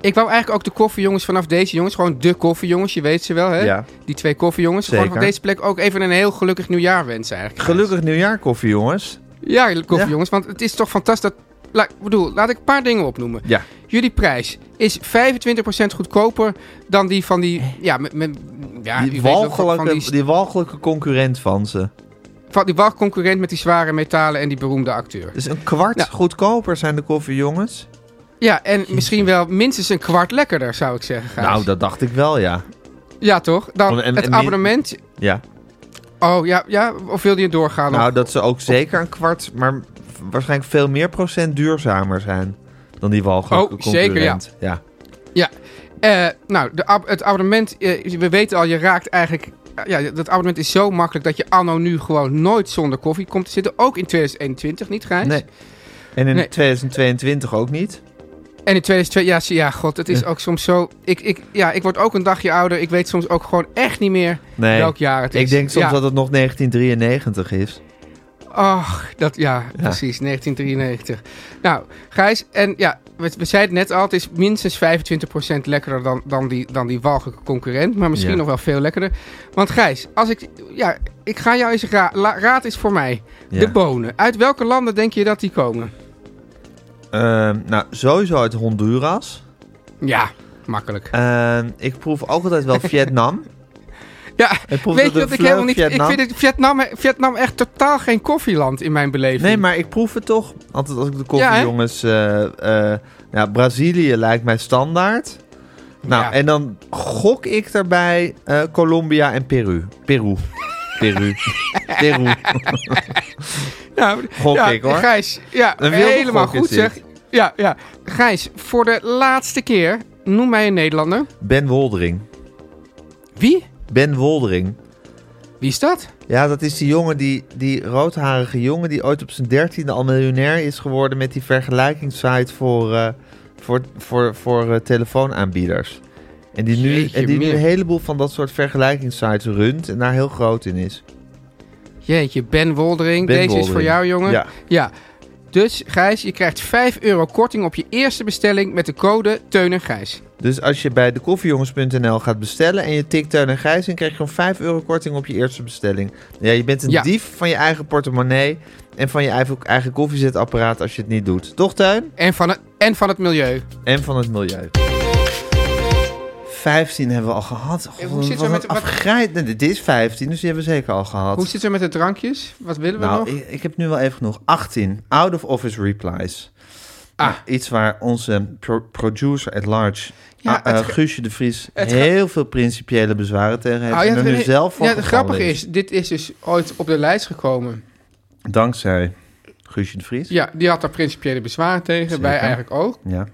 Speaker 3: Ik wou eigenlijk ook de koffiejongens vanaf deze jongens, gewoon de koffiejongens, je weet ze wel, hè?
Speaker 2: Ja.
Speaker 3: Die twee koffiejongens, gewoon
Speaker 2: Zeker.
Speaker 3: van deze plek ook even een heel gelukkig nieuwjaar wensen eigenlijk.
Speaker 2: Gelukkig nieuwjaar koffiejongens.
Speaker 3: Ja, koffiejongens, want het is toch fantastisch dat... La, ik bedoel, laat ik een paar dingen opnoemen.
Speaker 2: Ja.
Speaker 3: Jullie prijs is 25% goedkoper dan die van die... Ja, met, met, ja Ah, u
Speaker 2: die,
Speaker 3: weet wel,
Speaker 2: walgelijke,
Speaker 3: van
Speaker 2: die...
Speaker 3: die,
Speaker 2: walgelijke concurrent van ze.
Speaker 3: van die walconcurrent met die zware metalen en die beroemde acteur.
Speaker 2: Dus een kwart
Speaker 3: Ja.
Speaker 2: goedkoper zijn de koffiejongens.
Speaker 3: Ja, en misschien wel minstens een kwart lekkerder, zou ik zeggen, Gijs.
Speaker 2: Nou, dat dacht ik wel, ja.
Speaker 3: Ja, toch? Dan
Speaker 2: En- en-
Speaker 3: het
Speaker 2: en-
Speaker 3: abonnement...
Speaker 2: Ja.
Speaker 3: Oh, ja, ja, of wil je doorgaan?
Speaker 2: Nou,
Speaker 3: Of-
Speaker 2: dat ze ook zeker een kwart, maar v- waarschijnlijk veel meer procent duurzamer zijn dan die walgelijke
Speaker 3: Oh, zeker,
Speaker 2: concurrent. ja.
Speaker 3: Ja, eh, nou, de ab- het abonnement, eh, we weten al, je raakt eigenlijk... eh, Ja, dat abonnement is zo makkelijk dat je anno nu gewoon nooit zonder koffie komt te zitten. Ook in 2021, niet Gijs?
Speaker 2: Nee. En in
Speaker 3: Nee.
Speaker 2: 2022 ook niet.
Speaker 3: En in 2002, ja, zie- ja, god, het is ook soms zo... Ik, ik, ja, ik word ook een dagje ouder. Ik weet soms ook gewoon echt niet meer
Speaker 2: Nee.
Speaker 3: welk jaar het is.
Speaker 2: Ik denk soms
Speaker 3: Ja.
Speaker 2: dat het nog 1993 is.
Speaker 3: Ach, dat, ja, precies, 1993. Nou, Gijs, en ja, we, we zeiden het net al, het is minstens 25% lekkerder dan, dan, die, dan die walgelijke concurrent, maar misschien
Speaker 2: Ja.
Speaker 3: nog wel veel lekkerder. Want Gijs, als ik, ja, ik ga jou eens ra la- raad is voor mij.
Speaker 2: Ja.
Speaker 3: De bonen, uit welke landen denk je dat die komen?
Speaker 2: Ehm, nou, sowieso uit Honduras.
Speaker 3: Ja, makkelijk.
Speaker 2: Ehm, ik proef ook altijd wel Vietnam.
Speaker 3: Ja,
Speaker 2: Ik proef dat
Speaker 3: weet je
Speaker 2: de
Speaker 3: wat ik
Speaker 2: vleug
Speaker 3: helemaal niet...
Speaker 2: Vietnam-
Speaker 3: Ik vind het, Vietnam, Vietnam echt totaal geen koffieland in mijn beleving.
Speaker 2: Nee, maar ik proef het toch. Altijd als ik de koffiejongens... eh, eh, nou, Brazilië lijkt mij standaard. Nou,
Speaker 3: Ja.
Speaker 2: en dan gok ik daarbij eh, Colombia en Peru. Peru. Peru. Peru.
Speaker 3: Nou,
Speaker 2: Gok
Speaker 3: ja,
Speaker 2: ik, hoor.
Speaker 3: Gijs, ja,
Speaker 2: Een wilde
Speaker 3: helemaal
Speaker 2: gok is
Speaker 3: goed
Speaker 2: dit.
Speaker 3: zeg. Ja, ja. Gijs, voor de laatste keer, noem mij een Nederlander.
Speaker 2: Ben Woldering.
Speaker 3: Wie?
Speaker 2: Ben Woldering.
Speaker 3: Wie is dat?
Speaker 2: Ja, dat is die jongen, die, die roodharige jongen... die ooit op zijn dertiende al miljonair is geworden... met die vergelijkingssite voor, eh, voor, voor, voor eh, telefoonaanbieders. En die, nu,
Speaker 3: Jeetje,
Speaker 2: en die nu
Speaker 3: meer.
Speaker 2: een heleboel van dat soort vergelijkingssites runt... en daar heel groot in is.
Speaker 3: Jeetje, Ben Woldering.
Speaker 2: Ben
Speaker 3: Deze is
Speaker 2: Woldering.
Speaker 3: voor jou, jongen.
Speaker 2: Ja.
Speaker 3: Dus, Gijs, je krijgt 5 euro korting op je eerste bestelling met de code Teun en Gijs.
Speaker 2: Dus als je bij dekoffiejongens.nl gaat bestellen en je tikt Teun en Gijs in, krijg je gewoon 5 euro korting op je eerste bestelling. Ja, je bent een
Speaker 3: Ja.
Speaker 2: dief van je eigen portemonnee en van je eigen, eigen koffiezetapparaat als je het niet doet. Toch Teun?
Speaker 3: En van het, en van het milieu.
Speaker 2: En van het milieu. 15 hebben we al gehad. God,
Speaker 3: hoe
Speaker 2: wat
Speaker 3: zitten we
Speaker 2: een
Speaker 3: met de- wat-
Speaker 2: afgrij- Nee, dit is 15, dus die hebben we zeker al gehad.
Speaker 3: Hoe zit het met de drankjes? Wat willen we nog?
Speaker 2: nou, ik, ik heb nu wel even genoeg. 18. Out of office replies.
Speaker 3: Ah.
Speaker 2: Nou, iets waar onze pro- producer at large,
Speaker 3: Ja,
Speaker 2: ah, eh,
Speaker 3: het ge-
Speaker 2: Guusje de Vries,
Speaker 3: het ge-
Speaker 2: heel veel principiële bezwaren tegen heeft.
Speaker 3: Ah,
Speaker 2: en er
Speaker 3: het-
Speaker 2: nu zelf voor
Speaker 3: ja, het
Speaker 2: gevallen
Speaker 3: grappige is, dit is dus ooit op de lijst gekomen.
Speaker 2: Dankzij Guusje de Vries.
Speaker 3: Ja, die had daar principiële bezwaren tegen,
Speaker 2: Zeker.
Speaker 3: wij eigenlijk ook.
Speaker 2: Ja.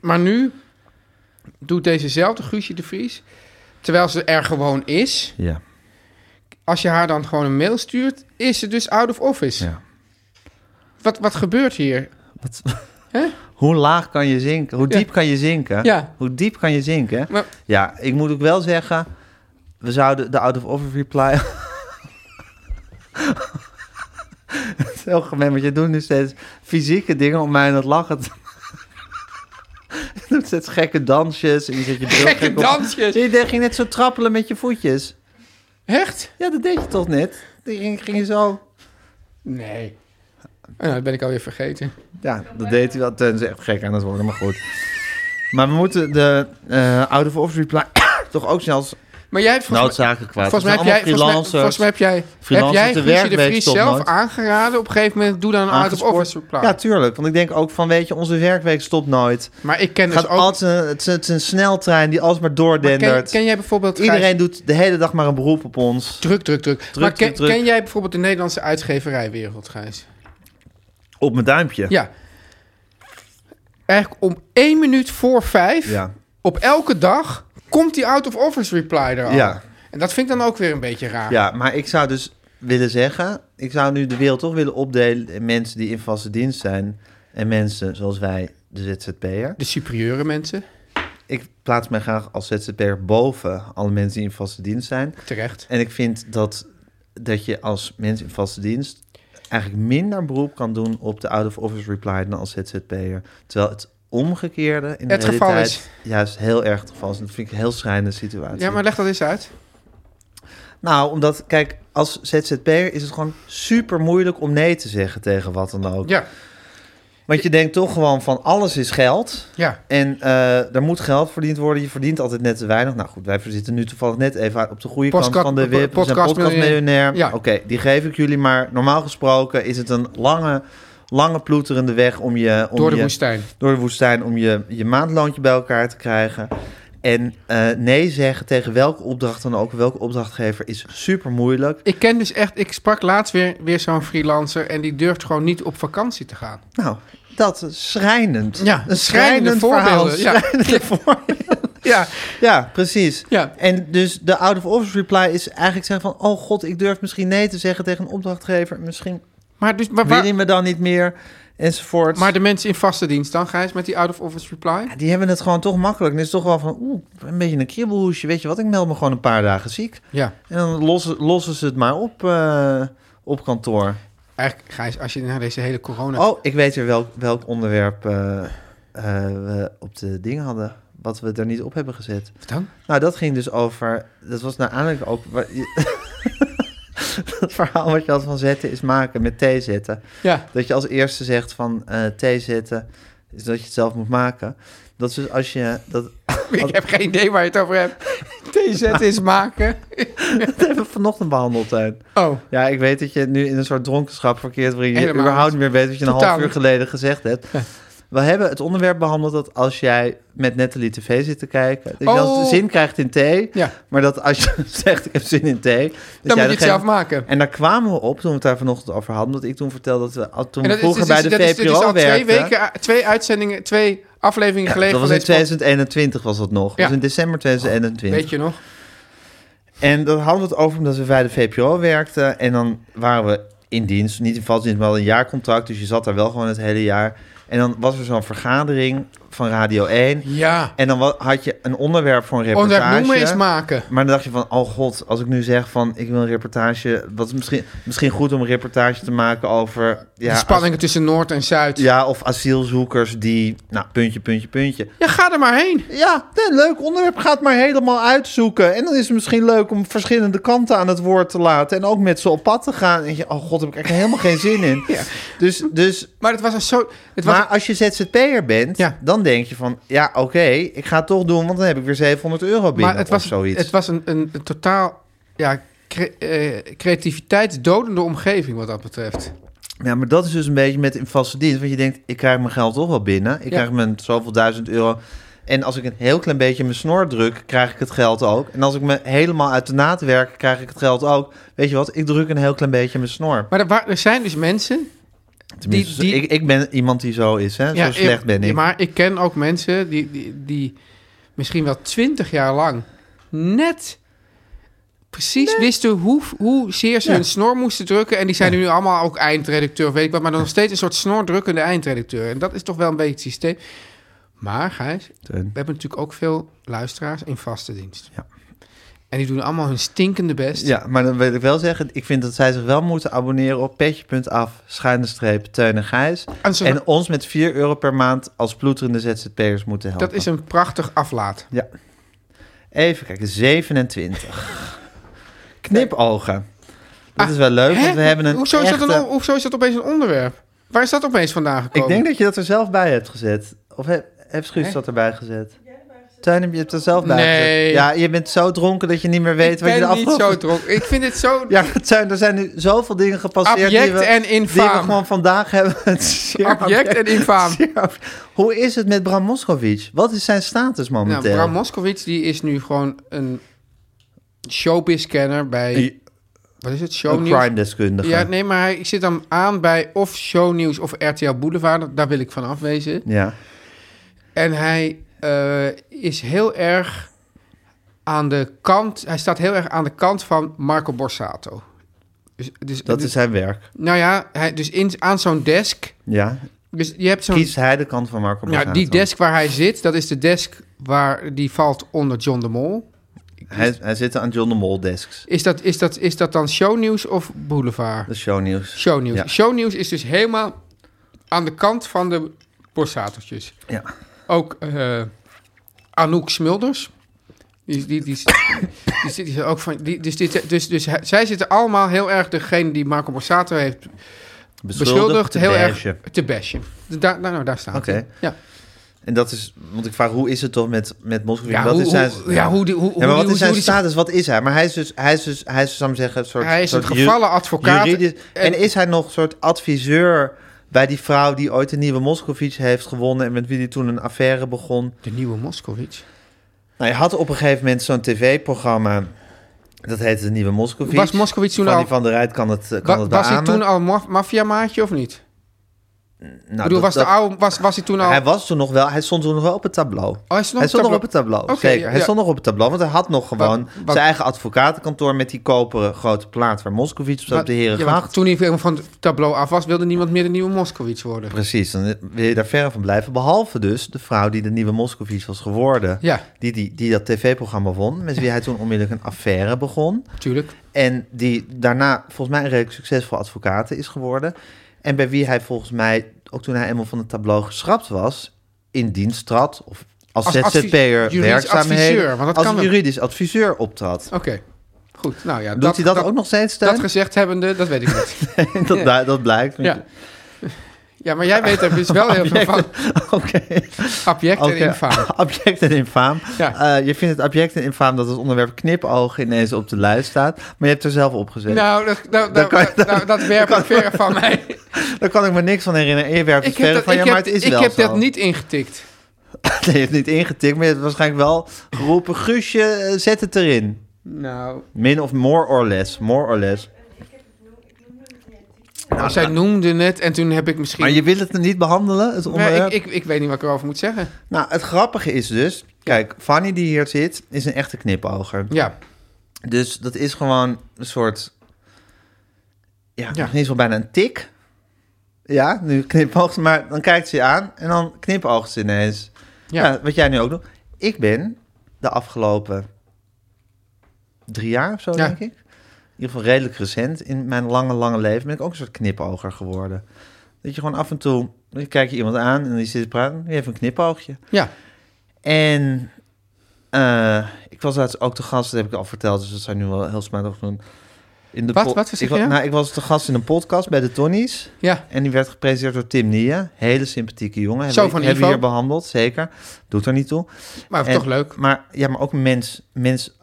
Speaker 3: Maar nu doet dezezelfde Guusje de Vries, terwijl ze er gewoon is,
Speaker 2: Ja.
Speaker 3: als je haar dan gewoon een mail stuurt, is ze dus out of office.
Speaker 2: Ja.
Speaker 3: Wat, wat gebeurt hier?
Speaker 2: Wat-
Speaker 3: Hè?
Speaker 2: Hoe laag kan je zinken? Hoe
Speaker 3: Ja.
Speaker 2: diep kan je zinken?
Speaker 3: Ja.
Speaker 2: Hoe diep kan je zinken?
Speaker 3: Maar-
Speaker 2: Ja, ik moet ook wel zeggen, we zouden de out of office reply Het is heel gemeen, want je doet nu steeds fysieke dingen om mij aan het lachen te... Je doet steeds gekke dansjes en je zet je bril
Speaker 3: Gekke
Speaker 2: gek op.
Speaker 3: dansjes.
Speaker 2: Je deed- ging net zo trappelen met je voetjes.
Speaker 3: Echt?
Speaker 2: Ja, dat deed je toch net? Die ging, ging je zo...
Speaker 3: Nee. Oh, nou, dat ben ik alweer vergeten.
Speaker 2: Ja, dat deed hij wel. Teun is echt gek aan het worden, maar goed. Maar we moeten de eh Out of Office Reply toch ook zelfs
Speaker 3: Maar jij hebt volgens mij...
Speaker 2: noodzakelijk kwaad.
Speaker 3: Volgens mij, heb
Speaker 2: Nou, Het
Speaker 3: jij,
Speaker 2: zijn
Speaker 3: volgens, mij,
Speaker 2: allemaal
Speaker 3: volgens mij heb jij, heb
Speaker 2: Freelancers
Speaker 3: jij
Speaker 2: de
Speaker 3: Guusje de
Speaker 2: werkweek
Speaker 3: Vries
Speaker 2: stopt
Speaker 3: zelf
Speaker 2: nooit.
Speaker 3: aangeraden. Op een gegeven moment doe dan een out-of-office
Speaker 2: aangespoord.
Speaker 3: reply.
Speaker 2: Ja, tuurlijk. Want ik denk ook van, weet je, onze werkweek stopt nooit.
Speaker 3: maar ik ken
Speaker 2: Het,
Speaker 3: dus
Speaker 2: gaat
Speaker 3: ook...
Speaker 2: altijd, het, is, het is een sneltrein die alsmaar
Speaker 3: maar ken,
Speaker 2: doordendert.
Speaker 3: ken jij bijvoorbeeld... Gijs-
Speaker 2: Iedereen doet de hele dag maar een beroep op ons.
Speaker 3: Druk, druk, druk. maar
Speaker 2: druk,
Speaker 3: ken,
Speaker 2: druk.
Speaker 3: ken jij bijvoorbeeld de Nederlandse uitgeverijwereld, Gijs?
Speaker 2: Op mijn duimpje.
Speaker 3: Ja. Eigenlijk om één minuut voor vijf...
Speaker 2: Ja.
Speaker 3: op elke dag komt die out-of-office reply er al.
Speaker 2: Ja.
Speaker 3: En dat vind ik dan ook weer een beetje raar.
Speaker 2: Ja, maar ik zou dus willen zeggen... Ik zou nu de wereld toch willen opdelen in mensen die in vaste dienst zijn... en mensen zoals wij, de ZZP'er.
Speaker 3: De superieure mensen,
Speaker 2: Ik plaats mij graag als ZZP'er boven alle mensen die in vaste dienst zijn.
Speaker 3: terecht.
Speaker 2: En ik vind dat, dat je als mens in vaste dienst eigenlijk minder beroep kan doen op de out-of-office reply dan als ZZP'er. Terwijl het omgekeerde in de
Speaker 3: Het geval
Speaker 2: realiteit
Speaker 3: is.
Speaker 2: juist heel erg het geval is. En dat vind ik een heel schrijnende situatie.
Speaker 3: Ja, maar leg dat eens uit.
Speaker 2: Nou, omdat, kijk, als ZZP'er is het gewoon super moeilijk om nee te zeggen tegen wat dan ook.
Speaker 3: Ja,
Speaker 2: Want je denkt toch gewoon van alles is geld.
Speaker 3: ja.
Speaker 2: En eh, er moet geld verdiend worden. Je verdient altijd net te weinig. Nou goed, wij zitten nu toevallig net even op de goede
Speaker 3: Postca-
Speaker 2: kant van de WIP. We zijn
Speaker 3: podcast-
Speaker 2: podcastmiljonair.
Speaker 3: Ja.
Speaker 2: Oké, die geef ik jullie. Maar normaal gesproken is het een lange, lange ploeterende weg om je... Om
Speaker 3: Door de
Speaker 2: je,
Speaker 3: woestijn.
Speaker 2: Door de woestijn om je, je maandloontje bij elkaar te krijgen. En eh, nee zeggen tegen welke opdracht dan ook, welke opdrachtgever, is super moeilijk.
Speaker 3: Ik ken dus echt, ik sprak laatst weer, weer zo'n freelancer en die durft gewoon niet op vakantie te gaan.
Speaker 2: Nou, dat is schrijnend.
Speaker 3: Ja,
Speaker 2: een schrijnend
Speaker 3: schrijnende
Speaker 2: verhaal.
Speaker 3: voorbeelden, ja.
Speaker 2: Schrijnende voorbeelden.
Speaker 3: Ja,
Speaker 2: Ja, precies.
Speaker 3: Ja.
Speaker 2: En dus de out-of-office reply is eigenlijk zeggen van... oh god, ik durf misschien nee te zeggen tegen een opdrachtgever. Misschien
Speaker 3: maar, dus, maar,
Speaker 2: wil
Speaker 3: waar-
Speaker 2: je me dan niet meer, enzovoort.
Speaker 3: maar de mensen in vaste dienst dan, Gijs, met die out-of-office reply?
Speaker 2: Ja, die hebben het gewoon toch makkelijk. En het is toch wel van, oeh, een beetje een kriebelhoesje. Weet je wat, ik meld me gewoon een paar dagen ziek.
Speaker 3: Ja,
Speaker 2: En dan lossen, lossen ze het maar op, eh, op kantoor.
Speaker 3: eigenlijk, Gijs, als je naar deze hele corona...
Speaker 2: Oh, ik weet weer welk, welk onderwerp eh, eh, we op de dingen hadden. Wat we er niet op hebben gezet.
Speaker 3: Wat dan?
Speaker 2: Nou, dat ging dus over. Dat was naar aanleiding ook. waar je- dat verhaal wat je had van zetten is maken met thee zetten.
Speaker 3: Ja,
Speaker 2: Dat je als eerste zegt van eh thee zetten is dat je het zelf moet maken. Dat is dus als je dat
Speaker 3: ik heb geen idee waar je het over hebt. TZ is maken.
Speaker 2: dat hebben we vanochtend behandeld zijn.
Speaker 3: Oh,
Speaker 2: Ja, ik weet dat je nu in een soort dronkenschap verkeert waarin je
Speaker 3: Helemaal
Speaker 2: überhaupt
Speaker 3: niet.
Speaker 2: niet meer weet wat je een
Speaker 3: Totaal
Speaker 2: half uur
Speaker 3: niet.
Speaker 2: geleden gezegd hebt. We hebben het onderwerp behandeld dat als jij met Natalie tv zit te kijken, dat je
Speaker 3: Oh.
Speaker 2: dan zin krijgt in thee,
Speaker 3: Ja.
Speaker 2: maar dat als je zegt ik heb zin in thee, dat jij
Speaker 3: dan moet je het
Speaker 2: degene-
Speaker 3: zelf maken.
Speaker 2: En daar kwamen we op toen we het daar vanochtend over hadden. Omdat ik toen vertelde dat we al- toen
Speaker 3: En
Speaker 2: we
Speaker 3: dat
Speaker 2: vroeger
Speaker 3: is,
Speaker 2: bij de
Speaker 3: dit is- dit is- dit is
Speaker 2: VPRO
Speaker 3: al twee
Speaker 2: werkten.
Speaker 3: weken, twee uitzendingen, twee afleveringen
Speaker 2: Ja,
Speaker 3: geleden.
Speaker 2: dat was
Speaker 3: van
Speaker 2: in
Speaker 3: deze podcast.
Speaker 2: 2021 was dat nog. Dat
Speaker 3: Ja.
Speaker 2: was in december 2021.
Speaker 3: Weet je nog?
Speaker 2: En dat hadden we het over omdat we bij de VPRO werkten. En dan waren we in dienst. Niet in vast dienst, maar wel een jaarcontract. Dus je zat daar wel gewoon het hele jaar. En dan was er zo'n vergadering van Radio 1.
Speaker 3: Ja.
Speaker 2: En dan wa- had je een onderwerp voor een
Speaker 3: Onderwerp
Speaker 2: reportage.
Speaker 3: noemen is maken.
Speaker 2: Maar dan dacht je van, oh god, als ik nu zeg van ik wil een reportage, wat is misschien, misschien goed om een reportage te maken over ja,
Speaker 3: de spanningen tussen Noord en Zuid. Ja.
Speaker 2: Ja, of asielzoekers die... Nou, puntje, puntje, puntje.
Speaker 3: ga er maar heen.
Speaker 2: Ja, een leuk onderwerp. Ga het maar helemaal uitzoeken. En dan is het misschien leuk om verschillende kanten aan het woord te laten. En ook met ze op pad te gaan. En je, oh god, heb ik er helemaal geen zin in.
Speaker 3: Ja.
Speaker 2: Dus, dus
Speaker 3: Maar het was een zo... Het was
Speaker 2: maar als je ZZP'er bent,
Speaker 3: Ja.
Speaker 2: dan denk je van... Ja, oké, ik ga het toch doen, want dan heb ik weer 700 euro binnen
Speaker 3: maar het was,
Speaker 2: of zoiets.
Speaker 3: Het was een, een, een totaal ja, cre eh, creativiteitsdodende omgeving wat dat betreft.
Speaker 2: Ja, maar dat is dus een beetje met in vaste dienst. Want je denkt, ik krijg mijn geld toch wel binnen. Ik
Speaker 3: Ja.
Speaker 2: krijg mijn zoveel duizend euro. En als ik een heel klein beetje mijn snor druk, krijg ik het geld ook. En als ik me helemaal uit de naad werk, krijg ik het geld ook. Weet je wat, ik druk een heel klein beetje mijn snor.
Speaker 3: Maar er, wa- er zijn dus mensen...
Speaker 2: Tenminste,
Speaker 3: die-
Speaker 2: Ik, ik ben iemand die zo is, hè. zo slecht
Speaker 3: ik-
Speaker 2: ben ik.
Speaker 3: Maar ik ken ook mensen die, die, die misschien wel twintig jaar lang net precies wisten hoe, hoe zeer ze
Speaker 2: Ja.
Speaker 3: hun snor moesten drukken. En die zijn nu allemaal ook eindredacteur, weet ik wat. Maar dan nog steeds een soort snoordrukkende eindredacteur. En dat is toch wel een beetje het systeem. Maar Gijs, we
Speaker 2: Teun.
Speaker 3: hebben natuurlijk ook veel luisteraars in vaste dienst.
Speaker 2: Ja.
Speaker 3: En die doen allemaal hun stinkende best.
Speaker 2: Ja, maar dan wil ik wel zeggen, ik vind dat zij zich wel moeten abonneren op petje.af, schuine streep, Teun en Gijs.
Speaker 3: En ze-
Speaker 2: En ons met 4 euro per maand als ploeterende ZZP'ers moeten helpen.
Speaker 3: dat is een prachtig aflaat.
Speaker 2: Ja. Even kijken, 27. Knipogen. Dat is wel leuk, want we
Speaker 3: Ah, Hè?
Speaker 2: hebben een
Speaker 3: hoezo, is dat
Speaker 2: echte-
Speaker 3: dan, hoezo is dat opeens een onderwerp? Waar is dat opeens vandaan
Speaker 2: Ik
Speaker 3: gekomen?
Speaker 2: denk dat je dat er zelf bij hebt gezet. Of he- heeft Guus
Speaker 3: Hè?
Speaker 2: dat erbij gezet? Tuin, heb je het er zelf bij
Speaker 3: Nee.
Speaker 2: gezet? Ja, je bent zo dronken dat je niet meer weet
Speaker 3: ik
Speaker 2: wat je
Speaker 3: ben
Speaker 2: de
Speaker 3: niet
Speaker 2: afgelopen...
Speaker 3: zo dronken. Ik vind het zo
Speaker 2: Ja, maar Tuin, er zijn nu zoveel dingen gepasseerd die
Speaker 3: abject
Speaker 2: we,
Speaker 3: en
Speaker 2: die we
Speaker 3: infaam.
Speaker 2: gewoon vandaag hebben. Het is zeer
Speaker 3: Abject en infaam.
Speaker 2: Zeer abject. Hoe is het met Bram Moskowitz? Wat is zijn status
Speaker 3: Nou,
Speaker 2: momenteel?
Speaker 3: Bram Moskowitz die is nu gewoon een showbiz-kenner bij... Wat is het?
Speaker 2: een
Speaker 3: Shownieuws?
Speaker 2: crime-deskundige.
Speaker 3: Ja, nee, maar hij zit dan aan bij of shownieuws of RTL Boulevard. Daar wil ik van afwezen.
Speaker 2: Ja.
Speaker 3: En hij eh, is heel erg aan de kant... Hij staat heel erg aan de kant van Marco Borsato. Dus, dus,
Speaker 2: dat
Speaker 3: dus-
Speaker 2: is zijn werk.
Speaker 3: Nou ja, hij, dus in, aan zo'n desk...
Speaker 2: Ja.
Speaker 3: Dus je hebt zo'n...
Speaker 2: Kiest hij de kant van Marco
Speaker 3: Ja,
Speaker 2: Borsato?
Speaker 3: die desk waar hij zit, dat is de desk waar die valt onder John de Mol.
Speaker 2: Hij, hij zit aan John de Mol desks.
Speaker 3: Is dat, is dat, is dat dan shownieuws of boulevard?
Speaker 2: Dat is shownieuws.
Speaker 3: Shownieuws.
Speaker 2: Ja.
Speaker 3: Shownieuws is dus helemaal aan de kant van de borsateltjes.
Speaker 2: Ja.
Speaker 3: Ook eh, Anouk Smulders. Die, die, die, die, zit hier ook van. Die, dus, dit, dus, dus hij- zij zitten allemaal heel erg degene die Marco Borsato heeft beschuldigd,
Speaker 2: Beschuldigd,
Speaker 3: heel
Speaker 2: beige.
Speaker 3: erg te bashen. Daar, nou, nou, daar staat
Speaker 2: Oké.
Speaker 3: hij. Ja.
Speaker 2: En dat is, want ik vraag, hoe is het toch met, met Moskowitz?
Speaker 3: Ja,
Speaker 2: dat
Speaker 3: hoe-
Speaker 2: is zijn,
Speaker 3: hoe- ja, hoe die- hoe-
Speaker 2: Ja, maar
Speaker 3: hoe
Speaker 2: wat
Speaker 3: die-
Speaker 2: is zijn
Speaker 3: hoe die-
Speaker 2: status? Wat is hij? Maar hij is dus, hij is dus, hij is, zou ik zeggen, een soort...
Speaker 3: Hij is
Speaker 2: soort
Speaker 3: een
Speaker 2: ju-
Speaker 3: gevallen advocaat.
Speaker 2: juridisch- en,
Speaker 3: En-
Speaker 2: is hij nog soort adviseur bij die vrouw die ooit de nieuwe Moskowitz heeft gewonnen en met wie die toen een affaire begon?
Speaker 3: De nieuwe Moskowitz.
Speaker 2: Nou, hij had op een gegeven moment zo'n tv-programma, dat heette de nieuwe Moskowitz.
Speaker 3: Was Moskowitz toen
Speaker 2: Fanny
Speaker 3: al-
Speaker 2: van der Rijt kan het, kan
Speaker 3: Wa-
Speaker 2: het
Speaker 3: was hij
Speaker 2: beamen.
Speaker 3: toen al maf- maffiamaatje of niet?
Speaker 2: Nou,
Speaker 3: Ik bedoel,
Speaker 2: dat-
Speaker 3: was, de
Speaker 2: dat-
Speaker 3: oude, was, was hij toen al...
Speaker 2: Hij was toen nog wel, hij stond toen nog wel op het tableau.
Speaker 3: hij stond nog
Speaker 2: hij
Speaker 3: op
Speaker 2: stond nog
Speaker 3: tableau.
Speaker 2: op het tableau,
Speaker 3: Oké,
Speaker 2: zeker.
Speaker 3: ja,
Speaker 2: Hij
Speaker 3: ja.
Speaker 2: stond nog op het tableau, want hij had nog gewoon
Speaker 3: wat-
Speaker 2: zijn eigen advocatenkantoor met die koperen grote plaat waar Moskowitz op zat,
Speaker 3: Maar-
Speaker 2: op de heren
Speaker 3: ja, want toen hij helemaal van het tableau af was, wilde niemand meer de nieuwe Moskowitz worden.
Speaker 2: Precies, dan wil je daar verre van blijven. Behalve dus de vrouw die de nieuwe Moskowitz was geworden.
Speaker 3: Ja.
Speaker 2: Die, die, die dat tv-programma won, met wie hij toen onmiddellijk een affaire begon.
Speaker 3: Natuurlijk.
Speaker 2: En die daarna volgens mij een redelijk succesvol advocaat is geworden. En bij wie hij volgens mij, ook toen hij eenmaal van het tableau geschrapt was, in dienst trad. Of als,
Speaker 3: Als advi-
Speaker 2: ZZP'er
Speaker 3: juridisch adviseur,
Speaker 2: werkzaamheden.
Speaker 3: want dat
Speaker 2: als
Speaker 3: kan hem.
Speaker 2: juridisch adviseur optrad.
Speaker 3: Oké, goed. Nou ja,
Speaker 2: Doet hij dat, ook nog steeds, Teun?
Speaker 3: Dat gezegd hebbende, dat weet ik niet.
Speaker 2: dat, bui- dat blijkt.
Speaker 3: ja. ja, maar jij weet er dus wel heel veel van.
Speaker 2: Oké.
Speaker 3: Object
Speaker 2: Oké.
Speaker 3: en infaam.
Speaker 2: Object en infaam.
Speaker 3: Ja.
Speaker 2: Eh, je vindt het object en infaam dat het onderwerp knipogen ineens op de lijst staat. Maar je hebt er zelf opgezet.
Speaker 3: Nou, dat,
Speaker 2: Dan
Speaker 3: nou, nou,
Speaker 2: kan je-
Speaker 3: nou, nou, dat werp ik ver van mij.
Speaker 2: Daar kan ik me niks van herinneren. En je werpt het
Speaker 3: Ik heb,
Speaker 2: verder
Speaker 3: dat,
Speaker 2: van ja,
Speaker 3: ik
Speaker 2: maar
Speaker 3: heb,
Speaker 2: het is
Speaker 3: ik
Speaker 2: wel
Speaker 3: heb
Speaker 2: zo.
Speaker 3: dat niet ingetikt.
Speaker 2: Nee, je hebt niet ingetikt, maar je hebt waarschijnlijk wel geroepen... Guusje, eh, zet het erin.
Speaker 3: Nou,
Speaker 2: Min of more or less. More or less.
Speaker 3: nou, zij noemde het en toen heb ik misschien...
Speaker 2: Maar je wilt het niet behandelen, het
Speaker 3: Maar
Speaker 2: onderwerp?
Speaker 3: ik, ik, ik weet niet wat ik erover moet zeggen.
Speaker 2: Nou, het grappige is dus... Kijk, Fanny die hier zit, is een echte knipoger.
Speaker 3: Ja,
Speaker 2: Dus dat is gewoon een soort... Ja,
Speaker 3: Ja.
Speaker 2: niet eens wel bijna een tik. Ja, nu knipoogt ze, maar dan kijkt ze je aan en dan knipoogt ze ineens. Ja.
Speaker 3: Ja.
Speaker 2: Nou, wat jij nu ook doet. Ik ben de afgelopen drie jaar of zo,
Speaker 3: Ja.
Speaker 2: denk ik. In ieder geval redelijk recent in mijn lange, lange leven ben ik ook een soort knipoger geworden. Dat je gewoon af en toe, dan kijk je iemand aan en die zit te praten, die heeft een knipoogje.
Speaker 3: ja.
Speaker 2: En eh, ik was laatst ook te gast, dat heb ik al verteld, dus dat zou ik nu wel heel smaak doen. In de
Speaker 3: Wat?
Speaker 2: po-
Speaker 3: Wat zeg
Speaker 2: ik,
Speaker 3: je
Speaker 2: wa-
Speaker 3: nou?
Speaker 2: Nou, ik was te gast in een podcast bij de Tonnies.
Speaker 3: ja.
Speaker 2: En die werd gepresenteerd door Tim Nia. Hele sympathieke jongen.
Speaker 3: Zo
Speaker 2: Hebben-
Speaker 3: van
Speaker 2: hebben we
Speaker 3: Ivo.
Speaker 2: hier behandeld, zeker. Doet er niet toe.
Speaker 3: Maar
Speaker 2: En-
Speaker 3: Oh, toch leuk.
Speaker 2: Maar, ja, maar ook een mens, mens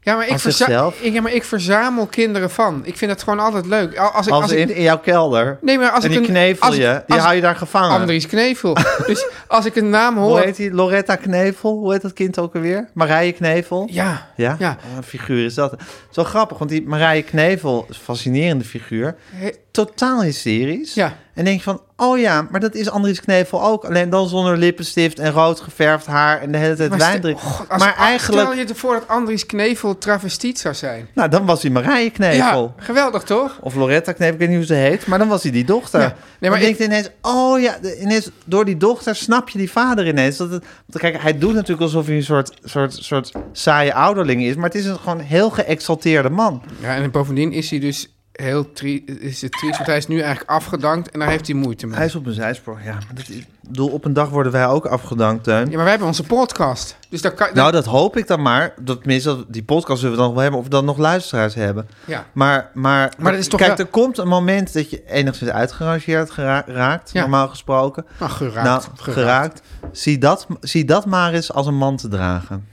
Speaker 3: Ja maar, ik
Speaker 2: Als
Speaker 3: verza-
Speaker 2: zichzelf?
Speaker 3: ik, ja, maar ik verzamel kinderen van. Ik vind dat gewoon altijd leuk. Al- Als ik,
Speaker 2: als,
Speaker 3: als ik,
Speaker 2: in, in jouw kelder.
Speaker 3: nee, maar als
Speaker 2: en
Speaker 3: ik
Speaker 2: die
Speaker 3: een,
Speaker 2: knevel
Speaker 3: als ik-
Speaker 2: je, die
Speaker 3: als
Speaker 2: hou
Speaker 3: ik-
Speaker 2: je daar gevangen.
Speaker 3: Andries Knevel. dus als ik een naam
Speaker 2: Hoe
Speaker 3: hoor...
Speaker 2: heet die? Loretta Knevel? Hoe heet dat kind ook alweer? Marije Knevel?
Speaker 3: Ja,
Speaker 2: Ja?
Speaker 3: Ja.
Speaker 2: Wat een figuur is dat. Zo grappig, want die Marije Knevel is een fascinerende figuur.
Speaker 3: He-
Speaker 2: totaal hysterisch.
Speaker 3: Ja.
Speaker 2: En denk je van, oh ja, maar dat is Andries Knevel ook. Alleen dan zonder lippenstift en rood geverfd haar en de hele tijd
Speaker 3: stel-
Speaker 2: wijndruk.
Speaker 3: God, als-
Speaker 2: maar
Speaker 3: Stel
Speaker 2: eigenlijk,
Speaker 3: je ervoor dat Andries Knevel travestiet zou zijn.
Speaker 2: nou dan was hij Marije Knevel.
Speaker 3: Ja, geweldig toch?
Speaker 2: Of Loretta Knevel, ik weet niet hoe ze heet. Maar dan was hij die dochter.
Speaker 3: Ja. Nee,
Speaker 2: Nee,
Speaker 3: maar
Speaker 2: maar dan
Speaker 3: ik-
Speaker 2: denk je ineens, oh ja, de- ineens door die dochter snap je die vader ineens. Dat het, want kijk, hij doet natuurlijk alsof hij een soort, soort, soort saaie ouderling is. Maar het is een gewoon heel geëxalteerde man.
Speaker 3: Ja, en bovendien is hij dus heel tri is het triest, want hij is nu eigenlijk afgedankt en daar heeft hij moeite mee.
Speaker 2: Hij is op een zijspoor, ja. Maar dat is, ik bedoel, op een dag worden wij ook afgedankt, Teun.
Speaker 3: Ja, maar wij hebben onze podcast. Dus daar kan...
Speaker 2: Nou, dat hoop ik dan maar. Dat, tenminste, dat- die podcast zullen we dan nog wel hebben. Of we dan nog luisteraars hebben.
Speaker 3: Ja.
Speaker 2: Maar, maar,
Speaker 3: Maar dat is toch
Speaker 2: kijk,
Speaker 3: wel-
Speaker 2: er komt een moment dat je enigszins uitgerangeerd gera- raakt,
Speaker 3: Ja.
Speaker 2: normaal gesproken.
Speaker 3: Nou, geraakt.
Speaker 2: nou,
Speaker 3: geraakt.
Speaker 2: geraakt. Zie, dat, zie dat maar eens als een man te dragen.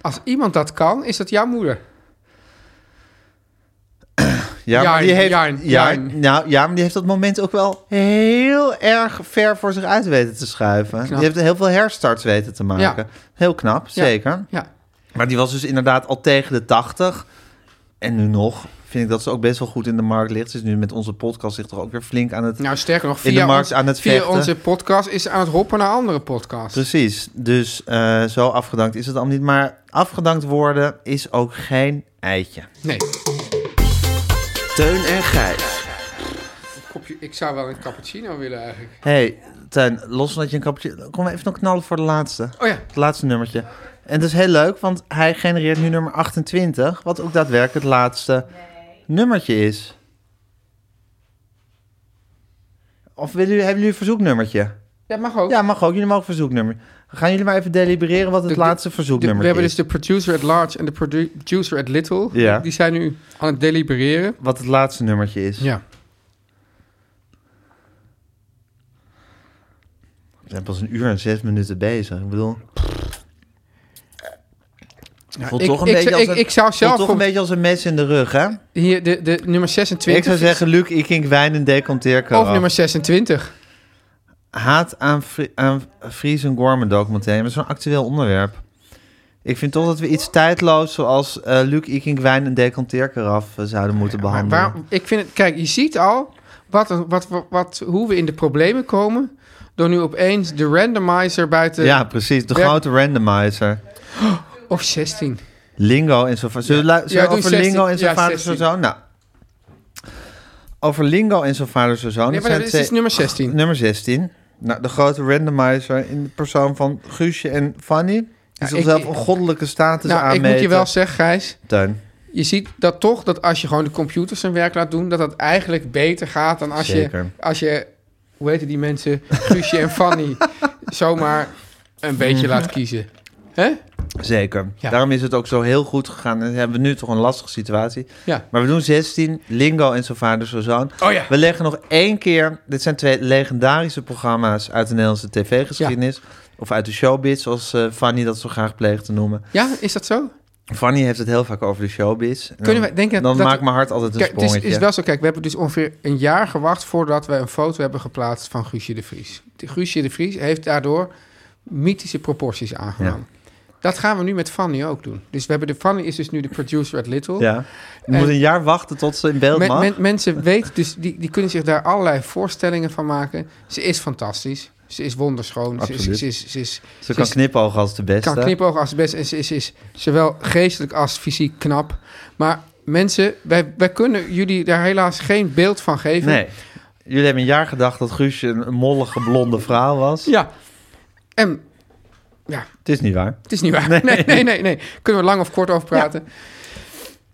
Speaker 3: Als iemand dat kan, is dat jouw moeder.
Speaker 2: Ja, maar
Speaker 3: Jarn,
Speaker 2: die heeft,
Speaker 3: Jarn,
Speaker 2: ja,
Speaker 3: Jarn.
Speaker 2: nou, ja, maar die heeft dat moment ook wel heel erg ver voor zich uit weten te schuiven. Die heeft heel veel herstarts weten te maken. Heel knap, zeker.
Speaker 3: Ja.
Speaker 2: Maar die was dus inderdaad al tegen de 80. En nu nog vind ik dat ze ook best wel goed in de markt ligt. Ze is nu met onze podcast zich toch ook weer flink aan het...
Speaker 3: Nou, sterker nog,
Speaker 2: In
Speaker 3: via,
Speaker 2: de markt
Speaker 3: ons-
Speaker 2: aan het
Speaker 3: via
Speaker 2: vechten.
Speaker 3: onze podcast is ze aan het hoppen naar andere podcasts.
Speaker 2: Precies. Dus eh, zo afgedankt is het allemaal niet. Maar afgedankt worden is ook geen eitje.
Speaker 3: Nee,
Speaker 2: Teun en Gijs.
Speaker 3: kopje- ik zou wel een cappuccino willen eigenlijk.
Speaker 2: hey, Teun, los van dat je een kapotje... Kom even nog knallen voor de laatste.
Speaker 3: Oh ja,
Speaker 2: Het laatste nummertje. En dat is heel leuk, want hij genereert nu nummer 28. Wat ook daadwerkelijk het laatste nummertje is. Of willen jullie, hebben jullie een verzoeknummertje?
Speaker 3: dat mag ook.
Speaker 2: Ja, mag ook. Jullie mogen verzoeknummer. Gaan jullie maar even delibereren wat het
Speaker 3: De- de-
Speaker 2: laatste
Speaker 3: De- we
Speaker 2: verzoeknummer
Speaker 3: hebben dus
Speaker 2: is.
Speaker 3: de producer at large en de produ- producer at little.
Speaker 2: Ja.
Speaker 3: Die zijn nu aan het delibereren.
Speaker 2: Wat het laatste nummertje is.
Speaker 3: Ja.
Speaker 2: We zijn pas een uur en zes minuten bezig. Ik bedoel... voelt
Speaker 3: ik-
Speaker 2: toch een
Speaker 3: ik-
Speaker 2: beetje
Speaker 3: ik-
Speaker 2: als een-
Speaker 3: ik zou
Speaker 2: voelt
Speaker 3: zelf
Speaker 2: toch
Speaker 3: voor-
Speaker 2: een beetje als een mes in de rug, hè?
Speaker 3: Hier, de, de nummer
Speaker 2: Ik
Speaker 3: 26.
Speaker 2: zou zeggen, oh. Luc, ik kink wijn en decanteer
Speaker 3: Of
Speaker 2: karaoke.
Speaker 3: nummer 26.
Speaker 2: Oh, Haat aan, Fri aan Fries en Gorman documentaire. Maar zo'n actueel onderwerp. Ik vind toch dat we iets tijdloos zoals eh Luc Ikink Wijn en Decanteerkaraf eh, zouden moeten
Speaker 3: Maar
Speaker 2: behandelen.
Speaker 3: waar, ik vind het, kijk, je ziet al wat, een- wat, wat, wat- hoe we in de problemen komen. Door nu opeens de randomizer buiten.
Speaker 2: ja, precies. De
Speaker 3: Ja.
Speaker 2: grote randomizer. Oh,
Speaker 3: Of 16.
Speaker 2: Lingo en zo. va- Zullen we lu- zullen we
Speaker 3: doen
Speaker 2: over
Speaker 3: 16.
Speaker 2: lingo en zo
Speaker 3: Ja,
Speaker 2: vader zo
Speaker 3: 16.
Speaker 2: zo? Nou. Over lingo en zo vader zo zo.
Speaker 3: Nee,
Speaker 2: Dat
Speaker 3: maar
Speaker 2: zijn
Speaker 3: dit
Speaker 2: twee-
Speaker 3: is dus nummer 16.
Speaker 2: nummer 16. Nou, de grote randomizer in de persoon van Guusje en Fanny. Die zichzelf
Speaker 3: ik-
Speaker 2: een goddelijke status
Speaker 3: Nou, ik
Speaker 2: aanmeten.
Speaker 3: moet je wel zeggen, Gijs.
Speaker 2: Teun.
Speaker 3: Je ziet dat toch dat als je gewoon de computer zijn werk laat doen, dat dat eigenlijk beter gaat dan als
Speaker 2: Zeker.
Speaker 3: je. Als je hoe heten die mensen? Guusje en Fanny. Zomaar een beetje laat kiezen. Hè?
Speaker 2: Zeker.
Speaker 3: Ja.
Speaker 2: Daarom is het ook zo heel goed gegaan. En hebben we nu toch een lastige situatie.
Speaker 3: Ja.
Speaker 2: Maar we doen 16, Lingo en zo vader, zo zoon.
Speaker 3: Oh ja.
Speaker 2: We leggen nog één keer... Dit zijn twee legendarische programma's uit de Nederlandse tv-geschiedenis. Of uit de showbiz, zoals eh, Fanny dat zo graag pleegt te noemen.
Speaker 3: Ja, is dat zo?
Speaker 2: Fanny heeft het heel vaak over de showbiz. En
Speaker 3: Kunnen
Speaker 2: dan-
Speaker 3: we- denk je
Speaker 2: Dan
Speaker 3: dat-
Speaker 2: maakt mijn hart altijd een
Speaker 3: Kijk, het is,
Speaker 2: sprongetje.
Speaker 3: het is wel zo. Kijk, we hebben dus ongeveer een jaar gewacht voordat we een foto hebben geplaatst van Guusje de Vries. De- Guusje de Vries heeft daardoor mythische proporties aangenomen. Dat gaan we nu met Fanny ook doen. Dus we hebben de Fanny is dus nu de producer at Little.
Speaker 2: Ja. Je moet
Speaker 3: En-
Speaker 2: een jaar wachten tot ze in beeld
Speaker 3: Men-
Speaker 2: mag.
Speaker 3: men- mensen weten dus, die, die kunnen zich daar allerlei voorstellingen van maken. Ze is fantastisch. Ze is wonderschoon. Ze, is-
Speaker 2: Absoluut.
Speaker 3: ze, is, ze, is,
Speaker 2: ze kan
Speaker 3: is-
Speaker 2: knipogen als de beste.
Speaker 3: kan knipogen als het best. En ze is, ze is zowel geestelijk als fysiek knap. Maar mensen, wij, wij kunnen jullie daar helaas geen beeld van geven.
Speaker 2: Nee. Jullie hebben een jaar gedacht dat Guusje een een mollige blonde vrouw was.
Speaker 3: Ja. En ja,
Speaker 2: Het is niet waar.
Speaker 3: het is niet waar. Nee, nee, nee. nee, Kunnen we lang of kort over praten.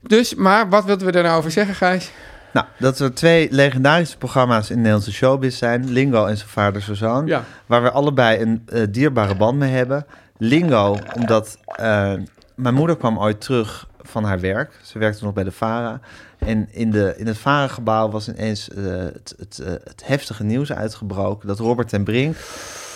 Speaker 3: Dus, maar wat wilden we daar nou over zeggen, Gijs?
Speaker 2: Nou, dat er twee legendarische programma's in de Nederlandse showbiz zijn. Lingo en zijn vader zijn zoon.
Speaker 3: Ja.
Speaker 2: Waar we allebei een eh, dierbare band mee hebben. Lingo, omdat eh, mijn moeder kwam ooit terug van haar werk. Ze werkte nog bij de VARA. En in, de, in het VARA-gebouw was ineens eh, het, het, eh, het heftige nieuws uitgebroken... dat Robert ten Brink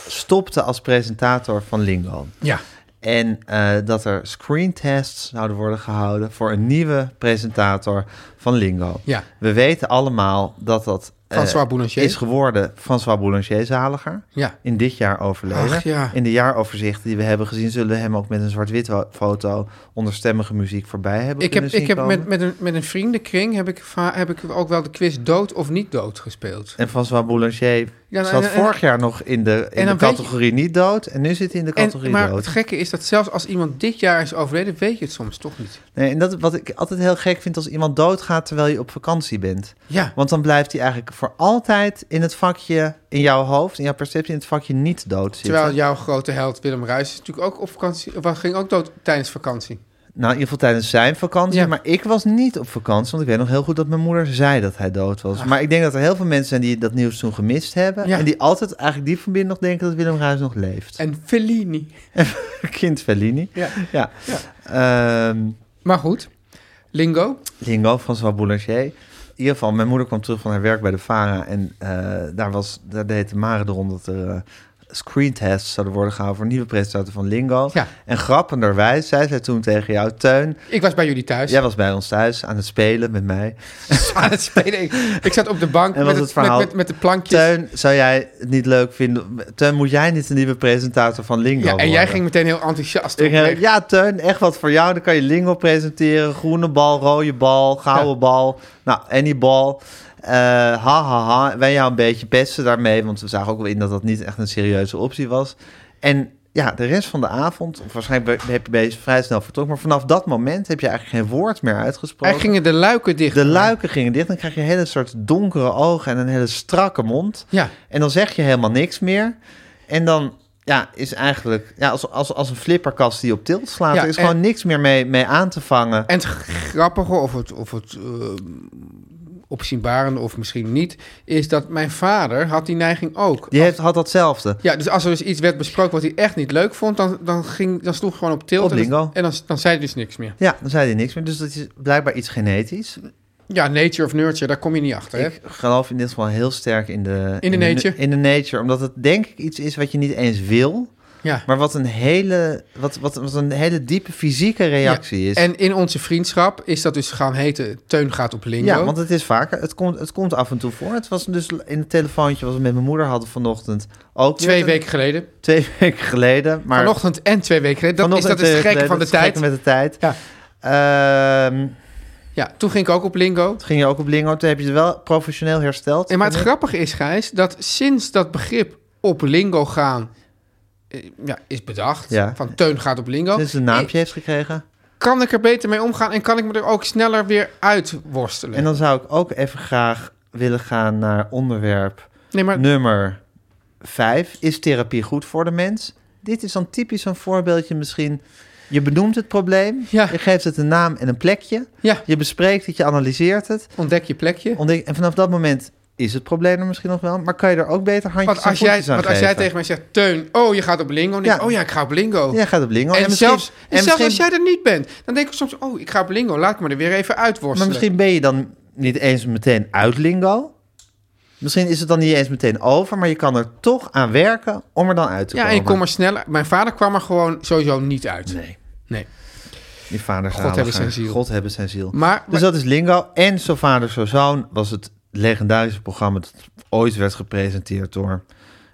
Speaker 2: stopte als presentator van Lingo.
Speaker 3: Ja.
Speaker 2: En eh, dat er screentests zouden worden gehouden voor een nieuwe presentator van Lingo.
Speaker 3: Ja.
Speaker 2: We weten allemaal dat dat
Speaker 3: François Boulanger.
Speaker 2: is geworden François Boulanger Zaliger.
Speaker 3: Ja.
Speaker 2: In dit jaar overleden.
Speaker 3: Ach, ja.
Speaker 2: In de jaaroverzichten die we hebben gezien... zullen we hem ook met een zwart-wit wo- foto... onder stemmige muziek voorbij hebben
Speaker 3: Ik heb,
Speaker 2: kunnen zien
Speaker 3: ik heb
Speaker 2: komen.
Speaker 3: met, met, een, met een vriendenkring heb ik, va- heb ik ook wel de quiz dood of niet dood gespeeld.
Speaker 2: En François Boulanger
Speaker 3: Ja, nou,
Speaker 2: zat
Speaker 3: en- en-
Speaker 2: vorig jaar nog in de, in
Speaker 3: en
Speaker 2: de
Speaker 3: dan weet je-
Speaker 2: categorie niet dood... en nu zit hij in de categorie
Speaker 3: En, maar
Speaker 2: dood.
Speaker 3: het gekke is dat zelfs als iemand dit jaar is overleden, weet je het soms toch niet.
Speaker 2: Nee, en dat wat ik altijd heel gek vind als iemand doodgaat terwijl je op vakantie bent.
Speaker 3: Ja,
Speaker 2: Want dan blijft hij eigenlijk voor altijd in het vakje, in jouw hoofd, in jouw perceptie, in het vakje niet dood zitten.
Speaker 3: terwijl jouw grote held Willem Ruijs is natuurlijk ook op vakantie, of ging ook dood tijdens vakantie.
Speaker 2: Nou, in ieder geval tijdens zijn vakantie.
Speaker 3: Ja.
Speaker 2: Maar ik was niet op vakantie, want ik weet nog heel goed dat mijn moeder zei dat hij dood was. Maar ik denk dat er heel veel mensen zijn die dat nieuws toen gemist hebben.
Speaker 3: Ja.
Speaker 2: En die altijd eigenlijk die verbinding nog denken dat Willem Ruijs nog leeft.
Speaker 3: En Fellini.
Speaker 2: Kind Fellini.
Speaker 3: Ja.
Speaker 2: Ja. Ehm,
Speaker 3: Maar goed, Lingo.
Speaker 2: Lingo, François Boulanger. In ieder geval, mijn moeder kwam terug van haar werk bij de VARA. En eh, daar, was, daar deed de Mare erom dat er eh, screentests zouden worden gehouden... voor een nieuwe presentator van Lingo.
Speaker 3: Ja.
Speaker 2: En grappenderwijs zei zij toen tegen jou... Teun,
Speaker 3: Ik was bij jullie thuis
Speaker 2: jij was bij ons thuis aan het spelen met mij.
Speaker 3: aan het spelen. Ik, ik zat op de bank
Speaker 2: En
Speaker 3: met,
Speaker 2: was
Speaker 3: het-
Speaker 2: het verhaal-
Speaker 3: met, met, met de plankjes.
Speaker 2: Teun, zou jij het niet leuk vinden... Teun, moet jij niet de nieuwe presentator van Lingo
Speaker 3: ja, en jij
Speaker 2: worden?
Speaker 3: ging meteen heel enthousiast op
Speaker 2: Ik heb-
Speaker 3: weg.
Speaker 2: ja, Teun, echt wat voor jou. Dan kan je Lingo presenteren. Groene bal, rode bal, gouden
Speaker 3: Ja.
Speaker 2: bal. Nou, any bal. Eh, ha, ha, ha. Wij jou een beetje pesten daarmee. Want we zagen ook wel in dat dat niet echt een serieuze optie was. En ja, de rest van de avond... Of waarschijnlijk heb je bezig vrij snel vertrokken. Maar vanaf dat moment heb je eigenlijk geen woord meer uitgesproken.
Speaker 3: Hij gingen de luiken dicht.
Speaker 2: De luiken gingen dicht. Dan krijg je een hele soort donkere ogen en een hele strakke mond.
Speaker 3: Ja.
Speaker 2: En dan zeg je helemaal niks meer. En dan ja, is eigenlijk ja, als, als, als een flipperkast die op tilt slaat.
Speaker 3: Ja,
Speaker 2: er is
Speaker 3: en-
Speaker 2: gewoon niks meer mee, mee aan te vangen.
Speaker 3: En het grappige, of het, of het eh, opzienbarende, of misschien niet, is dat mijn vader had die neiging ook.
Speaker 2: Die heeft, had datzelfde.
Speaker 3: Ja, dus als er dus iets werd besproken wat hij echt niet leuk vond, dan, dan, ging, dan sloeg hij gewoon op tilt.
Speaker 2: Op
Speaker 3: en dan-
Speaker 2: lingo.
Speaker 3: En dan, dan zei hij dus niks meer.
Speaker 2: Ja, dan zei hij niks meer. Dus dat is blijkbaar iets genetisch.
Speaker 3: Ja, nature of nurture, daar kom je niet achter, hè?
Speaker 2: Ik geloof in dit geval heel sterk in de...
Speaker 3: In de nature.
Speaker 2: In de nature. Omdat het denk ik iets is wat je niet eens wil.
Speaker 3: Ja.
Speaker 2: Maar wat een hele, wat, wat, wat een hele diepe fysieke reactie
Speaker 3: Ja.
Speaker 2: is.
Speaker 3: En in onze vriendschap is dat dus gaan heten Teun gaat op lingo.
Speaker 2: Ja, want het is vaker. Het komt, het komt af en toe voor. Het was dus in het telefoontje wat we met mijn moeder hadden vanochtend ook weer
Speaker 3: Twee
Speaker 2: een-
Speaker 3: weken geleden.
Speaker 2: twee weken geleden. Maar
Speaker 3: Vanochtend en twee weken geleden. Dat is,
Speaker 2: vanochtend
Speaker 3: dat is
Speaker 2: twee
Speaker 3: het
Speaker 2: weken
Speaker 3: gekke van de
Speaker 2: geleden,
Speaker 3: tijd.
Speaker 2: dat is het gekke met de tijd.
Speaker 3: Ja.
Speaker 2: Ehm,
Speaker 3: Ja, toen ging ik ook op lingo.
Speaker 2: toen ging je ook op Lingo. Toen heb je het wel professioneel hersteld.
Speaker 3: En maar het
Speaker 2: vind ik.
Speaker 3: grappige is, Gijs, dat sinds dat begrip op lingo gaan eh, ja, is bedacht,
Speaker 2: Ja. Dus-
Speaker 3: van Teun gaat op lingo,
Speaker 2: Sinds een naampje heeft gekregen.
Speaker 3: eh, kan ik er beter mee omgaan en kan ik me er ook sneller weer uitworstelen.
Speaker 2: En dan zou ik ook even graag willen gaan naar onderwerp
Speaker 3: nee, maar
Speaker 2: nummer 5. Is therapie goed voor de mens? Dit is dan typisch een voorbeeldje misschien. Je benoemt het probleem,
Speaker 3: Ja.
Speaker 2: je geeft het een naam en een plekje.
Speaker 3: ja,
Speaker 2: Je bespreekt het, je analyseert het.
Speaker 3: ontdek je plekje.
Speaker 2: Ontdek, en vanaf dat moment is het probleem er misschien nog wel. Maar kan je er ook beter handjes
Speaker 3: Want
Speaker 2: en
Speaker 3: als jij,
Speaker 2: voetjes aan
Speaker 3: want als jij
Speaker 2: geven?
Speaker 3: tegen mij zegt, Teun, oh, je gaat op lingo, dan denk ik,
Speaker 2: Ja.
Speaker 3: oh ja, ik ga op lingo.
Speaker 2: Ja, gaat op lingo.
Speaker 3: En,
Speaker 2: misschien-
Speaker 3: zelfs, en zelfs
Speaker 2: misschien-
Speaker 3: als jij er niet bent, dan denk ik soms, oh, ik ga op lingo, laat me er weer even uitworstelen.
Speaker 2: Maar misschien ben je dan niet eens meteen uit lingo. Misschien is het dan niet eens meteen over. Maar je kan er toch aan werken om er dan uit te
Speaker 3: ja, en
Speaker 2: komen.
Speaker 3: ik kom er sneller. Mijn vader kwam er gewoon sowieso niet uit.
Speaker 2: Nee,
Speaker 3: Nee.
Speaker 2: die vader
Speaker 3: God hebben
Speaker 2: zaliger.
Speaker 3: zijn ziel.
Speaker 2: God hebben zijn ziel.
Speaker 3: Maar,
Speaker 2: Dus dat is lingo. En Zo Vader Zo Zoon was het legendarische programma... dat ooit werd gepresenteerd door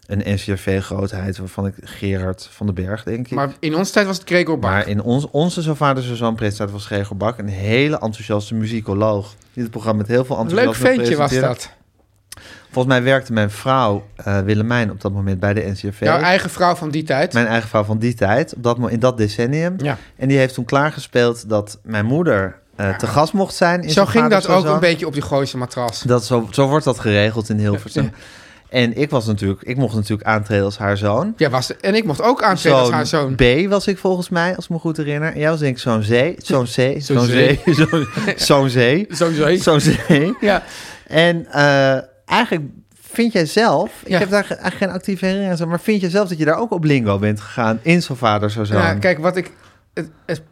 Speaker 2: een NCRV-grootheid... waarvan ik Gerard van den Berg, denk ik.
Speaker 3: maar in onze tijd was het Gregor Bak.
Speaker 2: Maar in ons, onze Zo Vader Zo Zoon presentator was Gregor Bak... een hele enthousiaste muzikoloog. Die het programma met heel veel
Speaker 3: Een leuk
Speaker 2: enthousiasme
Speaker 3: ventje was
Speaker 2: presenteerde.
Speaker 3: dat.
Speaker 2: Volgens mij werkte mijn vrouw eh, Willemijn op dat moment bij de NCRV.
Speaker 3: Jouw eigen vrouw van die tijd.
Speaker 2: Mijn eigen vrouw van die tijd, op dat, mo- in dat decennium.
Speaker 3: Ja.
Speaker 2: En die heeft toen klaargespeeld dat mijn moeder eh, te gast mocht zijn. In
Speaker 3: Zo
Speaker 2: Zo'n
Speaker 3: ging
Speaker 2: Vader
Speaker 3: dat
Speaker 2: Zo'n
Speaker 3: ook
Speaker 2: Zoon.
Speaker 3: een beetje op die gooise matras.
Speaker 2: Dat, zo, zo wordt dat geregeld in Hilversum. En ik, was natuurlijk, ik mocht natuurlijk aantreden als haar zoon.
Speaker 3: Ja, was, en ik mocht ook aantreden als haar zoon.
Speaker 2: B was ik volgens mij, als ik me goed herinner. En jij was denk ik zo'n zee. Zo'n zee.
Speaker 3: Zo'n
Speaker 2: Zo'n zee. zo'n- Zo'n zee.
Speaker 3: Sowieso.
Speaker 2: Zo'n zee.
Speaker 3: Ja.
Speaker 2: En eh, eigenlijk vind jij zelf, ik
Speaker 3: Ja.
Speaker 2: heb daar ge- eigenlijk geen actieve herinnering aan, maar vind je zelf dat je daar ook op lingo bent gegaan in zo'n vader zo zoon?
Speaker 3: ja, nou, kijk, wat ik... Het, het-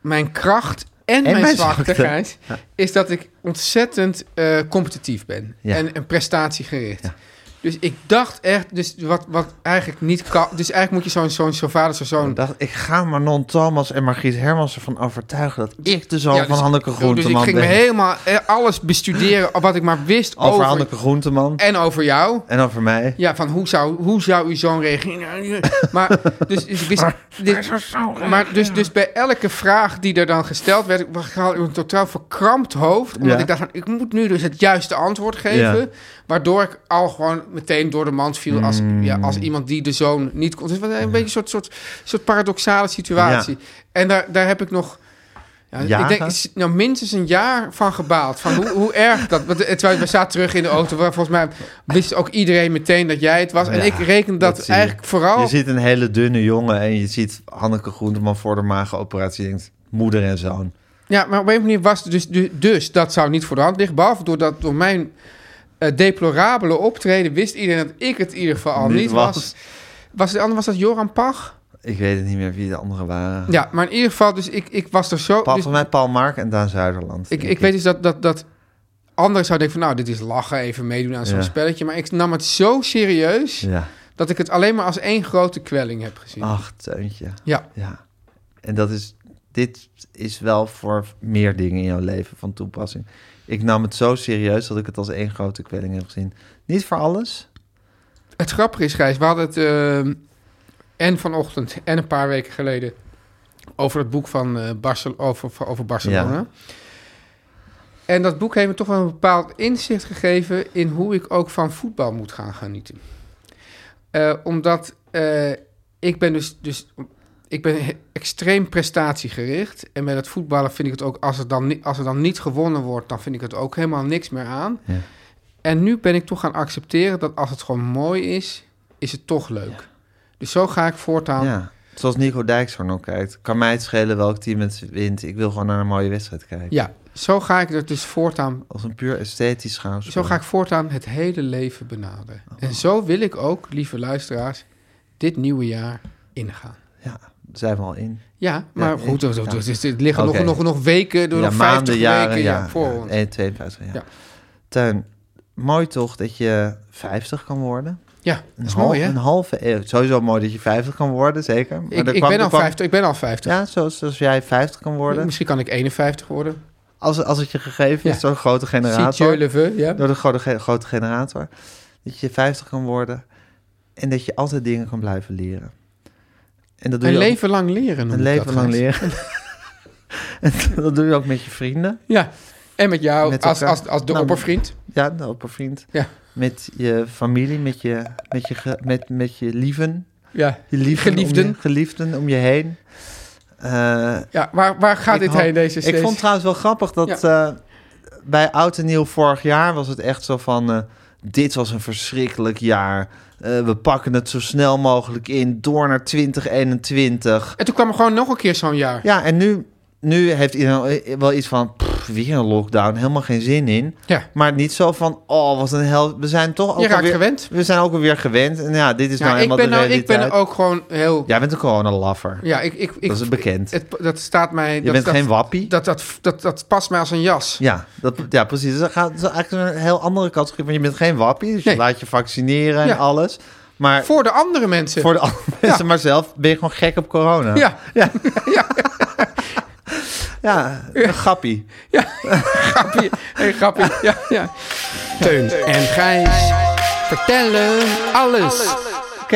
Speaker 3: mijn kracht en, mijn,
Speaker 2: mijn
Speaker 3: zwakte,
Speaker 2: zwakte.
Speaker 3: Gijs, is dat ik ontzettend eh, competitief ben.
Speaker 2: Ja.
Speaker 3: En, en prestatiegericht. Dus ik dacht echt, dus wat, wat eigenlijk niet kan. Dus eigenlijk moet je zo'n zo'n zo'n vader, zo'n zoon.
Speaker 2: Ik dacht, ik ga Manon Thomas en Margriet Hermans ervan overtuigen dat ik de zoon
Speaker 3: Ja, dus
Speaker 2: van
Speaker 3: ik-
Speaker 2: Hanneke
Speaker 3: Dus
Speaker 2: Groenteman
Speaker 3: ik ging me
Speaker 2: ben.
Speaker 3: helemaal eh, alles bestuderen wat ik maar wist
Speaker 2: Over,
Speaker 3: over,
Speaker 2: Hanneke Groenteman
Speaker 3: en over jou.
Speaker 2: en over mij.
Speaker 3: Ja, van hoe zou, hoe zou uw zoon reageren? Maar, dus, dus ik wist, dit- maar dus, dus bij elke vraag die er dan gesteld werd, ik had een totaal verkrampt hoofd. Omdat
Speaker 2: Ja.
Speaker 3: ik dacht, van, ik moet nu dus het juiste antwoord geven.
Speaker 2: Ja.
Speaker 3: Waardoor ik al gewoon meteen door de mand viel als,
Speaker 2: Mm.
Speaker 3: ja, als iemand die de zoon niet kon. Dus het was een beetje een soort, soort, soort paradoxale situatie. En daar, daar heb ik nog... Ja, ik
Speaker 2: Jaren?
Speaker 3: denk s- nou, minstens een jaar van gebaald. Van hoe, hoe erg dat. Want, eh, terwijl we zaten terug in de auto. Waar volgens mij wist ook iedereen meteen dat jij het was. En
Speaker 2: Ja,
Speaker 3: ik reken
Speaker 2: dat
Speaker 3: dat,
Speaker 2: zie je.
Speaker 3: eigenlijk vooral.
Speaker 2: Je ziet een hele dunne jongen en je ziet Hanneke Groenteman voor de magenoperatie. Je denkt, moeder en zoon.
Speaker 3: Ja, maar op een of andere manier was het dus, dus, dus dat zou niet voor de hand liggen. Behalve doordat door mijn eh, deplorabele optreden wist iedereen dat ik het in ieder geval al
Speaker 2: Niet
Speaker 3: niet, was.
Speaker 2: was.
Speaker 3: was. de ander was dat Joran Pach?
Speaker 2: Ik weet het niet meer wie de anderen waren.
Speaker 3: Ja, maar in ieder geval, dus ik, ik was er zo.
Speaker 2: Paul,
Speaker 3: dus-
Speaker 2: van mij Paul Mark en Daan Zuiderland.
Speaker 3: Ik,
Speaker 2: denk
Speaker 3: ik weet dus dat, dat, dat anderen zouden denken van... nou, dit is lachen, even meedoen aan zo'n
Speaker 2: Ja.
Speaker 3: spelletje. Maar ik nam het zo serieus...
Speaker 2: Ja.
Speaker 3: dat ik het alleen maar als één grote kwelling heb gezien.
Speaker 2: Ach, Teuntje.
Speaker 3: Ja.
Speaker 2: Ja. En dat is... Dit is wel voor meer dingen in jouw leven van toepassing. Ik nam het zo serieus dat ik het als één grote kwelling heb gezien. Niet voor alles.
Speaker 3: Het grappige is, Gijs, we hadden het... ehm, en vanochtend en een paar weken geleden... over het boek van eh, Barcel over, over Barcelona.
Speaker 2: Ja.
Speaker 3: En dat boek heeft me toch wel een bepaald inzicht gegeven... in hoe ik ook van voetbal moet gaan genieten. Eh, omdat eh, ik ben dus, dus ik ben he- extreem prestatiegericht. En bij dat voetballen vind ik het ook, als er, dan, ni- als er dan niet gewonnen wordt, dan vind ik het ook helemaal niks meer aan.
Speaker 2: Ja.
Speaker 3: En nu ben ik toch gaan accepteren dat als het gewoon mooi is, is het toch leuk. Dus zo ga ik voortaan.
Speaker 2: Ja. Zoals Nico Dijkshoorn ook kijkt. Kan mij het schelen welk team het wint. Ik wil gewoon naar een mooie wedstrijd kijken.
Speaker 3: Ja, zo ga ik er dus voortaan.
Speaker 2: Als een puur esthetisch schouwspel.
Speaker 3: Zo ga ik voortaan het hele leven benaderen.
Speaker 2: Oh.
Speaker 3: En zo wil ik ook, lieve luisteraars, dit nieuwe jaar ingaan.
Speaker 2: Ja, daar zijn we al in.
Speaker 3: Ja, maar
Speaker 2: ik-
Speaker 3: goed, er
Speaker 2: ja.
Speaker 3: liggen nog-
Speaker 2: Oké.
Speaker 3: nog, nog, weken, door
Speaker 2: ja,
Speaker 3: nog 50 weken ja,
Speaker 2: ja,
Speaker 3: voor
Speaker 2: ja,
Speaker 3: ons.
Speaker 2: 1, 52 jaar.
Speaker 3: Ja.
Speaker 2: Tuin, mooi toch dat je 50 kan worden?
Speaker 3: Ja, dat is
Speaker 2: een hal-
Speaker 3: mooi, hè?
Speaker 2: Een halve eeuw. Sowieso mooi dat je 50 kan worden, zeker. Maar
Speaker 3: Ik,
Speaker 2: er
Speaker 3: ik,
Speaker 2: kwam-
Speaker 3: ben
Speaker 2: er
Speaker 3: al
Speaker 2: kwam-
Speaker 3: 50, ik ben al 50.
Speaker 2: Ja, zoals, zoals jij 50 kan worden.
Speaker 3: Misschien kan ik 51
Speaker 2: Nou
Speaker 3: worden.
Speaker 2: Als, als het je gegeven is
Speaker 3: Ja.
Speaker 2: door een grote
Speaker 3: Si Dieu
Speaker 2: generator.
Speaker 3: le veut, ja.
Speaker 2: Door de grote, ge- grote generator. Dat je 50 kan worden. En dat je altijd dingen kan blijven leren. En dat doe
Speaker 3: Een
Speaker 2: je ook-
Speaker 3: leven lang leren. noem
Speaker 2: een
Speaker 3: ik
Speaker 2: leven
Speaker 3: dat,
Speaker 2: lang
Speaker 3: Gijs.
Speaker 2: leren. en dat doe je ook met je vrienden.
Speaker 3: Ja. En met jou
Speaker 2: Met
Speaker 3: als,
Speaker 2: elkaar.
Speaker 3: als, als de
Speaker 2: Nou,
Speaker 3: oppervriend.
Speaker 2: Ja, de oppervriend.
Speaker 3: Ja.
Speaker 2: Met je familie, met je, met je, ge- met, met je lieven.
Speaker 3: Ja.
Speaker 2: Je lieven
Speaker 3: Geliefden.
Speaker 2: Om je, geliefden om je heen. Eh,
Speaker 3: ja waar, waar gaat
Speaker 2: ik
Speaker 3: dit
Speaker 2: hoop-
Speaker 3: heen, deze
Speaker 2: Ik
Speaker 3: steeds?
Speaker 2: vond trouwens wel grappig dat eh, bij Oud en Nieuw vorig jaar was het echt zo van... eh, dit was een verschrikkelijk jaar. Eh, we pakken het zo snel mogelijk in. Door naar 2021.
Speaker 3: En toen kwam er gewoon nog een keer zo'n jaar.
Speaker 2: Ja, en nu, nu heeft iedereen eh, wel iets van... pff, weer een lockdown, helemaal geen zin in.
Speaker 3: Ja.
Speaker 2: Maar niet zo van, oh, wat een hel... We zijn toch ook
Speaker 3: Je raakt
Speaker 2: alweer-
Speaker 3: gewend.
Speaker 2: We zijn ook alweer gewend. En ja, dit is nou
Speaker 3: Ja, ik,
Speaker 2: helemaal
Speaker 3: ben
Speaker 2: de
Speaker 3: nou, ik
Speaker 2: realiteit.
Speaker 3: ben ook gewoon heel... Ja,
Speaker 2: Jij bent een coronalaffer.
Speaker 3: ik, ik, ik,
Speaker 2: Dat is bekend.
Speaker 3: het, dat staat mij...
Speaker 2: Je
Speaker 3: dat,
Speaker 2: bent
Speaker 3: dat,
Speaker 2: geen wappie.
Speaker 3: dat, dat, dat, dat past mij als een jas.
Speaker 2: ja, dat, ja, precies. Dus Dat, gaat, dat is eigenlijk een heel andere categorie. Want je bent geen wappie, dus
Speaker 3: Nee.
Speaker 2: je laat je vaccineren en
Speaker 3: Ja.
Speaker 2: alles. Maar voor,
Speaker 3: Voor de andere mensen.
Speaker 2: de andere mensen, maar zelf ben je gewoon gek op corona.
Speaker 3: Ja.
Speaker 2: Ja.
Speaker 3: Ja.
Speaker 2: Ja, een grappie.
Speaker 3: Grappie. Hey, grappie. Ja, ja. Teun en Gijs vertellen alles. Oké,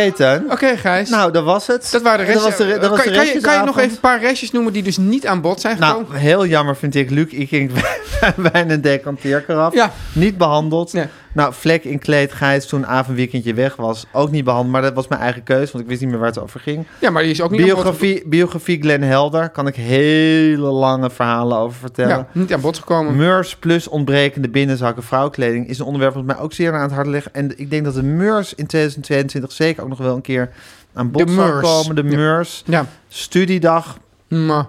Speaker 2: Oké, Teun.
Speaker 3: Oh, Gijs.
Speaker 2: Nou, dat was het.
Speaker 3: dat waren de
Speaker 2: Dat
Speaker 3: restjes.
Speaker 2: was de, re- dat was de
Speaker 3: kan, kan je, kan je
Speaker 2: restjesavond.
Speaker 3: nog even een paar restjes noemen die dus niet aan bod zijn gekomen?
Speaker 2: Nou, heel jammer vind ik Luc Ik ging wijn en decanteerkaraf.
Speaker 3: Ja.
Speaker 2: Niet behandeld.
Speaker 3: Nee.
Speaker 2: Nou, vlek in kleed Gijs toen avondweekendje weg was. Ook niet behandeld, maar dat was mijn eigen keuze, want ik wist niet meer waar het over ging.
Speaker 3: ja, maar die is ook niet aan bod-
Speaker 2: Biografie, biografie Glenn Helder, kan ik hele lange verhalen over vertellen.
Speaker 3: Ja, niet aan bod gekomen.
Speaker 2: Meurs plus ontbrekende binnenzakken vrouwkleding is een onderwerp wat mij ook zeer aan het hart ligt. En ik denk dat de Meurs in 2022 zeker ook nog wel een keer aan bod
Speaker 3: De
Speaker 2: zal
Speaker 3: Meurs.
Speaker 2: komen. De
Speaker 3: Ja.
Speaker 2: Meurs.
Speaker 3: ja,
Speaker 2: Studiedag,
Speaker 3: maar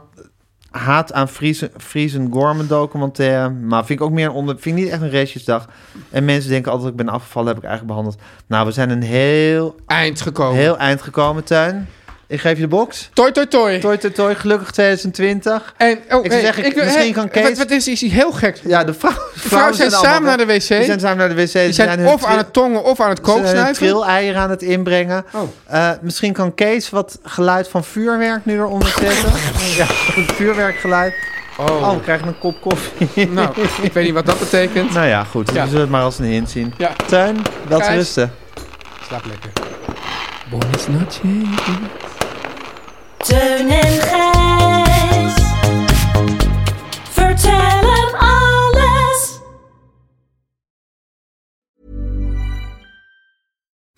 Speaker 2: haat aan Friesen, Friesen Gorman documentaire. Maar vind ik ook meer een onder... Vind ik niet echt een restjesdag. En mensen denken altijd dat ik ben afgevallen, heb ik eigenlijk behandeld. Nou, we zijn een heel,
Speaker 3: Oh. eind gekomen.
Speaker 2: heel eind gekomen, Tuin. Ik geef je de box.
Speaker 3: Toi, toi, toi.
Speaker 2: Toi, toi, toi, gelukkig 2020.
Speaker 3: En, oh,
Speaker 2: Ik
Speaker 3: hey,
Speaker 2: zeg, ik-
Speaker 3: wil-
Speaker 2: misschien
Speaker 3: hey,
Speaker 2: kan Kees-
Speaker 3: Wat, wat is, is hij heel gek? Vrouwen,
Speaker 2: Ja, de vrouw, vrouwen
Speaker 3: zijn,
Speaker 2: allemaal
Speaker 3: samen naar de
Speaker 2: weg.
Speaker 3: wc.
Speaker 2: Die zijn samen naar de wc. Ze
Speaker 3: Die zijn,
Speaker 2: hun
Speaker 3: of aan
Speaker 2: tril-
Speaker 3: het tongen of aan het
Speaker 2: ze zijn hun
Speaker 3: kooksnuiven.
Speaker 2: trilleieren aan het inbrengen.
Speaker 3: Oh.
Speaker 2: Eh, misschien kan Kees wat geluid van vuurwerk nu eronder zetten. ja, een vuurwerkgeluid. Oh, we krijgen een kop koffie.
Speaker 3: Nou, ik weet niet wat dat betekent.
Speaker 2: nou ja, goed.
Speaker 3: Ja.
Speaker 2: We zullen het maar als een hint zien.
Speaker 3: Ja,
Speaker 2: Tuin, wel te
Speaker 3: Kees.
Speaker 2: rusten.
Speaker 3: slaap lekker.
Speaker 4: Buenas noches.
Speaker 5: Teun en Gijs. Vertel hem alles.